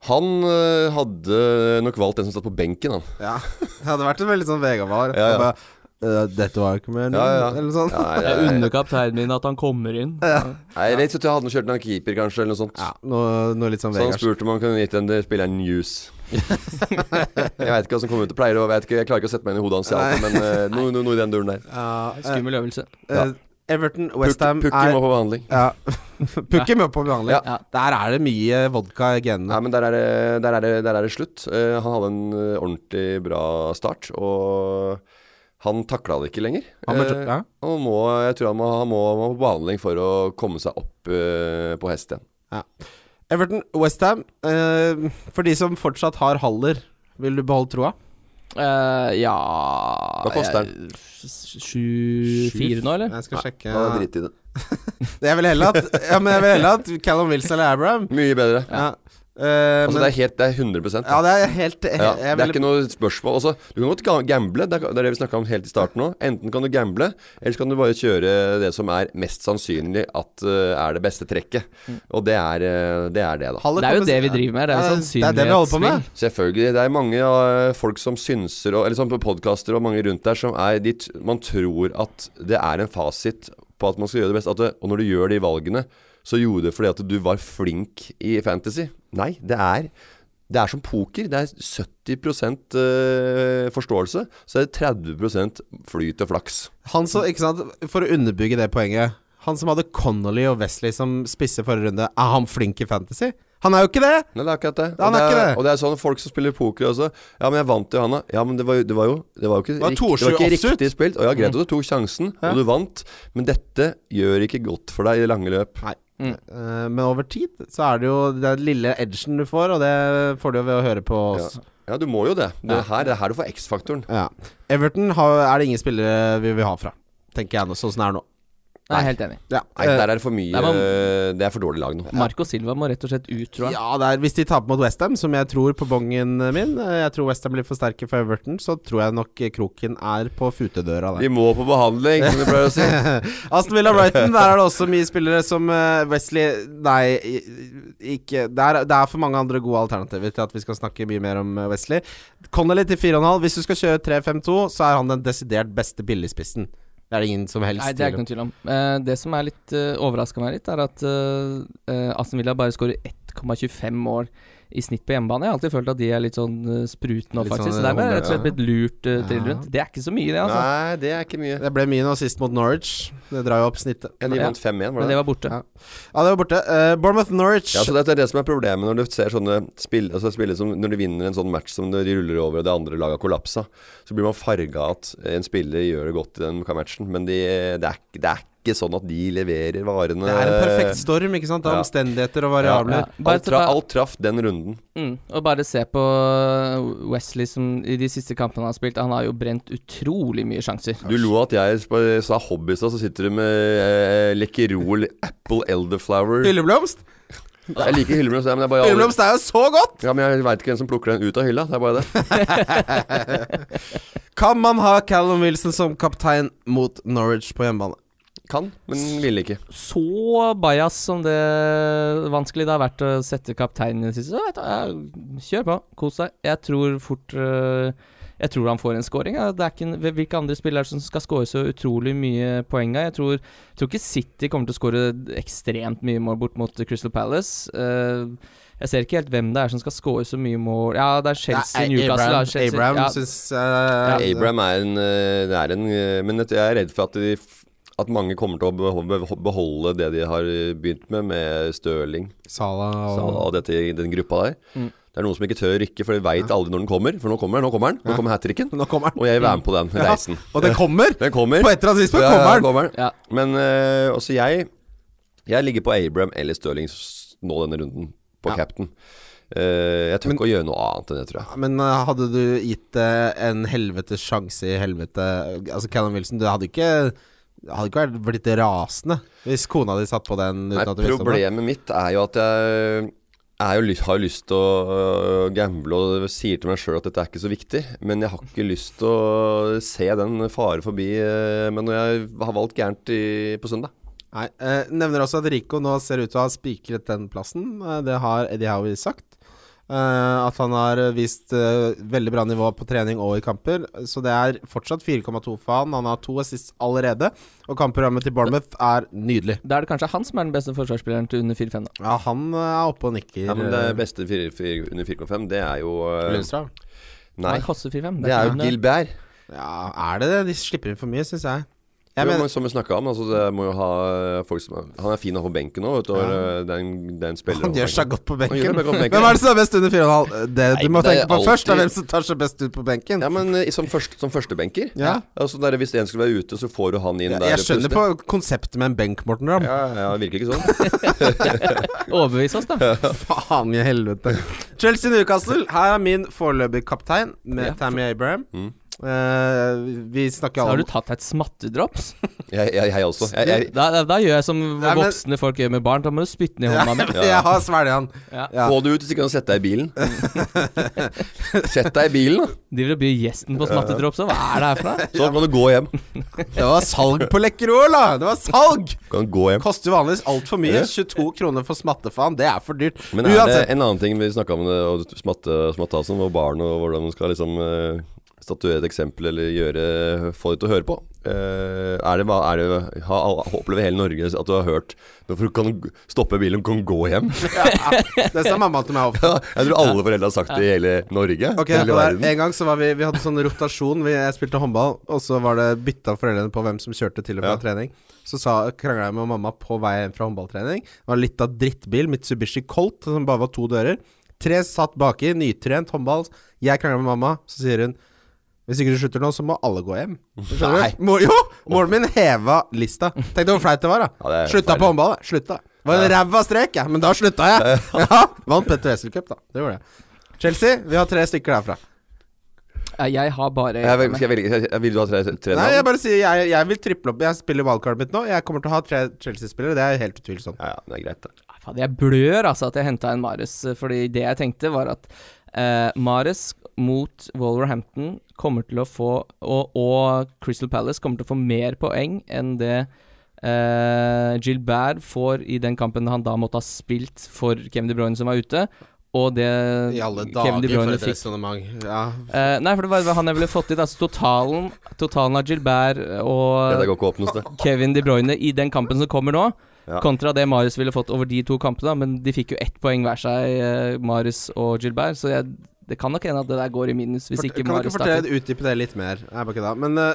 S5: Han eh, hadde nok valgt den som satt på benken, han.
S3: Ja, Det hadde vært en veldig sånn Vegard-var.
S5: Ja, ja.
S3: Og bare, «Øh, Dette var jo ikke meningen,
S5: Ja, ja.
S3: eller noe sånt.
S5: Nei,
S4: Jeg
S5: jeg,
S4: unner kapteinen min at han kommer inn.
S5: jeg, jeg, jeg hadde kjørt en keeper, kanskje, eller noe sånt.
S3: Ja, noe, noe litt sånn
S5: Så han
S3: Vegard.
S5: spurte om han kunne gitt den til spilleren News. jeg veit ikke hva som kommer ut. Jeg, pleier, å- jeg, vet ikke, jeg klarer ikke å sette meg inn i hodet hans, jeg, alltid, men eh, noe, noe, noe i den duren der.
S3: Ja, eh,
S4: Skummel øvelse.
S3: eh, Everton,
S5: Puk-
S3: Westham
S5: Pukki
S3: er
S5: må på behandling.
S3: ja. Pukki må på behandling.
S5: Ja.
S4: Ja.
S3: Der er det mye vodka i genene.
S5: Nei, men der er, det- der, er det, der er det slutt. Eh, han hadde en eh, ordentlig bra start, og han takla det ikke lenger.
S3: Han ble-
S5: Eh,
S3: ja.
S5: og må, jeg tror han må, han må, må på behandling for å komme seg opp eh, på hest igjen.
S3: Everton, Westham. Uh, for de som fortsatt har Haller, vil du beholde troa?
S4: Eh, ja
S5: Hva koster
S4: den? 7-4 nå, eller?
S3: Jeg skal sjekke
S5: Han er drit i det.
S3: Jeg vil heller at, ja, men jeg vil heller at Callum Wilson eller Abraham
S5: Mye bedre.
S3: Ja. Eh,
S5: Altså,
S3: men,
S5: det, er helt, det er 100
S3: ja, det er helt he-
S5: Ja,
S3: jeg
S5: det er
S3: vil-
S5: ikke noe spørsmål. Også, du kan godt ga- gamble, det er det er det vi snakka om helt i starten nå. Enten kan du gamble, eller så kan du bare kjøre det som er mest sannsynlig at eh, er det beste trekket.
S3: Mm.
S5: Og det er eh, det, er det da.
S3: Haller
S4: Det er jo
S3: kommer-
S4: det vi driver med. Det er
S3: Ja,
S4: jo
S3: det er det vi holder på med.
S4: sannsynlighetsspill.
S5: Selvfølgelig. Det er mange eh, folk som synser, og, eller sånn på podkaster og mange rundt der, som er de t- Man tror at det er en fasit på at man skal gjøre det best. At det, og når du gjør de valgene, så gjorde du det fordi at du var flink i fantasy. Nei, det er det er som poker. Det er 70 eh, forståelse, så er det 30 flyt og flaks.
S3: Han som, ikke sant, For å underbygge det poenget Han som hadde Connolly og Wesley som spisse forrige runde, er han flink i fantasy? Han er jo ikke det!
S5: Nei, det er akkurat det.
S3: Han
S5: og,
S3: er
S5: det
S3: ikke
S5: er,
S3: det.
S5: og det er sånn folk som spiller poker også. Ja, men jeg vant jo Hanna. Ja, men det var, jo- det var jo Det var jo ikke,
S3: var
S5: rikt-
S3: 22
S5: det var ikke
S3: offsuit. Mm.
S5: riktig spilt. Og ja, greit at du tok sjansen, og du vant, men dette gjør ikke godt for deg i det lange løp.
S3: Nei. Eh, men over tid så er det jo den lille edgen du får, og det får du jo ved å høre på
S5: Ja.
S3: oss.
S5: ja, du må jo det. Det er her, det er her du får X-faktoren.
S3: Ja. Everton har, er det ingen spillere vi vil ha fra, tenker jeg nå, sånn som det er nå. Eh,
S4: Nei, helt enig.
S3: Ja,
S5: Nei, der er det for mye
S4: Nei,
S5: Det er for dårlig lag nå.
S4: Marco Silva må rett og slett ut, tror jeg.
S3: Ja, det er, hvis de taper mot Westham, som jeg tror på bongen min eh, Jeg tror Westham blir for sterke for Everton, så tror jeg nok eh, kroken er på futedøra der.
S5: De må på behandling, som du pleier å si.
S3: Aston Villa Brighton, der er det også mye spillere som eh, Wesley Nei, i- ikke det er, det er for mange andre gode alternativer til at vi skal snakke mye mer om eh, Wesley. Connolly til 4,5. Hvis du skal kjøre 3-5-2, så er han den desidert beste billigspissen. Det er det ingen som helst
S4: Nei, Det er ikke noen tvil om. Eh, det som er litt uh, overraska meg litt, er at eh, eh, Aston Villa bare skårer 1,25 mål i snitt på hjemmebane. Jeg har alltid følt at de er litt sånn eh, sprutne og
S3: Litt
S4: faktisk.
S3: sånn,
S4: Så dermed er jeg rett og
S3: ja.
S4: slett blitt lurt uh, til
S3: Ja.
S4: rundt. Det er ikke så mye, det, altså.
S5: Nei, det er ikke mye.
S3: Det ble mye nå sist mot Norwich. Det drar jo opp snittet.
S5: Ja, de
S4: Ja.
S5: vant 5-1, var
S4: Men
S5: det
S4: det
S5: det?
S4: var borte.
S3: Ja. Ja, det var borte. Eh, Bournemouth-Norwich.
S5: Ja, sånn, så det er det som er problemet når du ser sånne spill, altså spill som Når du vinner en sånn match som de ruller over og det andre laget har kollapsa, så blir man farga at en spiller gjør det godt i den matchen, men de, det, er, ikke- det er ikke sånn at de leverer varene
S3: det er en perfekt storm, ikke sant? Av
S5: eh, Ja.
S3: omstendigheter og
S5: ja,
S3: variabler.
S5: ja.
S4: Bare-
S5: Alt, tra, alt traff den runden.
S4: Mm. Og bare se på eh, Wesley som i de siste kampene han har spilt. Han har jo brent utrolig mye sjanser.
S5: Du lo at jeg sp- sa hobbies, og så sitter du med eh, Lekkerol Apple Elderflower
S3: Hylleblomst?
S5: Jeg liker hylleblomst, ja, men jeg bare aldri-
S3: Hylleblomst er jo så godt!
S5: ja, men jeg veit ikke hvem som plukker den ut av hylla. Det er bare det.
S3: Kan man ha Callum Wilson som kaptein mot Norwich på hjemmebane?
S5: Kan, men ville ikke.
S4: Så bajas som det vanskelig det har vært å sette kapteinen i det siste, så vet du, ja, kjør på. Kos deg. Jeg tror fort eh, Jeg tror han får en scoring. ja. Det er ikke en, hvilke andre spillere er det som skal score så utrolig mye poeng? da? Jeg tror, jeg tror ikke City kommer til å score ekstremt mye mål bort mot Crystal Palace. Eh, jeg ser ikke helt hvem det er som skal score så mye mål Ja, det er Chelsea,
S3: Nei,
S4: Newcastle da,
S3: Abraham,
S4: Chelsea.
S3: Abraham
S4: ja.
S3: syns
S5: Ja,
S3: eh,
S5: Abraham er en, eh, det er en eh, Men jeg er redd for at, de, f- at mange kommer til å beho- beholde det de har eh, begynt med, med Stirling
S3: Salah
S5: Salah
S3: og
S5: og dette i den gruppa der.
S4: Mm.
S5: Det er noen som ikke tør rykke, for de veit aldri når den kommer. For nå kommer den, nå kommer den, nå
S3: Ja.
S5: kommer hat tricken.
S3: Nå kommer den.
S5: Og jeg vil være med på den
S3: Ja.
S5: reisen.
S3: Og den kommer!
S5: Den kommer.
S3: På et eller annet tidspunkt
S5: Ja,
S3: kommer den!
S5: kommer den.
S4: Ja.
S5: Men eh, også jeg Jeg ligger på Abraham eller Stirling s- nå denne runden, på
S3: Ja.
S5: captain. Eh, jeg tør ikke å gjøre noe annet enn det, tror jeg.
S3: Men eh, hadde du gitt det en helvetes sjanse i helvete Altså, Callum Wilson, du hadde ikke hadde ikke vært- blitt rasende hvis kona di satt på den uten
S5: Nei,
S3: at du visste om det.
S5: problemet mitt er jo at jeg er jo, ly- har jo lyst til å øh, gamble og sier til meg sjøl at dette er ikke så viktig, men jeg har ikke lyst til å se den fare forbi øh, Men når jeg har valgt gærent i, på søndag.
S3: Nei, eh, Nevner også at Rico nå ser ut til å ha spikret den plassen. Eh, det har Eddie Howie sagt. Eh, at han har vist eh, veldig bra nivå på trening og i kamper. Så det er fortsatt 4,2 for han. Han har to assists allerede. Og kampprogrammet til Bournemouth er nydelig.
S4: Da er det kanskje han som er den beste forsvarsspilleren til under 4-5. da.
S3: Ja, han eh, er oppe og nikker. eh,
S5: Ja, men det beste fire, fire, under 4,5, det er jo øh,
S3: Lundstrand?
S5: Nei,
S4: Nei, Hosse 4-5.
S5: det er jo
S4: ikke noe-
S5: Gilbert.
S3: Ja, er det det? De slipper inn for mye, syns jeg. Jeg
S5: Jo,
S3: mener,
S5: men som vi snakka om, altså, det må jo ha øh, folk som er, Han er fin å ha på benken nå, vet du. og, øh, Det er en, det er en spiller
S3: han gjør seg godt på benken.
S5: gjør det godt på benken.
S3: Hvem er det som er best under 4,5? Eh, Det
S5: Nei,
S3: du må
S5: det er
S3: tenke på først, er
S5: alltid-
S3: hvem som tar seg best ut på benken.
S5: Ja, men øh, som, først, som førstebenker.
S3: Ja.
S5: Altså, der, hvis en skulle være ute, så får du han inn
S3: Jeg,
S5: der.
S3: jeg skjønner på konseptet med en benk, Morten Ramm.
S5: Ja, ja, det virker ikke sånn.
S4: Overbevis eh, oss, da.
S3: Faen i helvete. Chelsea Newcastle, her er min foreløpige kaptein med
S4: Ja.
S3: Tammy Abraham.
S5: Mm.
S3: Eh, vi snakker
S4: Så har
S3: om
S4: du tatt deg et smattedrops.
S5: Jeg, jeg, jeg også. Jeg, jeg,
S4: Da, da, da gjør jeg som
S3: Nei, men-
S4: voksne folk gjør med barn. Da må du spytte den i hånda mi.
S5: Ja.
S3: Jeg har svelget han.
S4: Ja.
S3: Ja.
S5: Få det ut hvis ikke du kan sette deg i bilen. Sett deg i bilen, da.
S4: Driver og byr gjesten på smattedrops òg. Hva er det her for noe?
S5: Så kan du gå hjem.
S3: Det var salg på Lekkerol, da! Det var salg!
S5: Kan gå hjem.
S3: Koster jo vanligvis altfor mye.
S5: Ja.
S3: 22 kroner for smattefaen, det er for dyrt.
S5: Men er det en annen ting vi snakka om, det, og smatte, smattehalsen og barn, og hvordan man skal liksom eh, statuere et eksempel eller gjøre få de til å høre på? Eh, er det, hva- er det, ha, opplever hele Norge at du har hørt Hvorfor kan du stoppe bilen og kan gå hjem?
S3: det sa mamma til meg ofte.
S5: Jeg tror alle foreldre har sagt det i hele Norge.
S3: Ok,
S5: hele
S3: og der,
S5: verden.
S3: En gang så var vi Vi hadde sånn rotasjon. Vi, jeg spilte håndball, og så var det bytta foreldrene på hvem som kjørte til og fra
S5: Ja.
S3: trening. Så sa- krangla jeg med mamma på vei hjem fra håndballtrening. Det var litt av drittbil, Mitsubishi Colt, som bare var to dører. Tre satt baki, nytrent håndball. Jeg krangla med mamma, så sier hun hvis ikke du slutter nå, så må alle gå hjem. Skjønner du? Må, jo! Moren min heva lista. Tenk deg hvor flaut det var, da.
S5: Ja, det er
S3: slutta på håndball, da. Slutta. Det var en ræva strek, jeg, men da slutta jeg. Ja, Vant Petter Wessel Cup, da. Det gjorde jeg. Chelsea, vi har tre stykker derfra.
S4: Nei, Jeg har bare
S5: Jeg vel- Skal jeg velge jeg- jeg- Vil du ha tre, tre
S3: Nei,
S5: navn?
S3: jeg bare sier jeg, jeg vil triple opp. Jeg spiller wildcardet mitt nå. Jeg kommer til å ha tre Chelsea-spillere, det er helt utvilsomt.
S5: Ja, ja, det er greit, det.
S4: Fader, jeg blør altså at jeg henta en Mares, fordi det jeg tenkte var at eh, Mares mot Wolverhampton kommer til å få og, og Crystal Palace kommer til å få mer poeng enn det eh, Gilbert får i den kampen han da måtte ha spilt for Kevin De Bruyne som var ute, og det Kevin De Bruyne fikk
S3: resonnement. Ja.
S4: Eh, nei, for det var han jeg ville fått dit. Altså totalen, totalen av Gilbert eh, og
S5: Dette går ikke opp noe sted.
S4: Kevin De Bruyne i den kampen som kommer nå,
S5: Ja.
S4: kontra det Marius ville fått over de to kampene. Men de fikk jo ett poeng hver seg, eh, Marius og Gilbert, så jeg, det kan nok hende at det der går i minus hvis
S3: Fort,
S4: ikke
S3: kan du
S4: Marius
S3: ikke
S4: starter.
S3: fortelle, utdype det litt mer? Nei, bare kødda. Men eh,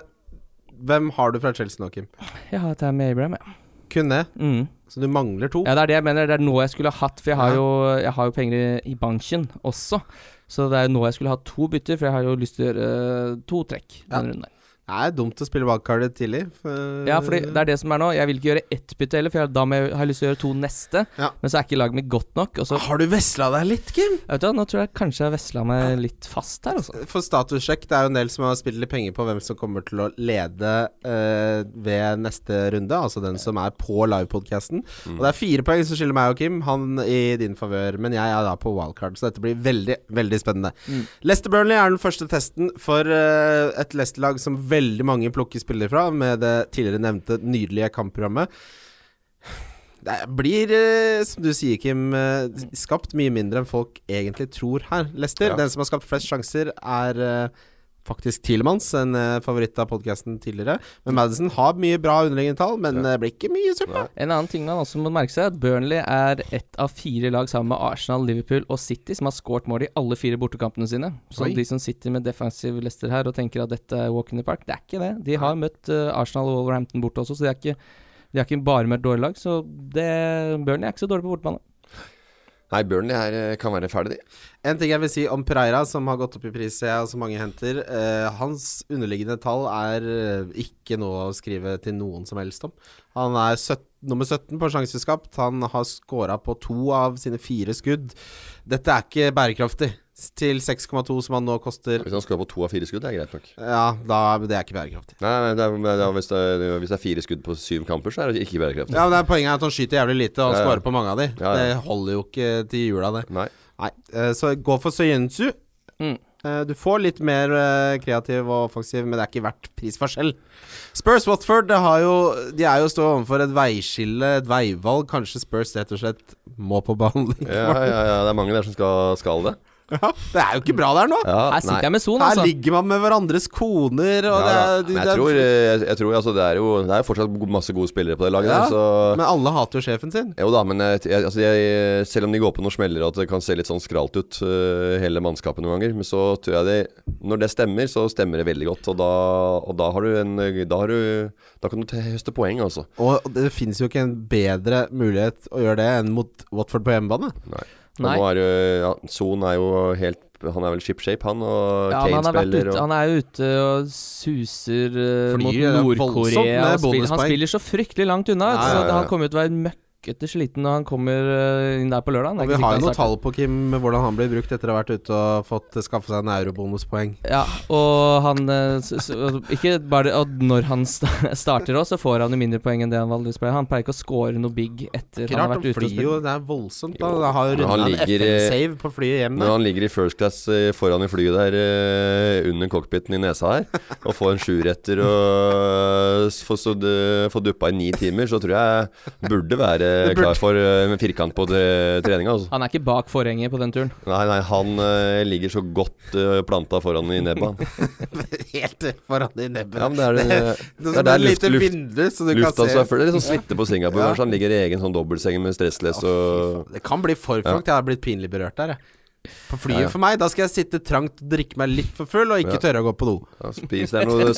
S3: hvem har du fra Chelsea nå, Kim?
S4: Ja, det er med Abraham, ja.
S3: Kun det?
S4: Mm.
S3: Så du mangler to?
S4: ja. Det er det jeg mener. Det er nå jeg skulle ha hatt, for jeg har
S3: Ja.
S4: jo, jeg har jo penger i, i banken også. Så det er jo nå jeg skulle ha to bytter, for jeg har jo lyst til å gjøre eh, to trekk
S3: Ja.
S4: denne runden. her.
S3: Det er dumt å spille wildcardet tidlig. for-
S4: Ja, fordi det er det som er nå. Jeg vil ikke gjøre ett bytte heller, for jeg, da må jeg, har jeg lyst til å gjøre to neste.
S3: Ja.
S4: Men så er ikke laget mitt godt nok. Og så,
S3: Har du vesla deg litt, Kim?
S4: vet du, hva, nå tror jeg kanskje jeg vesla meg litt fast her, altså.
S3: For statussjekk, det er jo en del som har spilt litt penger på hvem som kommer til å lede eh, ved neste runde, altså den som er på livepodcasten. Og det er fire poeng som skiller meg og Kim, han i din favør, men jeg er da på wildcard, så dette blir veldig, veldig spennende. Leicester Burnley er den første testen for eh, et Leicester-lag som veldig mange plukker spillere fra, med det tidligere nevnte nydelige kampprogrammet. Det blir, eh, som du sier, Kim, eh, skapt mye mindre enn folk egentlig tror her. Leicester,
S5: Ja.
S3: den som har skapt flest sjanser, er eh, faktisk Tilemanns, en eh, favoritt av podkasten tidligere. Men Madison har mye bra underliggende tall, men det blir ikke mye suppe.
S4: En annen ting man også må merke seg, er at Burnley er ett av fire lag sammen med Arsenal, Liverpool og City som har skåret mål i alle fire bortekampene sine. Så
S3: Oi.
S4: de som sitter med defensiv Leicester her og tenker at dette er walk in the park, det er ikke det. De har møtt eh, Arsenal og Wolverhampton borte også, så de har ikke, de har ikke bare møtt dårlige lag. Så det, Burnley er ikke så dårlig på bortebane.
S5: Nei, Burnley her eh, kan være ferdig, de.
S3: En ting jeg vil si om Pereira, som har gått opp i pris, jeg og så mange henter. eh, hans underliggende tall er eh, ikke noe å skrive til noen som helst om. Han er 17, nummer 17 på sjanseskapt. Han har scora på to av sine fire skudd. Dette er ikke bærekraftig. S- Til 6,2 som han nå koster
S5: Hvis han skårer på to av fire skudd, det er greit nok.
S3: Ja, da, det er ikke bærekraftig.
S5: Nei, nei, det er, det er, hvis, det er, hvis det er fire skudd på syv kamper, så er det ikke bærekraftig.
S3: Ja, men det er Poenget er at han skyter jævlig lite og
S5: Ja, ja.
S3: scorer på mange av de.
S5: Ja, ja.
S3: Det holder jo ikke til jula, det.
S5: Nei.
S3: Nei, eh, så gå for Søyensu.
S4: Mm.
S3: Eh, Du får litt mer eh, kreativ og offensiv, men det er ikke verdt prisforskjell. Spurs Watford det har jo, de er jo stå overfor et veiskille, et veivalg. Kanskje Spurs rett og slett må på behandling.
S5: Ja, ja, ja, det er mange der som skal, skal det.
S3: Ja, det er jo ikke bra der nå!
S5: Ja,
S4: Her
S5: nei.
S4: sitter jeg med Son,
S3: Her
S4: altså.
S3: ligger man med hverandres koner, og
S5: Ja, da.
S3: det er,
S5: Men
S3: det
S5: jeg
S3: er
S5: tror, eh, jeg, jeg tror altså, det er jo Det er jo fortsatt go- masse gode spillere på det laget.
S3: Ja,
S5: der, så
S3: Men alle hater jo sjefen sin.
S5: Jo da, men jeg, jeg, altså jeg, selv om de går på noen smeller og at det kan se litt sånn skralt ut, øh, hele mannskapet noen ganger, men så tror jeg det Når det stemmer, så stemmer det veldig godt. Og da, og da har du en Da, har du, da kan du te- høste poeng, altså.
S3: Og det finnes jo ikke en bedre mulighet å gjøre det enn mot Watford på hjemmebane.
S5: Og
S4: Nei.
S5: nå er jo ja, Son er jo helt Han er vel ship shape, han, og
S4: Ja, men
S5: Kane
S4: han, har vært
S5: spiller
S4: ute,
S5: og
S4: han er jo ute og suser eh,
S3: Flyr,
S4: mot
S3: det er voldsomt med
S4: Nord-Korea. og spiller- Han
S3: bonuspoeng.
S4: spiller så fryktelig langt unna,
S3: Ja,
S5: ja,
S4: så
S5: ja.
S4: han kommer jo til å være møkkete sliten når han kommer eh, inn der på lørdag.
S3: Og vi har jo noen tall på Kim med hvordan han blir brukt etter å ha vært ute og fått skaffe seg en eurobonuspoeng.
S4: Ja, og han eh, s- s- og Ikke bare det, og når han sta- starter òg, så får han jo mindre poeng enn det han vanligvis pleier. Han pleier ikke å score noe big etter han har
S3: Klart, han
S4: vært ute og
S3: flyr
S4: spilt.
S3: jo, det er voldsomt. Da. Han har jo
S5: Men han
S3: runda en
S5: ligger i-
S3: FN-save på flyet hjem.
S5: men
S3: da.
S5: han ligger i first class eh, foran i flyet der eh, under cockpiten i nesa her og får en sjuretter og eh, s- får, så, du- får duppa i ni timer, så tror jeg burde være
S3: Det burde.
S5: klar for eh, en firkant på det- treninga. Altså.
S4: Han er ikke bak forhenget på den turen.
S5: Nei, nei, han eh, ligger så godt eh, planta foran i nebba.
S3: Helt foran i nebbet.
S5: Ja, men det er, det,
S3: det,
S5: det er der
S3: et
S5: luft,
S3: lite
S5: luft,
S3: vindu, så du
S5: lufta
S3: kan
S5: så
S3: se
S5: er full. Det er litt sånn smitte på Singapore.
S3: Ja.
S5: Kanskje han ligger i egen sånn dobbeltseng med stressless og
S3: Det kan bli for
S5: Ja.
S3: fucked. Jeg har blitt pinlig berørt der, jeg. På flyet
S5: Ja, ja.
S3: for meg, da skal jeg sitte trangt, drikke meg litt for full og ikke
S5: Ja.
S3: tørre å gå på do.
S5: ja, spiser der noen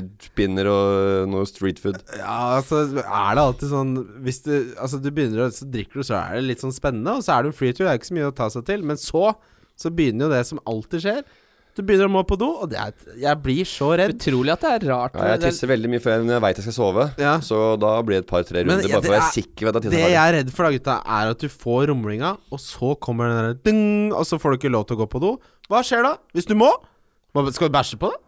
S5: satai-pinner og noe street food.
S3: Ja, altså er det alltid sånn Hvis du, altså, du begynner å så drikker du, så er det litt sånn spennende, og så er det en flytur, det er ikke så mye å ta seg til. Men så, så begynner jo det som alltid skjer. Du begynner å må på do, og det er, jeg blir så redd.
S4: Utrolig at det er rart.
S5: Ja, jeg
S4: det-
S5: tisser veldig mye før jeg, når jeg veit jeg skal sove.
S3: Ja.
S5: Så da blir det et par-tre
S3: Men
S5: runder, bare for
S3: ja,
S5: å
S3: det
S5: være
S3: er-
S5: sikker på at jeg
S3: Det
S5: tisser ferdig.
S3: jeg er redd for, da, gutta, er at du får rumlinga, og så kommer den der ding, og så får du ikke lov til å gå på do. Hva skjer da? Hvis du må? Hva, skal du bæsje på det?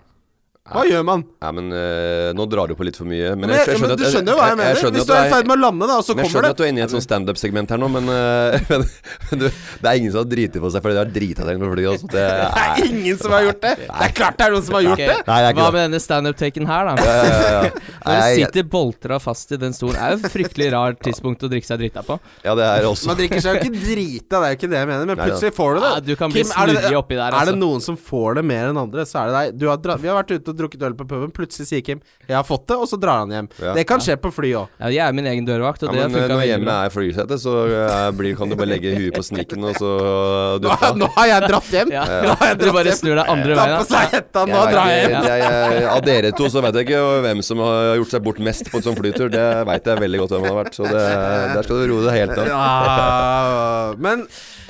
S3: Hva gjør man?
S5: Ja, men eh, nå drar du på litt for mye. Men,
S3: Men,
S5: jeg,
S3: jeg,
S5: jeg
S3: men
S5: skjønner
S3: Du skjønner jo hva jeg mener. Hvis du er i ferd med å lande, da, og så
S5: men jeg
S3: kommer
S5: skjønner at
S3: det
S5: du er inne i et sånn standup-segment her nå, men, eh, men, men du, det er ingen som har driti på seg fordi de har drita seg på flyet. Altså. Det
S3: Det
S5: er
S3: er ingen som har gjort det! Det er klart det er noen som har gjort
S4: Ok,
S3: det!
S5: Nei, det er ikke
S4: Hva
S5: det.
S4: med denne standup-taken her, da?
S5: Ja, ja, ja.
S4: Når du
S5: Nei,
S4: sitter boltra fast i den stolen, er jo et fryktelig rart tidspunkt å drikke seg drita på.
S5: ja, det er også
S3: Man drikker seg jo ikke drita, det er jo ikke det jeg mener, men
S5: Nei,
S3: plutselig får du det.
S4: Ja, du kan bli
S3: er det-
S4: snurrig oppi der,
S3: Er det
S4: altså.
S3: noen som får det mer enn andre, så er det deg. Du har dra vi har vært ute og drukket øl på puben, plutselig sier Kim 'jeg har fått det', og så drar han hjem.
S5: Ja.
S3: Det kan skje på fly òg.
S4: Ja, jeg er min egen dørvakt, og
S5: Ja,
S4: det
S5: men eh,
S4: har funka
S5: når
S4: veldig bra.
S5: hjemmet er flysetet, så eh, blir, kan du bare legge huet på sniken og så eh, duppa.
S3: Nå har jeg dratt hjem!
S4: Ja.
S3: Nå har jeg
S4: Du
S3: dratt
S4: bare
S3: hjem.
S4: snur deg andre
S3: Ta på
S4: veien.
S3: seg hetta, nå
S5: Jeg
S3: drar jeg
S5: vet
S3: hjem.
S5: ikke- jeg- jeg- Av dere to så vet jeg ikke hvem som har gjort seg bort mest på en sånn flytur. Det vet jeg veldig godt hvem har vært, så det, der skal du roe deg helt ned.
S3: Ja, men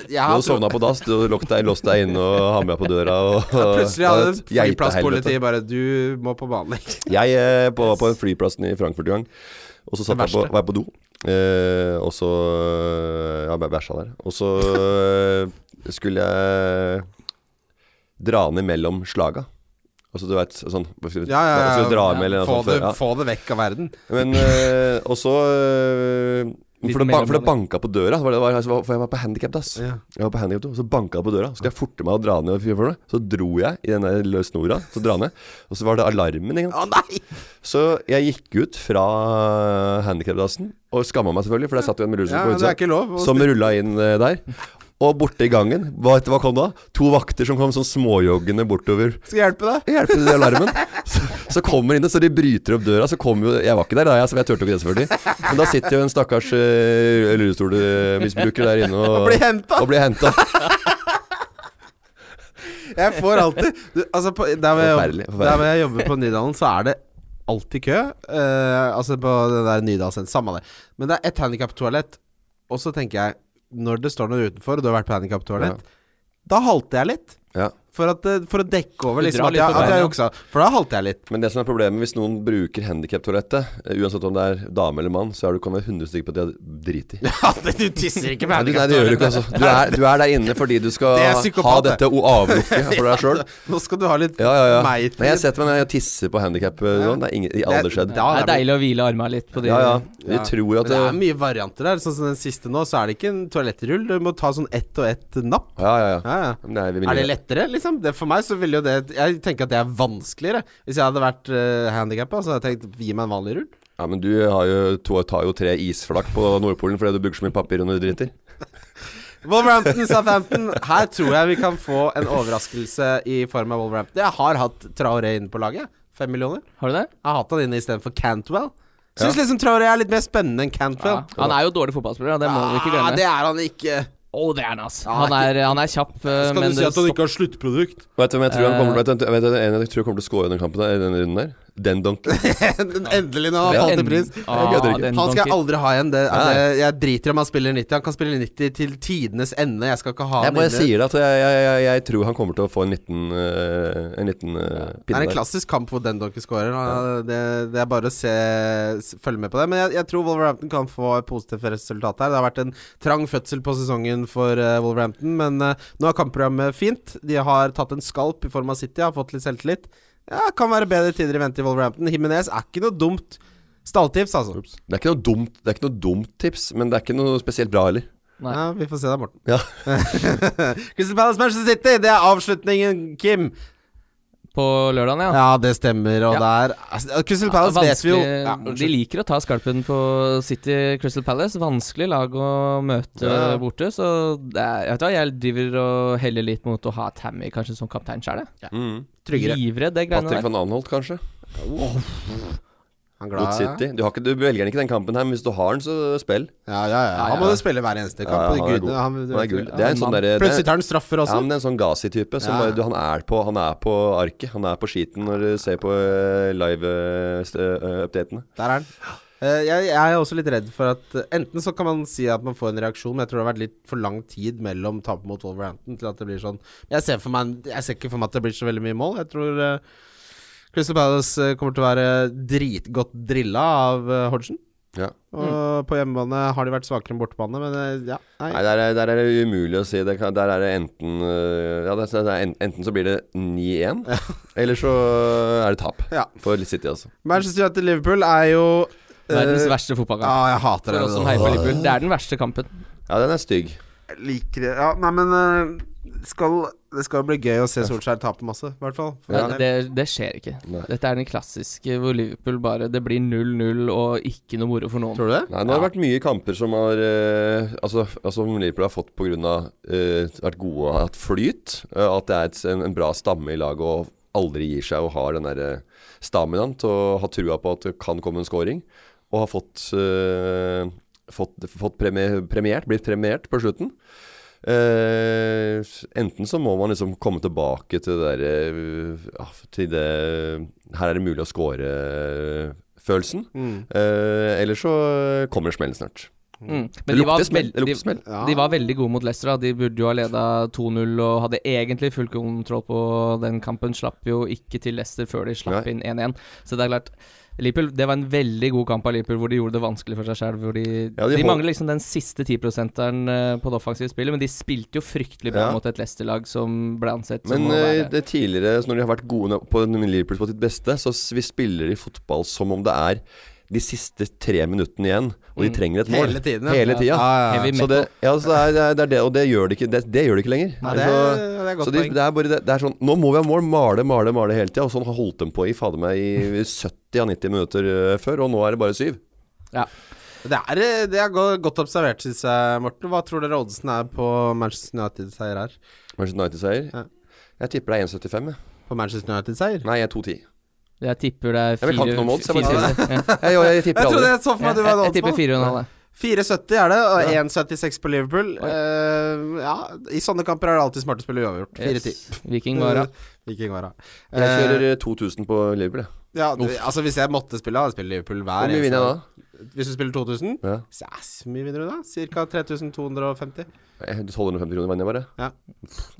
S3: jeg
S5: Du
S3: har
S5: har
S3: tro-
S5: sovna på dass, du låst deg, låst deg inne og hamra på døra. Og,
S3: Ja, Plutselig hadde
S5: Geitehelvete.
S3: flyplasspolitiet bare 'Du må på behandling'.
S5: Jeg eh, på- var på en flyplassen i Frankfurt en gang, og så satt jeg
S3: Det
S5: på,
S3: verste.
S5: var jeg på do. Eh, og så eh, Ja, bæ- bæsja der. Og så eh, skulle jeg dra ned mellom slaga. Altså du veit sånn hva skal vi-
S3: Ja, ja,
S5: hva
S3: ja.
S5: skal vi dra ned, eller noe
S3: Få
S5: sånt,
S3: det,
S5: ja.
S3: få det vekk av verden.
S5: Men eh, Og så eh,
S4: Litt
S5: for det, ba for det
S4: mellomlandet.
S5: banka på døra. Var det, var, altså, for jeg var på handikap, ass.
S3: Ja.
S5: Jeg var på handicap, så banka det på døra. Så skulle jeg forte meg å dra ned. og fyre for det. Så dro jeg i den der løse snora. Så dra ned. Og så var det alarmen. Ikke? sant?
S3: Å nei!
S5: Så jeg gikk ut fra handikapdassen og skamma meg selvfølgelig, for der satt jo en med rusen
S3: Ja,
S5: på
S3: men det er
S5: utsida
S3: ikke lov. å
S5: som rulla inn eh, der. Og borte i gangen, hva, hva kom da? To vakter som kom sånn småjoggende bortover.
S3: Skal jeg hjelpe deg?
S5: Hjelper det alarmen? Så, så kommer inn, så de bryter opp døra. Så kommer jo Jeg var ikke der, da, jeg, så jeg turte ikke det, selvfølgelig. Men da sitter jo en stakkars uh, rullestolmisbruker der inne og,
S3: Og blir hentet.
S5: Og blir hentet.
S3: Jeg får alltid du, Altså, på, der, hvor jeg,
S5: Forferdelig,
S3: jobber-
S5: forferdelig.
S3: der hvor jeg jobber på Nydalen, så er det alltid kø. Eh, altså på den der Nydalsenteret. Samme det. Men det er ett handikaptoalett, og så tenker jeg Når det står noen utenfor, og du har vært på handikaptoalett, da halter jeg litt.
S5: Ja.
S3: For, at, eh, for å dekke over
S4: Du
S3: liksom, at
S4: drar litt
S3: jeg,
S4: på
S3: at jeg
S4: beina.
S3: juksa. For da halter jeg litt.
S5: Men det som er problemet hvis noen bruker handikaptoalettet, eh, uansett om det er dame eller mann, så er du kan være 100 stykker på at de er drit i.
S3: du tisser ikke
S5: Nei, du, nei, det gjør du ikke, altså. Du er, du er der inne fordi du skal
S3: Det er
S5: ha
S3: psykopat, det.
S5: dette o- avlukket for deg sjøl.
S3: Nå skal du ha litt
S5: Ja, ja, ja.
S3: meg
S5: Men jeg setter meg ned og tisser på handikap. Det er ingen, det har aldri skjedd.
S3: Da
S4: Det
S3: er
S4: er deilig å hvile armene litt på de
S5: Ja, ja. Vi tror
S3: Men
S5: at eh,
S3: det er
S5: det,
S3: mye varianter der. Sånn som den siste nå, så er det ikke en toalettrull. Du må ta sånn ett og ett napp.
S5: Ja, ja, ja.
S3: Ja, ja.
S5: Men det er, vi
S3: Er det lettere, liksom? Det, for meg så ville jo det Jeg tenker at det er vanskeligere. Hvis jeg hadde vært uh, handikappa, så hadde jeg tenkt gi meg en vanlig rull.
S5: Ja, men du har jo, to, tar jo tre isflak på Nordpolen fordi du bruker så mye papir når du driter.
S3: Wolverhampton, Southampton. Her tror jeg vi kan få en overraskelse i form av Wolverhampton. Jeg har hatt Traoré inne på laget. Fem millioner.
S4: Har du det?
S3: Jeg har hatt han inne istedenfor Cantwell. Syns liksom Traoré er litt mer spennende enn
S4: Ja.
S3: Cantwell.
S4: Han er jo dårlig fotballspiller, det må vi ikke
S3: Ah, det
S4: glemme.
S3: er han ikke.
S4: Å, det er han, ass.
S3: Ja,
S4: Han er, han er kjapp, eh,
S3: Skal
S4: men
S3: du si
S4: det
S3: at han ikke har sluttprodukt?
S5: Vet du hvem jeg tror han
S4: Eh.
S5: kommer, vet du, vet du, en jeg tror kommer til å score i den kampen der, i den runden der? Den donken.
S3: Den endelig når han
S5: Ja.
S3: har falt i pris.
S4: Ah,
S5: Jeg gidder ikke.
S4: den
S3: Han skal jeg
S4: banker.
S3: aldri ha igjen. Det, altså,
S5: sånn Nei.
S3: jeg, jeg driter i om han spiller 90. Han kan spille 90 til tidenes ende. Jeg skal ikke ha
S5: Jeg
S3: han
S5: bare
S3: inne.
S5: sier det at jeg, jeg, jeg, jeg tror han kommer til å få en liten, eh, en liten eh,
S3: Det
S5: pinne
S3: er en
S5: der.
S3: klassisk kamp hvor den dere scorer. og Det, det er bare å se, s- følge med på det. Men jeg, jeg tror Wolverhampton kan få et positivt resultat her. Det har vært en trang fødsel på sesongen for eh, Wolverhampton, men eh, nå er kampprogrammet fint. De har tatt en skalp i form av City, har fått litt selvtillit. Ja, kan være bedre tider i vente i Wolverhampton. Himinez er ikke noe dumt stalltips, altså.
S5: Det er ikke noe dumt Det er ikke noe dumt tips, men det er ikke noe spesielt bra heller.
S4: Nei.
S3: Ja, vi får se deg, Morten.
S5: Ja.
S3: Crystal Palace Manchester City, det er avslutningen, Kim.
S4: På lørdagen, ja.
S3: Ja, det stemmer, og der altså, Crystal Palace
S4: Ja,
S3: vet vi jo
S4: vanskelig-
S3: ja,
S4: De liker å ta skalpen på City Crystal Palace. Vanskelig lag å møte
S5: Ja.
S4: borte. Så det er, jeg, vet hva, jeg driver og heller litt mot å ha Tammy kanskje som kaptein sjøl.
S5: Mm.
S3: Tryggere.
S4: Livredd det greiene
S5: Patrick
S4: der.
S5: van Anholt, kanskje?
S3: Han
S5: Mot City. Du, har ikke, du velger ikke den kampen her, men hvis du har den, så spill.
S3: Ja, ja, ja. Han må jo spille hver eneste
S5: Ja,
S3: kamp.
S5: han er
S3: Gudene,
S5: god.
S3: han,
S5: Han er gull. Det er en sånn derre
S3: Plutselig tar han straffer
S5: ja,
S3: også.
S5: men det er en sånn Gazi-type. som
S3: Altså? Ja.
S5: bare- du, Han, er på- han er på arket. Han er på skiten når du ser på eh, live-updatene.
S3: Der er han. Eh, jeg, jeg er også litt redd for at eh, Enten så kan man si at man får en reaksjon, men jeg tror det har vært litt for lang tid mellom tapet mot Wolverhampton til at det blir sånn. Jeg ser, for meg, jeg ser ikke for meg at det blir så veldig mye mål. Jeg tror eh, Crystal Palace eh, kommer til å være dritgodt drilla av eh, Hodgson.
S5: Ja.
S3: Og på hjemmebane har de vært svakere enn bortebane, men eh, ja. Mm. Nei.
S5: Nei, der er, der er det umulig å si. Det kan, der er det enten øh, Ja, det er, det er en- enten så blir det 9-1, eller så er det tap.
S3: Ja.
S5: For City, altså.
S3: Manchester United-Liverpool er jo eh,
S4: Verdens verste
S3: Ja,
S4: fotballkamp.
S3: jeg hater
S4: For
S3: det.
S4: oss som heier på Liverpool. Det er den verste kampen.
S5: Ja, den er stygg.
S3: Jeg liker det. Ja, nei, men eh, skal, det skal bli gøy å se Solskjær tape masse, i hvert fall. For min del.
S4: Det, det skjer ikke.
S5: Nei.
S4: Dette er den klassiske hvor Liverpool bare Det blir 0-0 og ikke noe moro for noen.
S3: Tror du det?
S5: Nei, nå har det vært mye kamper som har eh, Altså, altså som Liverpool har fått pga. Eh, vært gode og hatt flyt. eh, at det er et, en, en bra stamme i laget og aldri gir seg og har den derre staminaen til å ha trua på at det kan komme en scoring. Og har fått, eh, fått, fått premi- premiert, blitt premiert på slutten. Eh, enten så må man liksom komme tilbake til det der eh, ja, Til det Her er det mulig å score-følelsen.
S3: Mm.
S5: Eh, eller så kommer det smell snart.
S4: Mm.
S5: Det
S4: Men de var,
S5: lukter smell. Det
S4: veldig-
S5: lukter smell.
S3: Ja.
S4: de var veldig gode mot Leicester. da. De burde jo ha leda 2-0 og hadde egentlig full kontroll på den kampen. Slapp jo ikke til Leicester før de slapp
S5: Nei.
S4: inn 1-1. Så det er klart Liverpool, Det var en veldig god kamp av Liverpool, hvor de gjorde det vanskelig for seg selv. Hvor de
S5: Ja, de
S4: de
S5: hold-
S4: mangler liksom den siste 10%-eren eh, på det offensive spillet, men de spilte jo fryktelig bra
S5: Ja.
S4: mot et Leicester-lag som ble ansett som
S5: Men
S4: å
S5: eh,
S4: være
S5: det tidligere, så når de har vært gode nok på når Liverpool på sitt beste, så s- vi spiller i fotball som om det er de siste tre minuttene igjen, og de
S4: Mm.
S5: trenger et mål.
S3: Hele tiden,
S5: Hele tida.
S3: Ja, ja,
S4: Heavy
S3: ja.
S5: Så det, ja, så det, er, det, er, det er det, og det gjør det ikke, det, det gjør det ikke lenger.
S3: Nei, det,
S5: så,
S3: er, det er
S5: så
S3: godt
S5: de,
S3: poeng.
S5: det er bare det, det er sånn Nå må vi ha mål. Male, male, male hele tida. Og sånn har holdt dem på i fader meg i 70 av 90 minutter eh, før, og nå er det bare syv.
S3: Det er, eh, det er go- godt observert, syns jeg, Morten. Hva tror dere oddsen er på Manchester United-seier her?
S5: Manchester United-seier.
S3: Ja.
S5: Jeg tipper det er 1,75. jeg.
S3: På Manchester United-seier?
S5: Nei, jeg er 2,10.
S4: Jeg tipper det er
S5: Jeg kan ikke noe om
S4: fire-
S5: odds, jeg bare-
S4: fire- fire- ja.
S5: Jeg, jeg, jeg
S3: Jeg
S5: tipper
S3: trodde
S5: aldri.
S3: jeg så for meg at du
S4: Jeg-
S3: var
S4: jeg- jeg
S3: en
S4: tipper
S3: oddsmann.
S4: 4,5.
S3: 4,70 er det, og 1,76 på Liverpool. Eh, ja, I sånne kamper er det alltid smart å spille uavgjort. 4-10.
S4: Yes. Viking Vara.
S3: Viking var av.
S5: Jeg kjører
S3: Eh,
S5: eh, 2000 på Liverpool, jeg.
S3: ja, du, altså Hvis jeg måtte spille, hadde jeg spilt Liverpool hver
S5: Hvor mye vinner jeg da?
S3: da? Hvis du spiller 2000?
S5: Ja.
S3: Så ja, så mye vinner du da? Cirka 3250.
S5: Eh, 1250 kroner vinner jeg bare.
S3: Ja.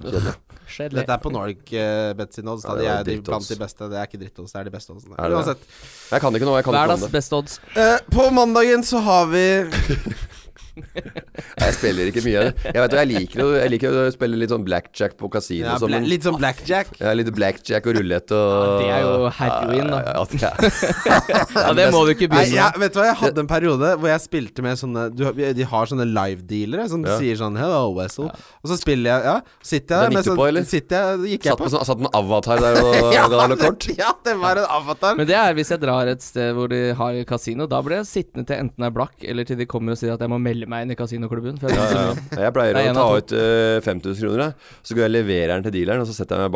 S5: Kjedelig.
S4: Kjedelig.
S3: Dette er på Norc eh, Bet sine odds.
S5: Ja,
S3: Da. De
S5: det er
S3: er de
S5: drittodds.
S3: blant de beste. Det er ikke drittodds, det er de beste oddsene.
S5: Er det det?
S3: Uansett.
S5: Jeg kan ikke noe. Jeg kan ikke noe om
S4: Hverdags
S5: det.
S4: beste odds.
S3: Eh, på mandagen så har vi
S5: Nei, Jeg spiller ikke mye. Jeg vet, jeg liker, å- jeg liker å spille litt sånn blackjack på kasino.
S3: ja,
S5: og sånn,
S3: bla,
S5: men-
S3: litt sånn blackjack.
S5: Ja, litt blackjack og rulett og
S4: det er jo heroin, da.
S5: Ja, ja, det er.
S4: Ja, det må du ikke
S3: Nei,
S4: begynne
S3: jeg,
S4: med.
S3: vet du hva, jeg hadde en periode hvor jeg spilte med sånne du, De har sånne live-dealere som
S5: Ja.
S3: sier sånn Hello, Wessel. Og så spiller jeg Ja, sitter jeg
S5: Den
S3: med
S5: gikk du
S3: sånn-
S5: på, eller?
S3: Sitter jeg, gikk jeg
S5: Satt
S3: på.
S5: med sånn, satt med en avatar der og
S3: Ja,
S5: ga deg noe kort.
S3: det- Ja, det var en avatar.
S4: Men det er hvis jeg drar et sted hvor de har kasino. Da blir jeg sittende til enten jeg er blakk, eller til de kommer og sier at jeg må melde meg inn i kasinoklubben. For jeg
S5: Ja,
S4: ja,
S5: ja. Jeg pleier
S4: Det
S5: å
S4: er en
S5: ta
S4: av
S5: ut eh, 5000 kroner, jeg. så går jeg og leverer den til dealeren, og så setter jeg meg med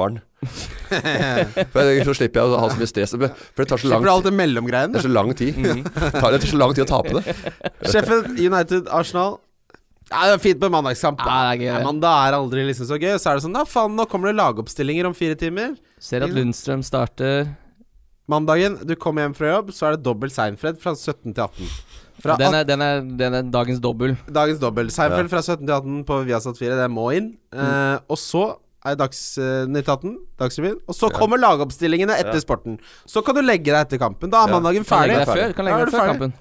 S5: barn. For jeg, så slipper jeg å ha så mye stress. For det tar så lang,
S3: Slipper alt det mellomgreiene.
S5: det er så lang tid. Det
S4: Mm.
S5: tar- det tar så lang tid å tape det.
S3: Sheffield United, Arsenal. Ja, det er Fint med mandagskamp. da.
S4: Ja, det er gøy,
S3: Ja,
S4: det.
S3: men da er aldri liksom så gøy. Så er det sånn Ja, faen, nå kommer det lagoppstillinger om fire timer.
S4: Ser at Lundstrøm starter.
S3: Mandagen, du kommer hjem fra jobb, så er det dobbelt Seinfeld fra 17 til 18. Fra
S4: Den er, den er, den er dagens dobbel.
S3: at- dagens dobbelt. Seinfeld fra 17 til 18 på Viasat 4, det må inn.
S4: Mm.
S3: Eh, og så er Dagsnytt 18, Dagsrevyen. Og så kommer lagoppstillingene etter sporten. Så kan du legge deg etter kampen. Da er
S5: Ja.
S3: mandagen
S4: Kan legge
S3: ferdig.
S4: deg før, kan legge
S3: Da er
S4: deg
S3: du
S4: før
S3: ferdig.
S4: kampen.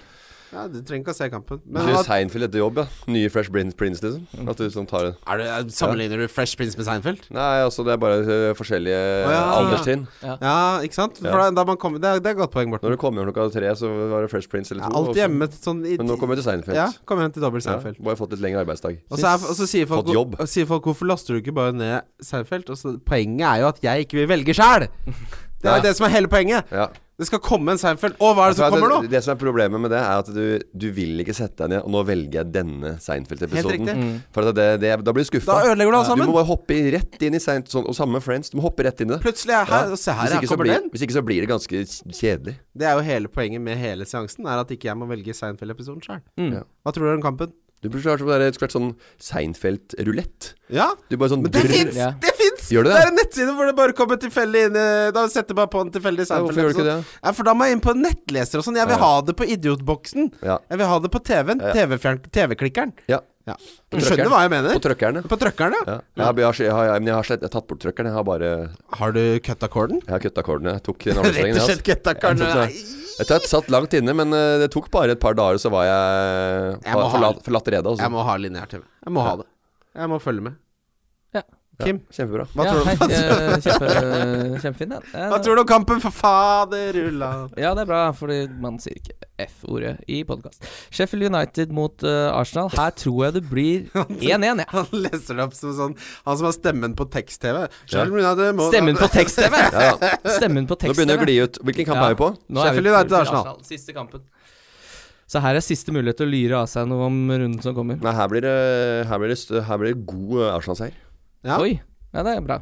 S3: Ja, du trenger ikke å se kampen.
S5: Du
S3: Men
S5: sier
S3: hva- Mm.
S5: Seinfeld etter jobb, ja. Nye Fresh Prince, Prince liksom. At du sånn tar en
S3: er det, sammenligner du Fresh Prince med Seinfeld?
S5: Nei, altså det er bare eh, forskjellige eh,
S3: Å, ja.
S5: alderstrinn.
S3: Ja, ikke sant? For da, da man kommer, det, er, det er et godt poeng, Morten.
S5: Når du kom hjem klokka tre, så var det Fresh Prince eller
S3: Ja,
S5: to. og
S3: alltid
S5: så-
S3: hjemme til sånn i,
S5: Men nå kommer jeg til Seinfeld.
S3: Ja, kommer hjem til dobbelt Seinfeld.
S5: Ja, bare fått litt lengre arbeidsdag.
S3: Og, så er, og så sier folk,
S5: Fått jobb.
S3: og sier folk 'hvorfor laster du ikke bare ned Seinfeld?' Og så, poenget er jo at jeg ikke vil velge sjæl! Det er
S5: Ja.
S3: jo det som er hele poenget.
S5: Ja.
S3: Det skal komme en Seinfeld. Og hva er det som
S5: Altså,
S3: kommer nå?
S5: det, det som er problemet med det, er at du, du vil ikke sette deg ned Og nå velger jeg denne
S3: Helt
S5: Seinfeld-episoden.
S3: riktig.
S5: For at det, det, da blir du skuffa.
S3: Da ødelegger du alt sammen.
S5: Du må bare hoppe i- rett inn i Seinfeld sånn, og samme Friends. Du må hoppe rett inn i det.
S3: Plutselig er jeg her, og se her,
S5: hvis,
S3: her
S5: ikke, så
S3: kommer
S5: blir,
S3: den.
S5: hvis ikke så blir det ganske kjedelig.
S3: Det er jo hele poenget med hele seansen, er at ikke jeg må velge Seinfeld-episoden sjøl.
S5: Ja.
S3: Hva tror du om kampen?
S5: Du burde vært sånn, der- skulle vært sånn Seinfeld-rulett.
S3: Ja,
S5: Du bare sånn
S3: men det
S5: brrr.
S3: fins!
S4: Ja.
S3: Det fins!
S5: Gjør det
S3: det
S5: det?
S3: er en nettside hvor det bare kommer tilfeldig inn eh, Da setter jeg bare på en tilfeldig
S5: Ja, hvorfor gjør du ikke
S3: Seinfeld-episode. Ja, for da må jeg inn på en nettleser og sånn. Jeg vil
S5: Ja.
S3: ha det på idiotboksen.
S5: Ja.
S3: Jeg vil ha det på TV-en.
S5: Ja.
S3: TV-fjern- TV-klikkeren.
S5: Ja.
S3: Ja.
S5: På
S3: Du skjønner
S5: trøkkeren.
S3: hva jeg mener?
S5: På trøkkerne.
S3: På trøkkerne?
S5: Ja. Jeg, har, jeg, har, jeg, har, men jeg, har slett, jeg har tatt bort trøkkeren. Jeg har bare
S3: Har du cutta akkorden?
S5: Jeg har kutta kålene. Jeg tok den
S3: Rett
S5: avslutningen.
S3: og slett cutta akkorden.
S5: Jeg
S3: Nei.
S5: Jeg tror jeg satt langt inne, men eh, det tok bare et par dager, så var jeg,
S3: Jeg må
S5: var
S3: ha-
S5: forlatt, forlatt redet. Altså.
S3: Jeg må ha lineær-TV. Jeg må ha det. Jeg må følge med.
S4: Ja.
S3: Kim,
S5: Kjempebra.
S3: hva
S4: ja,
S3: tror du?
S4: hei, eh, kjempe, eh, kjempefin, den.
S3: Hva tror du om kampen for faderullan?
S4: Ja, det er bra, fordi man sier ikke F-ordet i podkast. Sheffield United mot eh, Arsenal. Her tror jeg det blir 1-1. jeg.
S3: Han leser det opp som sånn Han som har stemmen på tekst-TV. Sheffield United må-
S4: Stemmen på tekst-TV!
S5: Ja, ja.
S4: Stemmen på
S5: Nå begynner det å
S4: tekst-TV.
S5: gli ut. Hvilken kamp
S4: Ja.
S5: er vi på?
S4: Nå er vi
S3: Sheffield
S4: på
S3: United,
S4: tur til
S3: Arsenal.
S4: Siste kampen. Så her er siste mulighet til å lyre av seg noe om runden som kommer.
S5: Nei, her blir det, her blir det, st- her blir det god eh, Arsenal-seier.
S3: Ja.
S4: Oi. Ja, det er bra.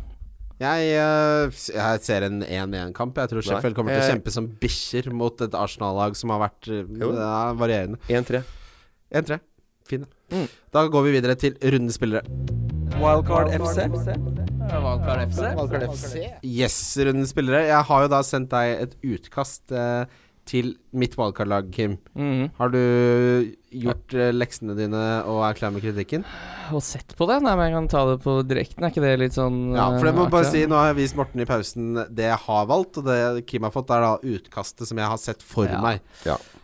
S3: Jeg, eh, s- jeg ser en 1-1-kamp. Jeg tror Sheffield kommer til å
S4: Eh,
S5: jeg-
S3: kjempe som bikkjer mot et Arsenal-lag som har vært eh,
S5: Jo.
S3: det er varierende.
S5: 1-3.
S3: 1-3. Fin.
S4: Mm.
S3: Da går vi videre til rundens spillere.
S2: Wildcard FC. Wildcard FC.
S3: Yes, rundens spillere. Jeg har jo da sendt deg et utkast eh, til mitt wildcard-lag, Kim.
S4: Mhm.
S3: Har du gjort eh, leksene dine og er klar med kritikken?
S4: Og sett på det. Nei, men jeg kan ta det på direkten. Er ikke det litt sånn
S3: Ja, for jeg må
S4: eh,
S3: bare
S4: artig,
S3: si
S4: da?
S3: Nå har jeg vist Morten i pausen det jeg har valgt, og det Kim har fått, er da utkastet som jeg har sett for
S4: Ja.
S3: meg.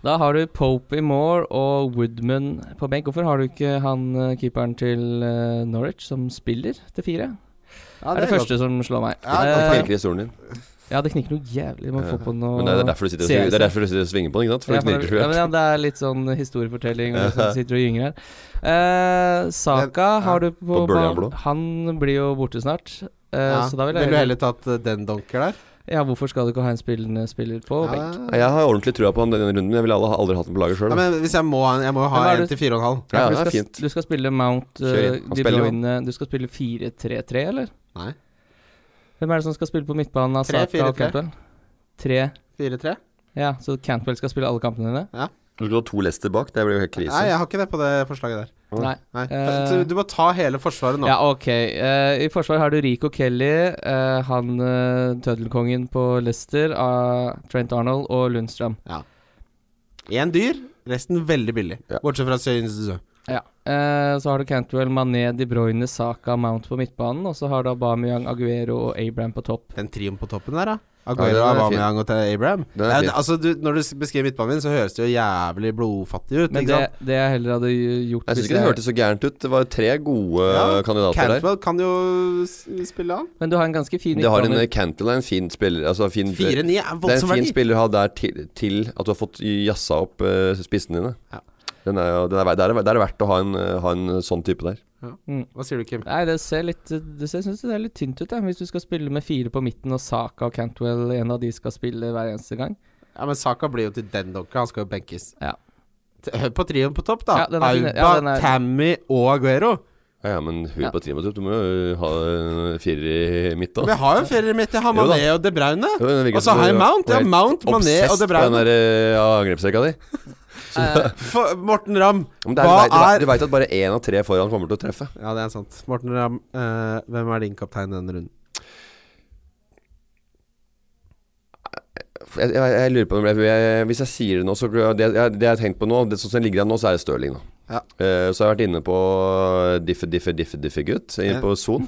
S4: Da har du Pope i mål og Woodman på benk. Hvorfor har du ikke han eh, keeperen til eh, Norwich som spiller til fire?
S3: Ja,
S4: det er det første som slår meg.
S3: Ja,
S5: Det
S4: Eh,
S5: knirker i stolen din.
S4: ja, det knikker noe jævlig. Man
S5: Ja.
S4: får på noe
S5: Eh, Men det er derfor du sitter og,
S4: Ser-
S5: svinger- det
S3: sånn.
S5: er derfor du sitter og svinger på den, ikke sant? For
S4: Ja,
S5: det knirker
S4: ja,
S5: så
S4: men
S5: godt.
S4: ja, det er litt sånn historiefortelling og sånn, sitter og gynger her. Eh, Saka
S3: Ja.
S4: har du på,
S5: På Bøljan
S4: banen.
S5: Blå.
S4: Han blir jo borte snart. eh,
S3: Ja.
S4: så da vil
S3: Ville
S4: jeg
S3: du heller tatt eh, den donker der?
S4: Ja, hvorfor skal du ikke ha en spillende spiller på
S3: Ja,
S4: benk?
S5: Jeg har ordentlig trua på han denne runden. men Jeg ville alle- aldri hatt den på laget sjøl.
S3: Ja, men hvis jeg må ha en, jeg må jo ha
S4: Men hva er
S3: en
S4: det-
S3: til fire og en halv.
S5: Ja, det
S4: for du
S5: er
S4: skal,
S5: fint.
S4: du skal spille Mount,
S5: Kjør inn.
S4: eh,
S5: Han
S4: De
S5: spiller jo.
S4: Bruyne Du skal spille 4-3-3, eller?
S3: Nei.
S4: Hvem er det som skal spille på midtbanen av
S3: Tre,
S4: Saka
S3: fire,
S4: og
S3: tre.
S4: Cantwell? Tre.
S3: Fire-tre?
S4: Ja, så Cantwell skal spille alle kampene dine?
S5: Du skulle ha to Lester bak, det blir jo helt krise.
S3: Nei, jeg har ikke det på det forslaget der.
S5: Ja.
S4: Nei.
S3: Nei.
S4: Eh.
S3: Så du må ta hele Forsvaret nå.
S4: Ja, ok. Eh, I forsvar har du Rico Kelly, eh, han uh, tøddelkongen på Leicester, eh, Trent Arnold og Lundstrøm.
S3: Én dyr, resten veldig billig.
S5: Ja.
S3: Bortsett fra Søyens
S4: Ja. Eh, så har du Cantwell, Mané, De Bruyne, Saka, Mount på midtbanen, og så har du Aubameyang, Aguero og Abraham på topp.
S3: Den trioen på toppen der, da.
S5: Ja,
S3: Aguero,
S5: den er fin.
S3: Aubameyang og Abraham.
S5: Den er
S3: Ja,
S5: fin.
S3: det- altså, du, når du s- beskriver midtbanen min, så høres det jo jævlig blodfattig ut.
S4: Men
S3: ikke
S4: det,
S3: sant?
S4: det jeg heller hadde gjort
S5: Jeg syns ikke det hørtes så gærent ut. Det var tre gode eh,
S3: Ja,
S5: kandidater der.
S3: Cantwell kan jo s- spille han.
S4: Men du har en ganske fin
S5: Det har en eh,
S4: midtbaner.
S5: Cantwell er en fin spiller. Altså fin, det
S3: 4-9 er
S5: er en
S3: voldsom
S5: fin
S3: verdi.
S5: spiller å ha der til, til at du har fått jazza opp eh, spissene dine.
S3: Ja.
S5: Den er, jo- den er, ver- det, er, det er verdt å ha en, eh, ha en sånn type der.
S3: Hva sier du, Kim?
S4: Nei, det ser litt Det ser, jeg synes det er litt tynt ut, da, hvis du skal spille med fire på midten og Saka og Cantwell, en av de skal spille hver eneste gang.
S3: Ja, Men Saka blir jo til den dokka. Han skal jo benkes.
S4: Ja.
S3: T- Hør på trioen på topp, da.
S4: Ja, den er fin,
S3: Auba,
S4: ja, den er-
S3: Tammy og Aguero.
S5: Ja, ja, men hør
S4: Ja.
S5: på trimmet ditt. Du må jo ha eh, fire i midt,
S3: Vi
S5: da.
S3: har jo ferier midt. Jeg har
S5: Jo da.
S3: Mané og De Braune.
S5: Jo, det virker
S3: Og så
S5: som
S3: har jeg
S5: du
S3: Mount.
S5: var
S3: Ja,
S5: helt
S3: Mount, Mané og
S5: obsessed
S3: De
S5: på den
S3: Braune.
S5: der eh, ja, angrepsrekka di.
S3: For, Morten Ramm,
S5: Men det er,
S3: hva
S5: du, vet,
S3: er
S5: du veit at bare én av tre foran kommer til å treffe.
S3: Ja, det er sant. Morten Ramm, eh, hvem er din kaptein denne runden?
S5: Jeg, jeg, jeg lurer på om jeg, jeg, Hvis jeg sier det nå, så det, jeg, det jeg har tenkt på nå det, Sånn som det ligger an nå, så er det Stirling nå.
S3: Ja.
S5: Eh, så har jeg vært inne på Diffe, Diffe, Diffe, Diffe Gutt. Inne på Son.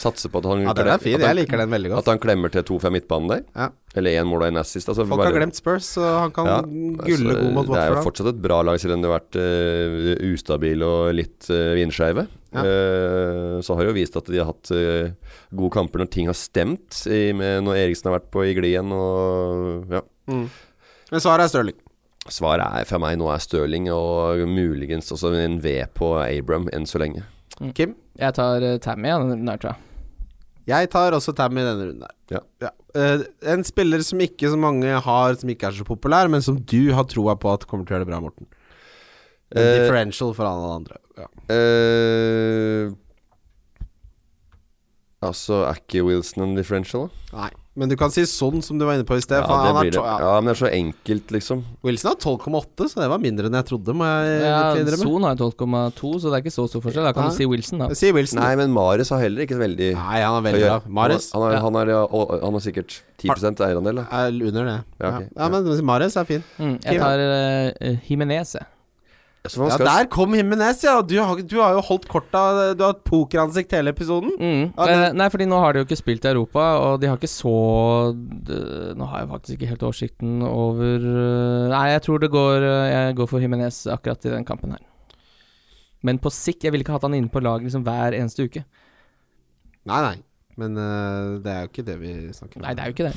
S5: Satser på at han
S3: Ja, den er
S5: klem-
S3: fin.
S5: at han-
S3: Jeg liker den veldig godt.
S5: At han klemmer til to fra midtbanen der.
S3: Ja.
S5: Eller én mål og én assist. Altså,
S3: Folk har glemt Spurs, så han kan
S5: Ja, altså,
S3: gulle god mot
S5: Det er jo
S3: Watford.
S5: fortsatt et bra lag, selv om det har vært eh, ustabil og litt uh, vindskeive.
S3: Ja.
S5: Eh, så har det jo vist at de har hatt eh, gode kamper når ting har stemt, i, med, når Eriksen har vært på i glien og ja.
S3: da. Mm. Men svaret er Stirling.
S5: Svaret er fra meg nå er Stirling og muligens også en V på Abram enn så lenge.
S3: Kim?
S4: Jeg tar eh, Tammy, ja, den der, tror jeg.
S3: Jeg tar også Tammy i denne runden. her.
S5: Ja.
S3: Eh, en spiller som ikke så mange har, som ikke er så populær, men som du har troa på at kommer til å gjøre det bra, Morten. En
S5: Eh,
S3: differential for alle andre. Ja.
S5: Eh, altså, er ikke Wilson en differential, da?
S3: Nei. Men du kan si sånn som du var inne på i sted. for
S5: det
S3: han
S5: blir
S3: er
S5: det.
S3: to- ja.
S5: Ja, men det er så enkelt, liksom.
S3: Wilson har 12,8, så det var mindre enn jeg trodde, må jeg
S4: Ja,
S3: litt innrømme.
S4: Son har jo 12,2, så det er ikke så stor forskjell. Da kan
S3: Nei.
S4: du si Wilson, da.
S3: Si Wilson.
S5: Nei, men Mares har heller ikke et veldig
S3: Nei, han er veldig
S5: høy
S3: bra. Mares
S5: Han har,
S4: Ja.
S5: han har, ja, å- han har sikkert 10 eierandel, da.
S3: er under det. Ja,
S5: Ja, ok.
S3: ja men Mares er fin.
S4: Mm, jeg tar uh, Jimenez, jeg.
S5: Så man
S3: Ja,
S5: skal-
S3: der kom Jimenez, ja. Du har, du har jo holdt korta Du har hatt pokeransikt hele episoden.
S4: Mm.
S3: Ja, det-
S4: Eh, nei, fordi nå har de jo ikke spilt i Europa, og de har ikke så d- Nå har jeg faktisk ikke helt oversikten over eh, Nei, jeg tror det går eh, Jeg går for Jimenez akkurat i den kampen her. Men på sikt Jeg ville ikke hatt han inne på laget liksom hver eneste uke.
S3: Nei, nei. Men øh, det er jo ikke det vi snakker om.
S4: Nei, det er jo ikke det.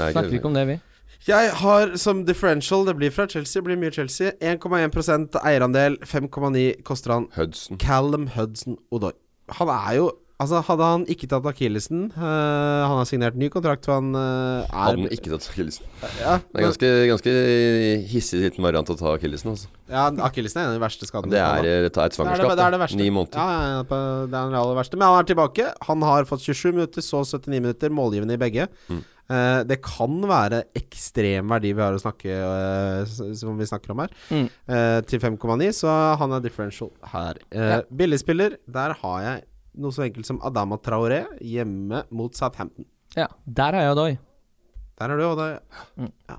S5: Nei,
S4: Snakker vi ikke om det, vi.
S3: Jeg har som differential Det blir fra Chelsea, blir mye Chelsea. 1,1 eierandel. 5,9 koster han.
S5: Hudson.
S3: Callum Hudson Odoi. Han er jo Altså, hadde han ikke tatt akillesen øh, Han har signert ny kontrakt, for han øh, er
S5: Hadde han ikke tatt akillesen.
S3: Ja,
S5: Det er
S3: men-
S5: ganske, ganske hissig liten variant å ta akillesen. Altså.
S3: Ja, akillesen er en av de verste skadene.
S5: Det
S3: han
S5: er,
S3: har.
S5: eh, ta et svangerskap.
S3: det er det
S5: da.
S3: verste.
S5: Ni måneder.
S3: Ja, ja, ja, på- det er det aller verste. Men han er tilbake. Han har fått 27 minutter, så 79 minutter, målgivende i begge. Eh, det kan være ekstrem verdi vi har å snakke eh, s- som vi snakker om her,
S4: Mm.
S3: eh, til 5,9, så han er differential her. Eh, Billigspiller, der har jeg noe så enkelt som Adama Traoré hjemme mot Southampton.
S4: Ja, Der er jeg og Doi.
S3: Der er du, og det
S5: Ja,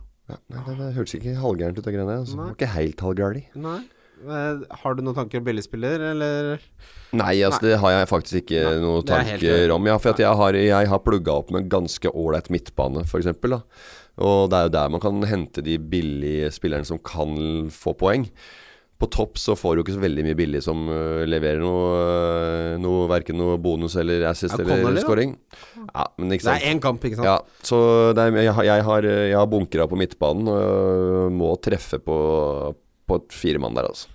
S5: nei, det, det hørtes ikke halvgærent ut, det greiene der. Altså. Det var Ikke helt halvgærlig.
S3: Nei. Eh, har du noen tanker om billigspiller, eller?
S5: Nei, altså, det har jeg faktisk ikke noen
S3: det er helt
S5: tanker om. Ja, for at jeg har, jeg har plugga opp med en ganske ålreit midtbane, f.eks. Og det er jo der man kan hente de billige spillerne som kan få poeng. På topp så får du ikke så veldig mye billig som øh, leverer noe, øh, noe Verken noe bonus eller assist
S3: Ja, Connolly,
S5: eller
S3: da.
S5: scoring. Ja, men ikke
S3: Det
S5: sant.
S3: er én kamp, ikke sant?
S5: Ja, øh, så det er, jeg, har- jeg har, jeg har bunkra øh, på midtbanen og må treffe på, på et firemann der, altså.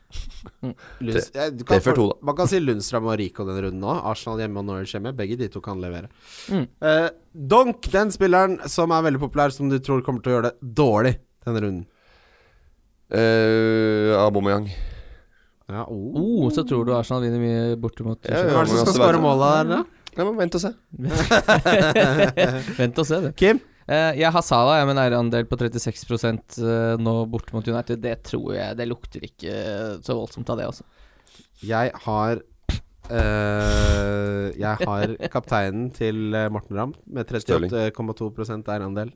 S3: Lunds, ja, du kan,
S5: det får to, da.
S3: Man kan si Lundstrøm og Rico den runden òg. Arsenal hjemme og Norwich hjemme. Begge de to kan levere.
S2: Mm.
S3: Eh, Donk, den spilleren som er veldig populær, som du tror kommer til å gjøre det dårlig denne runden.
S5: Uh, Aubameyang.
S3: Ja, oh.
S4: Oh, så tror du Arsenal vinner mye borte mot
S5: Ja,
S3: Hvem er det som
S4: altså-
S3: skal skåre måla der, da?
S5: Ja, men vent og se.
S4: Vent og se, det.
S3: Kim?
S4: Eh, jeg har Salah, jeg, med en eierandel på 36 eh, nå borte mot United. Det tror jeg Det lukter ikke eh, så voldsomt av det, altså.
S3: Jeg har eh, Jeg har kapteinen til eh, Morten Ramm med 38,2 eierandel.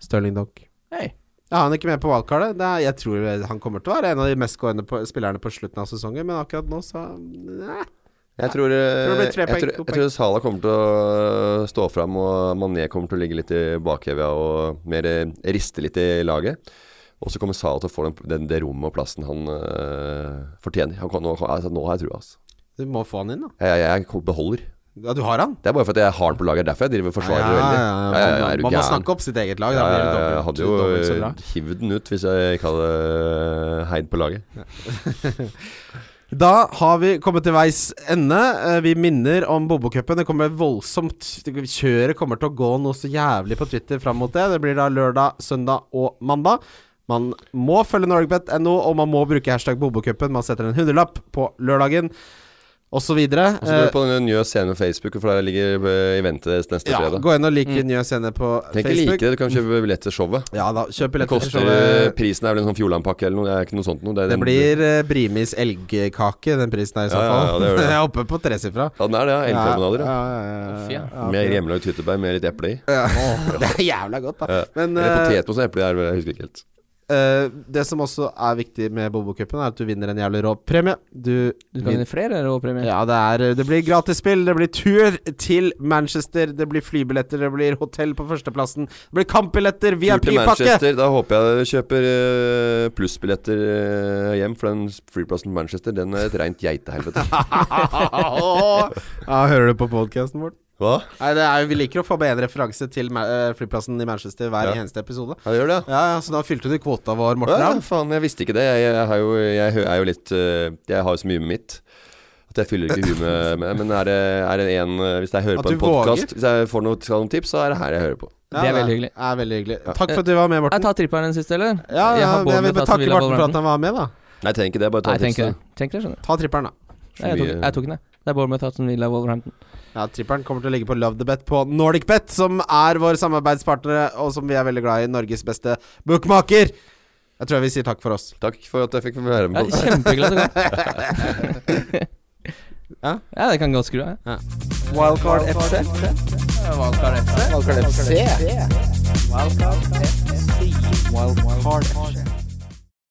S3: Stirling Donk.
S4: Hei.
S3: Ja, han er ikke med på wildcardet. Det er, jeg tror eh, han kommer til å være en av de mest gående på, spillerne på slutten av sesongen, men akkurat nå, så nei.
S5: Jeg tror, eh,
S3: Tror det blir
S5: jeg,
S3: tre poeng,
S5: tror,
S3: to
S5: jeg tror Salah kommer til å stå fram, og Mané kommer til å ligge litt i bakhevja og mer eh, riste litt i laget. Og så kommer Salah til å få den, den, det rommet og plassen han eh, fortjener. Han kan, nå, altså, nå har jeg trua, altså.
S3: Du må få han inn, da.
S5: Jeg, jeg, jeg beholder.
S3: Ja, du har han?
S5: Det er bare fordi jeg har den på laget, derfor jeg driver og forsvarer
S3: ja,
S5: veldig.
S3: ja,
S5: Ja, ja, ja,
S3: man-
S5: er du
S3: Man må
S5: gæren?
S3: snakke opp sitt eget lag. Da
S5: Ja, ja,
S3: blir det
S5: ja,
S3: dobbelt,
S5: jeg hadde
S3: dobbelt så
S5: jo
S3: bra.
S5: eh, hivd den ut hvis jeg ikke hadde eh, heid på laget.
S3: Da har vi kommet til veis ende. Eh, Vi minner om Bobokupen. Det kommer voldsomt Kjøret kommer til å gå noe så jævlig på Twitter fram mot det. Det blir da lørdag, søndag og mandag. Man må følge norwegbet.no, og man må bruke hashtag Bobokupen. Man setter en hundrelapp på lørdagen, osv.
S5: Og
S3: Eh,
S5: så går du på den nye scenen på Facebook, for der ligger eh, eventet deres neste
S3: Ja,
S5: fredag.
S3: gå inn og like Njø scene på
S5: Tenk ikke
S3: Facebook.
S5: like det, du kan kjøpe billett til showet.
S3: Ja da, kjøp
S5: Det
S3: billetter.
S5: koster,
S3: Det,
S5: prisen er vel en sånn Fjordland-pakke eller noe, det er ikke noe sånt noe.
S3: det blir eh, Brimis elgkake, den prisen her i så
S5: Ja, ja, ja,
S3: fall.
S5: det gjør det.
S3: Jeg er oppe på tresifra.
S5: Ja, den er det, ja. Elgpromenader, ja.
S3: ja, ja, ja. Eh,
S5: Med hjemmelagd tyttebær med litt eple i.
S3: Det er jævla godt, da.
S5: Ja.
S3: Men
S5: Eller
S3: eh,
S5: potetmos og eple, jeg jeg husker ikke helt.
S3: eh, det som også er viktig med Bobokupen, er at du vinner en jævlig rå premie. Du,
S4: Du kan
S3: vin-
S4: vinne flere råpremier.
S3: ja, det, er, det blir gratisspill, det blir tur til Manchester, det blir flybilletter, det blir hotell på førsteplassen, det blir kampbilletter,
S5: Tur til
S3: VIP-pakke!
S5: Manchester, da håper jeg dere kjøper eh, plussbilletter eh, hjem, for den flyplassen på Manchester, den er et rent geitehelvete.
S3: ja, hører du på podkasten vår?
S5: Hva?
S3: Nei, det er, jo- Vi liker å få med en referanse til ma- eh, flyplassen i Manchester hver
S5: Ja.
S3: eneste episode.
S5: Ja, det gjør det, ja.
S3: Ja, ja, Så da fylte du kvota vår, Morten.
S5: Ja,
S3: Ramm.
S5: faen, jeg visste ikke det. Jeg, jeg, har jo, jeg hø- er jo litt øh, Jeg har jo så mye med mitt. At jeg fyller ikke huet med, med Men er det, er det en øh, Hvis jeg hører
S3: At
S5: på en
S3: du våger.
S5: podkast Hvis jeg får noe, skal ha noen tips, så er det her jeg hører på.
S3: Ja,
S4: Det er veldig hyggelig.
S3: Er veldig hyggelig. Takk for at du var med,
S4: Jeg
S3: Morten.
S4: tar tripperen den siste, eller?
S3: Ja,
S4: Jeg
S3: ja,
S4: har
S3: men jeg vil bare
S4: Bournemouth, altså,
S3: takke
S4: vil jeg
S3: Morten for at han
S4: Wolverhampton.
S3: var med, da.
S5: Nei, jeg trenger ikke det. Bare ta
S4: Nei, jeg tenker
S5: tipsene.
S4: det. Tenker det, skjønner du.
S3: Ta tripperen, da.
S4: Nei, Jeg tok,
S3: eh.
S4: jeg tok den, jeg. Det er Bournemouth, Hudson, Villa, Wolverhampton.
S3: Ja, Tripperen kommer til å ligge på Love the Bet på NordicBet, som er vår samarbeidspartnere, og som vi er veldig glad i. Norges beste bookmaker. Jeg tror jeg vi sier takk for oss.
S5: Takk for at jeg fikk være
S4: Ja,
S5: med. på
S4: Kjempehyggelig at du
S3: Ja.
S4: kom. Ja, det kan godt skru av. jeg.
S2: Wildcard FC. Wildcard FC. Wildcard FC. Wildcard FC. Wildcard FC.